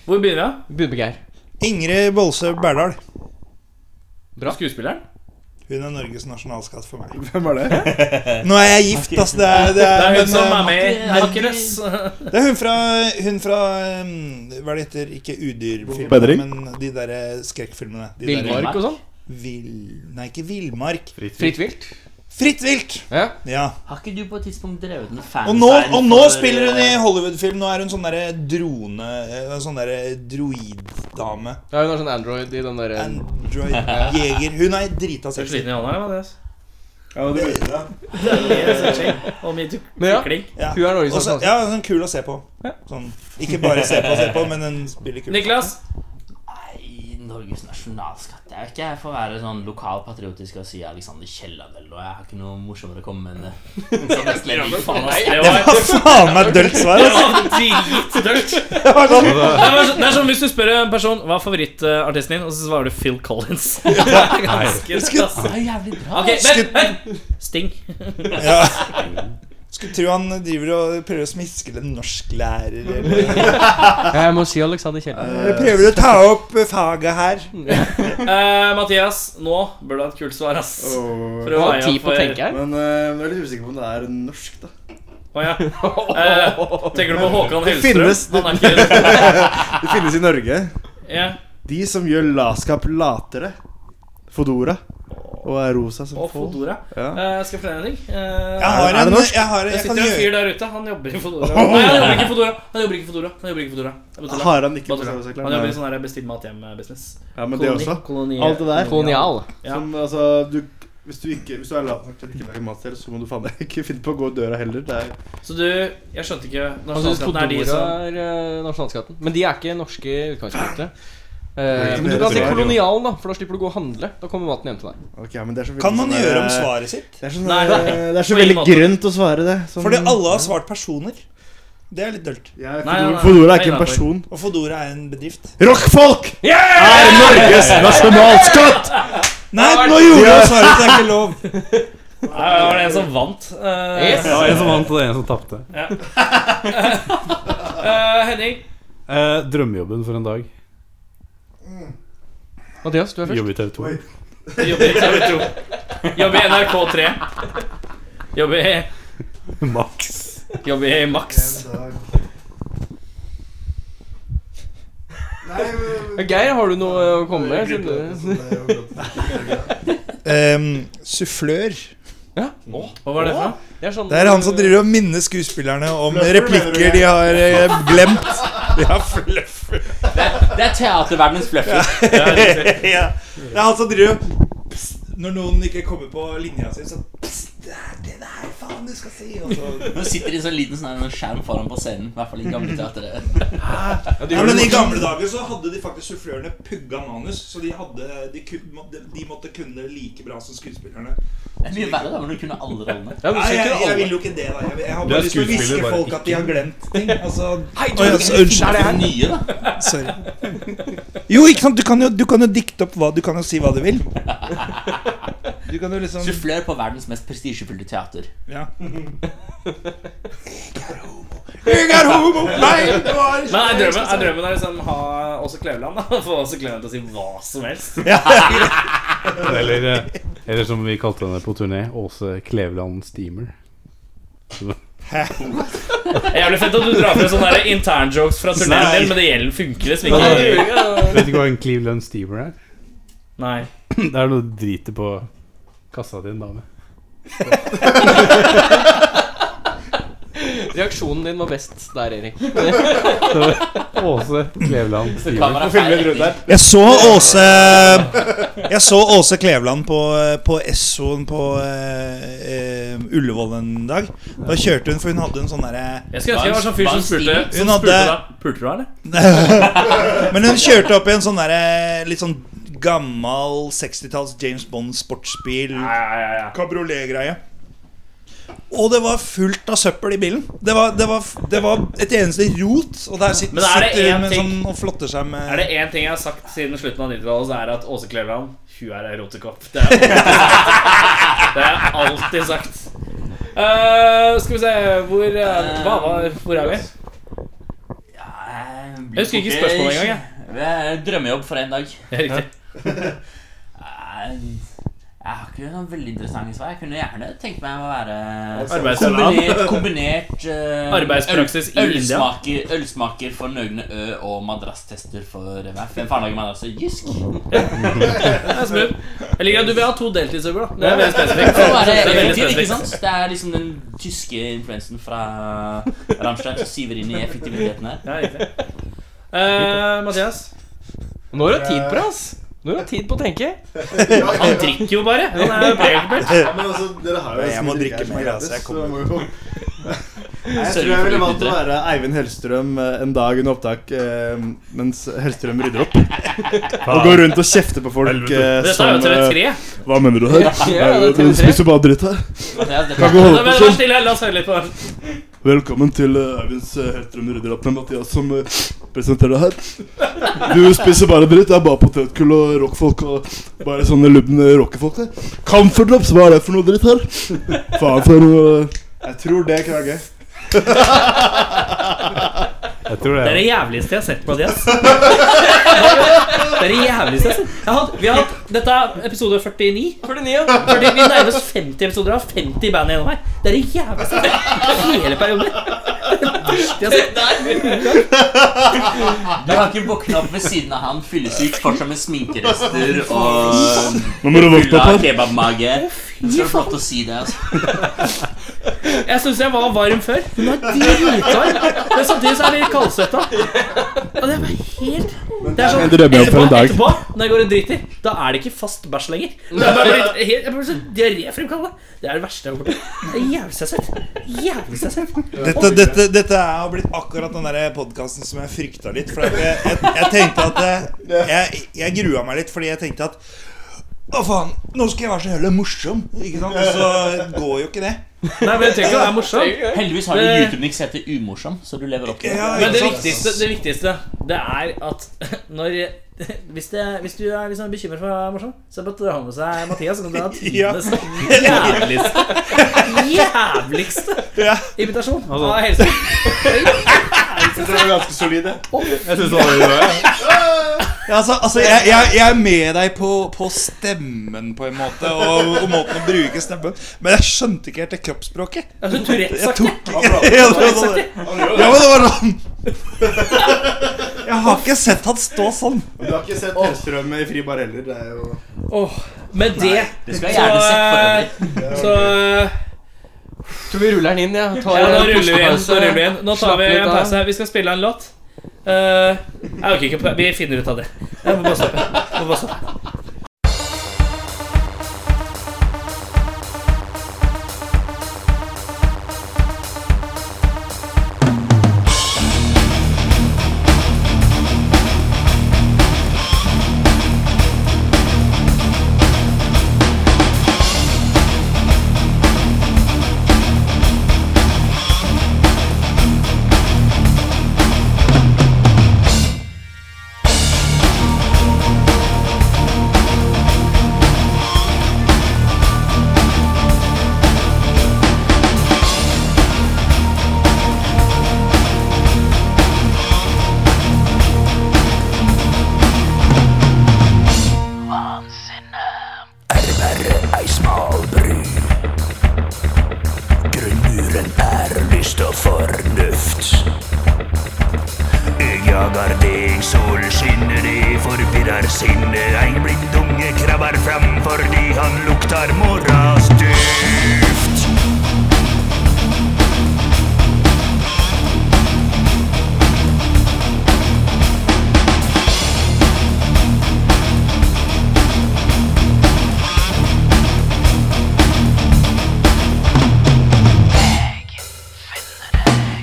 S4: Hvor begynner
S2: Begynner med Geir.
S6: Ingrid Bolse Berdal.
S4: jeg? Skuespilleren?
S6: Hun er Norges nasjonalskatt for meg.
S7: Hvem var det?
S6: Nå er jeg gift, ass. Det er, det
S4: Det
S6: er,
S4: er hun
S6: men,
S4: som
S6: eh,
S4: er med i Hercules.
S6: det er hun fra, hun fra um, Hva er det heter? Ikke
S7: Bedring?
S6: udyrfilmene, men de der eh, skrekkfilmene. De der-
S2: Villmark og sånn.
S6: Vill... Nei, ikke villmark.
S2: Fritt vilt.
S6: Fritt vilt!
S2: Ja.
S6: Ja.
S8: Har ikke du på et tidspunkt drevet en
S6: Og
S8: fansign
S6: nå, og nå
S8: for,
S6: spiller hun i
S8: eh,
S6: Hollywood-film. Nå er hun sånn derre drone eh, Sånn derre droiddame.
S2: Ja, hun har sånn Android i den derre
S6: Android-jeger. Hun er drita
S4: Er du
S6: sexy.
S4: sliten i hånda, eller, Mathias?
S7: Ja, det var det.
S4: Og mye
S2: Men ja.
S4: klikling.
S6: Ja.
S2: Hun er Norges
S6: Også,
S2: nasjonal-
S6: ja, sånn kul å se på. Sånn, ikke bare se på og se på, men hun spiller kul.
S4: Niklas?
S8: Nei, Norges nasjonalskatt Jeg vet ikke, jeg får være sånn lokalpatriotisk og si Alexander Kielland og jeg har ikke noe morsommere å komme med enn det. Så nesten jeg liker faen meg.
S4: Det var
S6: Faen meg dølt svar, altså!
S4: dritdølt.
S6: Det var sånn.
S4: Det er sånn- det er som hvis du spør en person hva er favorittartisten din, og så svarer du Phil Collins. Det er Ganske
S8: Det
S4: krass.
S8: var jævlig bra.
S4: Ok, vent, vent! Sting.
S6: Ja. Skulle tro han driver og prøver å smiske en norsklærer, eller
S2: Jeg må si Alexander Kielland.
S6: Jeg prøver å ta opp faget her.
S4: Eh, Mathias, nå bør du ha et kult svar, ass.
S7: Åh.
S4: For å veie
S2: Hva har
S4: opp
S2: tid på å
S4: for-
S2: tenke her?
S7: Men eh, jeg er litt usikker på om det er norsk, da.
S4: Å, ja. Eh, tenker du på Håkan
S7: Det finnes-
S4: Hellstrøm? Han er ikke Ah,
S7: Det finnes i Norge.
S4: ja.
S7: De som gjør latskap latere. Fodora. Og er rosa som
S4: Og
S7: få.
S4: Fodora.
S7: Ja.
S4: Eh, jeg skal fortelle deg en ting. Eh,
S6: Jeg har
S7: Er det
S6: en,
S7: norsk?
S6: jeg har,
S4: det
S6: jeg kan
S4: sitter en fyr
S6: gjøre
S4: der ute. Han jobber i Fodora. Nei, han jobber ikke i Fodora. Han jobber ikke i Fodora. Han jobber ikke i Fodora. Jeg bare tuller.
S7: Har han ikke
S4: Bare
S7: på
S4: tuller.
S7: seg
S4: Han jobber i sånn der bestill mat hjem-business.
S7: Ja, men det også. Alt det der.
S2: Kolonial.
S4: Ja.
S7: Som, altså, du, hvis, du ikke, hvis du er latmakt og ikke lager mat selv, så må du faen meg ikke finne på å gå i døra heller. Det er,
S4: Så du, jeg skjønte ikke
S2: Han syns
S4: Nasjonalskatten
S2: Fodora
S4: er de som
S2: er eh, nasjonalskatten. Men de er ikke norske i utgangspunktet. Eh,
S7: Ikke
S2: men du
S7: det,
S2: kan si
S7: det er jo-
S2: kolonialen, da, for da slipper du å gå og handle. Da kommer maten hjem til deg.
S7: ok, men det er så veldig
S6: Kan man
S7: sånn der-
S6: gjøre om svaret sitt?
S7: Det er, sånn,
S4: Nei,
S7: der- det er så
S4: på ingen
S7: veldig
S4: måte.
S7: grønt å svare det. Sånn,
S6: Fordi alle har svart personer. Det er litt dølt.
S7: ja,
S4: Nei, nei, nei.
S7: Fodora, Fodora er ikke en
S4: Nei,
S7: person.
S6: Og Fodora er en bedrift.
S7: Rockfolk er Norges nasjonalskatt!
S6: Nei, nå gjorde jeg svaret! Det er ikke lov.
S4: Nei, det var det en som vant. Eh,
S2: Yes.
S9: Det var en som vant, og det er en som tapte.
S4: eh, Henning,
S9: Eh, drømmejobben for en dag.
S2: Mathias, du er først.
S9: Jobbe i TV 2.
S4: du jobber i TV 2. Jobber i NRK3. Jobber i,
S9: Maks.
S4: jobber i Max.
S2: Geir, har du noe å komme med? siden du-
S6: Ehm, sufflør.
S4: Hva var det for noe?
S2: Det er, sånn,
S6: Det er han som driver og minner skuespillerne om replikker de har eh, glemt. Ja, fluff.
S8: Det er teaterverdenens bløffer.
S6: ja. Det er altså han som driver og pst, Når noen ikke kommer på linja si, så pst, Det er den her, faen, du skal si! Og så
S8: Nå sitter de i en sånn liten sånn her skjerm foran på scenen. I hvert fall i gamle teateret.
S6: Ja, men I gamle dager så hadde de faktisk sufflørene pugga manus, så de, hadde, de, kun, måtte, de måtte kunne det like bra som skuespillerne.
S8: Det er mye verre da, når du kunne alle rollene.
S2: ja, du
S6: Nei,
S2: skal
S6: jeg,
S2: ikke
S6: jeg
S2: alle.
S6: vil jo ikke det, da. Jeg, jeg har
S9: Du er
S6: bare lyst til å
S9: skuespiller,
S6: hviske
S9: bare
S6: folk at de har glemt ting. Altså,
S8: Hei,
S6: Oi, altså, unnskyld.
S8: er det her nye, da?
S6: sorry. Jo, ikke sant, du kan jo, du kan jo dikte opp hva Du kan jo si hva du vil. Du kan jo liksom
S8: Sufflør på verdens mest prestisjefulle teater.
S6: Ja. Jeg er homo! Jeg er homo! Nei, det var
S4: Men er drømmen, er drømmen er liksom ha Åse Kleveland. da? Få Åse Kleveland til å si hva som helst.
S9: Eller, eh, eller som vi kalte henne på turné, Åse Kleveland Steamer.
S4: Jævlig fett at du drar frem sånne der internjokes fra turneen din, men det gjelder funker liksom ikke.
S9: Vet ikke hva en Cleveland Steamer er?
S4: Nei.
S9: Det er noe du driter på kassa til en dame.
S2: Reaksjonen din var best der, Erik.
S9: Åse Kleveland Steamer.
S8: Kamera feil retning.
S6: Jeg så Åse Jeg så Åse Kleveland på, på Essoen på eh, eh, Ullevål en dag. Da kjørte hun, for hun hadde en sånn derre
S4: Jeg skulle ønske jeg var sånn fyr som spurte som
S6: Hun hadde-
S4: spurte deg Pulte du henne, eller?
S6: Men hun kjørte opp i en sånn derre litt sånn gammal 60-talls James Bond sportsbil. Kabriolet-greie. Og det var fullt av søppel i bilen. Det var, det var, det var et eneste rot. Og der sitter,
S4: Men er det
S6: sitter
S4: en
S6: hun med
S4: ting-
S6: sånn og flotter seg med
S4: Er det én ting jeg har sagt siden slutten av 90-tallet, så er det at Åse Kleveland, hun er erotekopp. Det har jeg alltid sagt. Det har jeg alltid sagt. Eh, skal vi se Hvor, eh, hva, var- hvor er vi? Jeg husker ikke spørsmålet engang, jeg.
S8: jeg. Drømmejobb for en dag.
S4: Ja, riktig.
S8: Nei, Eh, Jeg har ikke noen veldig interessante svar. Jeg kunne gjerne tenkt meg å være
S7: Altså,
S4: Arbeidsland.
S8: Kombinert, kombinert eh,
S4: Arbeidspraksis i
S8: øl,
S4: India.
S8: ølsmaker, Ølsmaker for Nøgne Ø og madrasstester for eh, Hvem faen lager madrasser? Jysk?
S4: Det er smooth. Jeg liker at du vil ha to deltidsjobber, da. Det er veldig
S8: Det
S4: spesifikt.
S8: kan
S4: Det Sånn er
S8: være
S4: veldig
S8: effektiv, ikke
S4: spesifikt.
S8: sant? Det er liksom den tyske influensen fra Rammstein som siver inn i effektiviteten her.
S4: Ja, riktig. Eh, Mathias?
S2: Nå har du tid på det, ass. Nå har du tid på å tenke.
S4: Han drikker jo bare. Han er jo preokkupert.
S7: Ja, men altså, dere har jo
S6: Jeg må
S7: så mye
S6: drikke
S7: drikker som
S6: mer,
S7: er gratis,
S6: altså, jeg
S7: så
S6: kommer.
S7: må jo- Nei, Jeg tror
S8: Sørge
S7: jeg
S8: for
S7: ville
S8: å
S7: valgt å
S8: utnytte
S7: være Eivind Hellstrøm eh, en dag under opptak eh, mens Hellstrøm rydder opp. Og går rundt og kjefter på folk. eh,
S4: Dette er
S7: som,
S4: jo TV3.
S7: eh, Hva mener du her?
S2: Ja, det er
S7: Du
S2: TV3.
S7: spiser bare dritt her.
S8: Mathias,
S7: Kan
S8: dette
S7: ikke
S4: Nei,
S7: holde på
S4: men Vær
S7: sånn.
S4: stille, la oss høre litt på den.
S7: Velkommen til eh, Eivinds eh, Hellstrøm rydder opp med Mathias som eh, presenterer det her. Du spiser bare dritt. Det er bare potetgull og rockfolk og bare sånne lubne rockefolk. det. Comfort drops, hva er det for noe dritt her? Faen for noe Jeg tror det, Krage.
S9: Jeg tror det
S4: Det er
S9: er
S4: det jævligste jeg har sett, Mathias. Det er det jævligste jeg har sett. Jeg har hatt, vi har hatt, dette er episode 49. 49, ja. vi nærmer oss 50 episoder av 50 band gjennom her. Det er det jævligste jeg har sett hele perioden. Det er det verste jeg har sett.
S8: Du har ikke våkna opp ved siden av han fyllesyk, fortsatt med sminkerester og
S7: Nå må du våkne
S8: full
S7: opp her.
S8: av kebabmage. Så det er flott å si det. altså
S4: Jeg syns jeg var varm før. Hun er dritvarm. Men samtidig så er jeg litt kaldsvetta. Og det er bare helt Det er sånn
S7: en drømmejobb for
S4: etterpå,
S7: en dag.
S4: etterpå, når jeg går og driter, da er det ikke fast bæsj lenger. Det er bare blitt helt, jeg blir så diaréfremkallende. Det er det verste jeg har gjort. Det er det jævligste jeg har sett. Jævligste jeg har sett.
S6: Dette, dette, dette er- har blitt akkurat den der podkasten som jeg frykta litt. For at jeg, jeg, jeg tenkte at eh, jeg, jeg grua meg litt fordi jeg tenkte at å, faen, nå skal jeg være så jævlig morsom. Ikke sant? Og så går jo ikke det.
S4: Nei, men jeg tenker det er morsomt.
S8: Heldigvis har du
S4: Det-
S8: YouTube-niks som heter Umorsom, så du lever opp til
S6: Ja,
S8: det.
S4: Men det viktigste, det viktigste, det er at når hvis, det, hvis du er liksom bekymret for å være morsom, så bare dra med seg Mathias. Så kan du ha
S6: Ja.
S4: tidenes jævligste Jævligste
S6: Ja.
S4: invitasjon av helse.
S7: Jeg tror det er ganske solide.
S9: Jeg synes det var veldig bra.
S6: Ja, altså, altså jeg, jeg, jeg er med deg på, på stemmen, på en måte, og, og måten å bruke stemmen Men jeg skjønte ikke helt det kroppsspråket.
S4: Altså, Tourettes
S6: Jeg
S4: sagt det.
S6: tok ja, det var sånn. Ja, men det var sånn Jeg har ikke sett han stå sånn.
S7: Du har ikke sett Hellstrøm i Fribar heller. Det er jo
S4: Åh, Med det eh,
S8: Det skal jeg gjerne sett for øvrig.
S4: så
S2: Tror vi ruller den inn, ja. Tar
S4: ja, Nå
S2: en
S4: ruller vi inn.
S2: pustepause.
S4: Nå, ruller vi inn. nå tar
S2: Slapp
S4: vi
S2: litt
S4: en
S2: av.
S4: pause. her. Vi skal spille en låt. Eh, jeg orker ikke på- Vi finner ut av det. Jeg må bare stoppe. Jeg må bare stoppe.
S10: Jagar deg, sol skinner i forvirrer sinne Ein blind unge krabber fram fordi han luktar morrastuft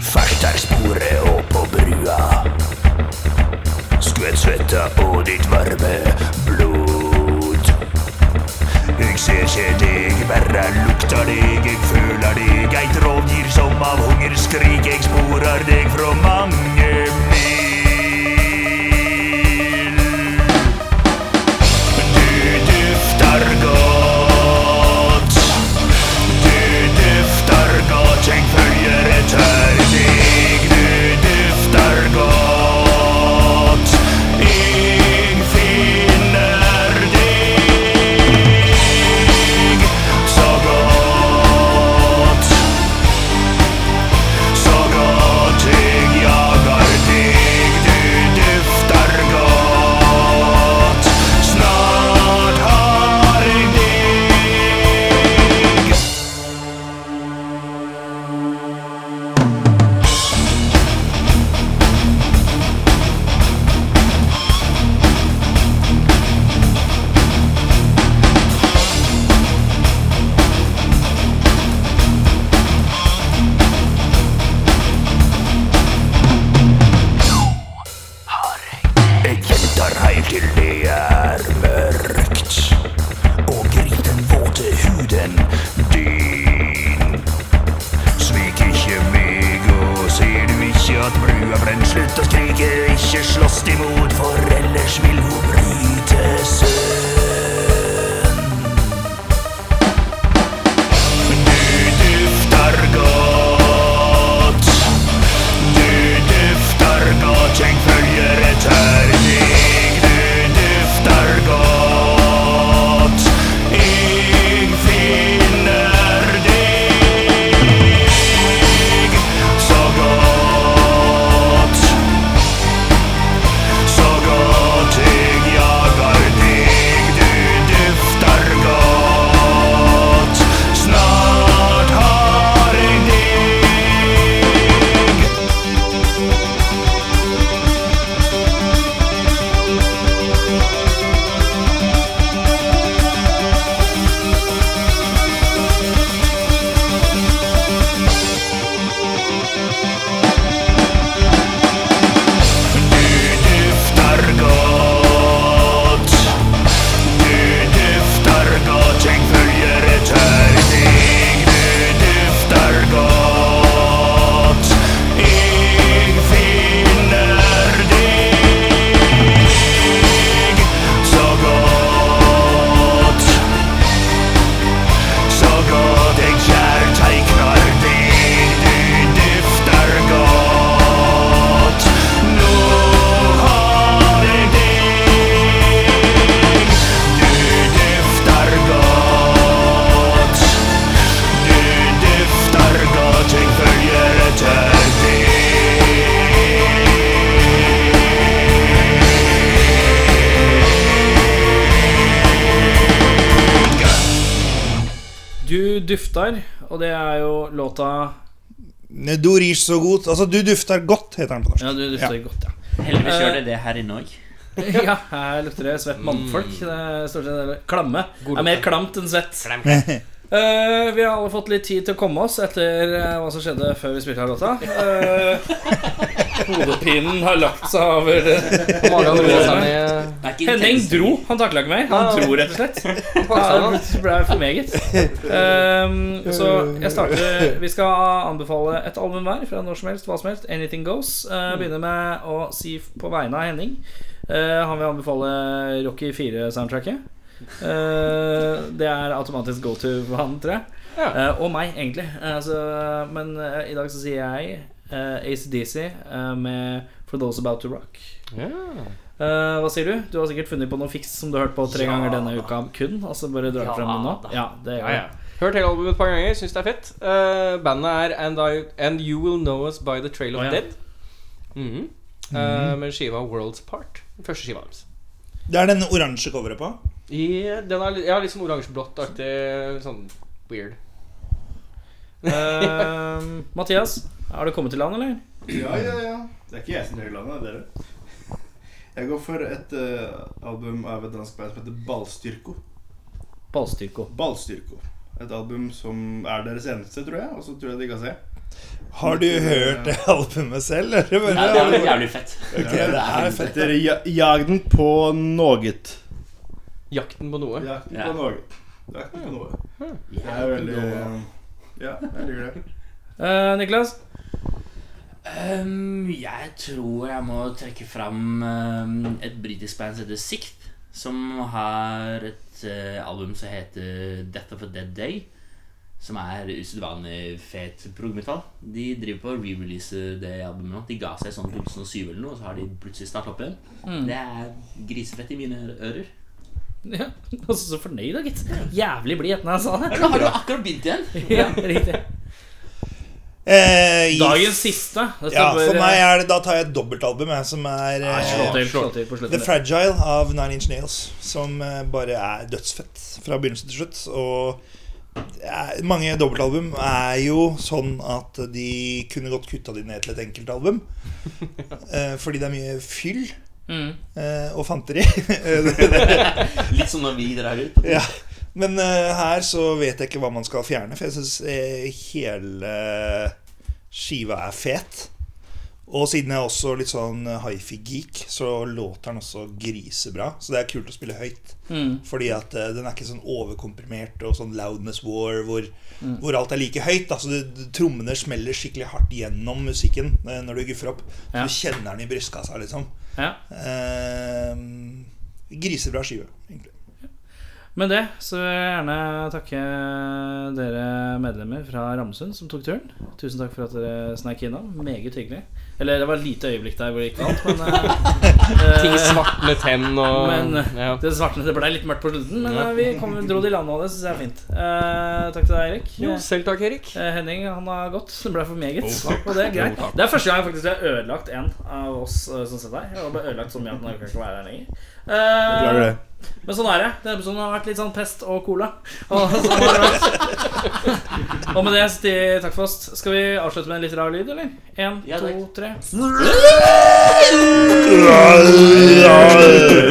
S10: Først er sporet og på brua Skvett svetta og ditt varme blod. Jeg ser ikke deg, bare lukter deg, jeg føler deg. Eit rovdyr som av hunger skrik, jeg sporer deg fra mange mil. Du dufter godt. Du dufter hardt imot, for ellers vil hun bryte søvn. Du dufter godt. Du dufter godt, jeg følger et terning. Du dufter godt. Jeg finner deg så godt. Så godt jeg jager deg, du dufter godt. Snart har jeg deg. Du dufter godt. Du dufter godt, jeg følger etter deg. Du dufter godt. Jeg finner deg så godt. Så godt jeg kjærtegner deg, du dufter godt. Nå har jeg deg, du dufter godt. Du dufter godt, jeg følger etter deg.
S4: Du dufter, og det er jo låta
S6: Ne, Du rir så godt Altså, du dufter godt, heter den på norsk.
S4: Ja, du dufter godt, ja.
S8: Heldigvis gjør det det her inne òg.
S4: ja. Her lukter det svett mannfolk. Det er stort sett det. Klamme. Det er mer klamt enn svett. Eh, vi har alle fått litt tid til å komme oss etter eh, hva som skjedde før vi spilte her låta. Eh, hodepinen har lagt seg over eh,
S2: Magen roer seg ned.
S4: Henning dro. Han takla ikke mer. Han dro, rett og slett. Ja, det ble for meget. Ehm, så jeg starter Vi skal anbefale et album hver fra når som helst, hva som helst. Anything Goes. Eh, begynner med å si f- på vegne av Henning. Eh, han vil anbefale Rocky 4-soundtracket. Eh, det er automatisk go to for han, tror jeg. Eh, og meg, egentlig. Eh, så, men eh, i dag så sier jeg uh, ACDC eh, med For Those About To Rock. Eh, hva sier du? Du har sikkert funnet på noe fiks som du har hørt på tre ganger denne uka kun? Altså bare drar frem det nå? Ja, det gjør
S2: Ja, ja. Hørt hele albumet et par ganger, syns det er fett. Eh, bandet er and, I, and You Will Know Us By The Trail of
S4: Å, ja.
S2: Dead. Mhm. Eh, med skiva Worlds Part. Den første skiva deres.
S6: Det er den oransje coveret på.
S2: I, den er, li- ja, litt sånn oransje-blått-aktig. Sånn weird.
S4: jeg. Eh, Mathias, har du kommet til land, eller?
S7: Ja, ja, ja. Det er ikke jeg som gjør landet, det er dere. Jeg går for et eh, album av et dansk band som heter Ballstyrko.
S4: Ballstyrko.
S7: Ballstyrko. Et album som er deres eneste, tror jeg. Og så tror jeg de ga seg.
S6: Har du hørt det albumet selv? Eller?
S8: Nei,
S6: bare-
S8: det er vel jævlig fett.
S6: Ok, det er fett.
S7: Etter ja, Jagden på noget.
S2: Jakten på noe.
S7: Jagden
S8: Ja.
S7: på noget. Jagden på noe. Det er veldig Ja, jeg liker det.
S4: Eh, Niklas?
S8: Ehm, jeg tror jeg må trekke fram ehm, et britisk band som heter Sikt, som har et eh, album som heter Death of a Dead Day, som er usedvanlig fet progmetall. De driver på å re-release det albumet nå. De ga seg sånn 2007 eller noe, og så har de plutselig starta opp igjen. Det er grisefett i mine ører.
S4: Ja, altså, så fornøyd, da, gitt. Jævlig blid etter jeg sa det.
S8: Nå har du akkurat begynt igjen!
S4: Ja, riktig.
S6: Eh, i-
S4: Dagens siste. Dette
S6: Ja,
S4: bør-
S6: for meg er det Da tar jeg et dobbeltalbum, jeg, som er
S4: Nei, Slå
S6: eh,
S4: til, slå til på
S6: The
S4: slutten.
S6: Fragile av Nine Inch Nails. Som eh, bare er dødsfett fra begynnelse til slutt. Og det er- mange dobbeltalbum er jo sånn at de kunne godt kutta de ned til et enkeltalbum. Eh, fordi det er mye fyll
S4: Mm.
S6: eh, og fanteri. Eh,
S8: Litt som når vi drar ut.
S6: ja. Men eh, her så vet jeg ikke hva man skal fjerne, for jeg syns hele skiva er fet. Og siden jeg er også litt sånn hifi-geek, så låter den også grisebra. Så det er kult å spille høyt.
S4: Mm.
S6: Fordi at eh, den er ikke sånn overkomprimert og sånn loudness war hvor, hvor alt er like høyt. Altså, det, det, trommene smeller skikkelig hardt gjennom musikken eh, når du guffer opp.
S4: Ja.
S6: Så du kjenner den i brystkassa, liksom.
S4: Ja.
S6: Eh, grisebra skive, egentlig.
S4: Med det så vil jeg gjerne takke dere medlemmer fra Ramsund som tok turen. Tusen takk for at dere sneik innom. Meget hyggelig. Eller det var et lite øyeblikk der hvor det gikk galt, men eh,
S2: Ting
S4: eh,
S2: svartnet hen og
S4: Men eh,
S2: ja.
S4: det svartnet, det ble litt mørkt på slutten, men
S2: Ja.
S4: eh, vi kom, dro det i land av det, syns jeg er fint. Eh, takk til deg, Erik.
S2: Jo, selv takk, Erik.
S4: Eh, Henning han har gått. Det ble for meget. og det er greit. Det er første gang jeg faktisk har ødelagt en av oss eh, som sitter her. Jeg har bare ødelagt så mye at han ikke kan være her lenger. Eh,
S7: Beklager det.
S4: men sånn er det. Denne episoden har vært litt sånn pest og cola. Og, sånn har det vært. og med det sier takk for oss. Skal vi avslutte med en litt rar lyd, eller? Én,
S8: Ja,
S4: to,
S8: takk.
S4: tre.
S6: Ja, ja, ja.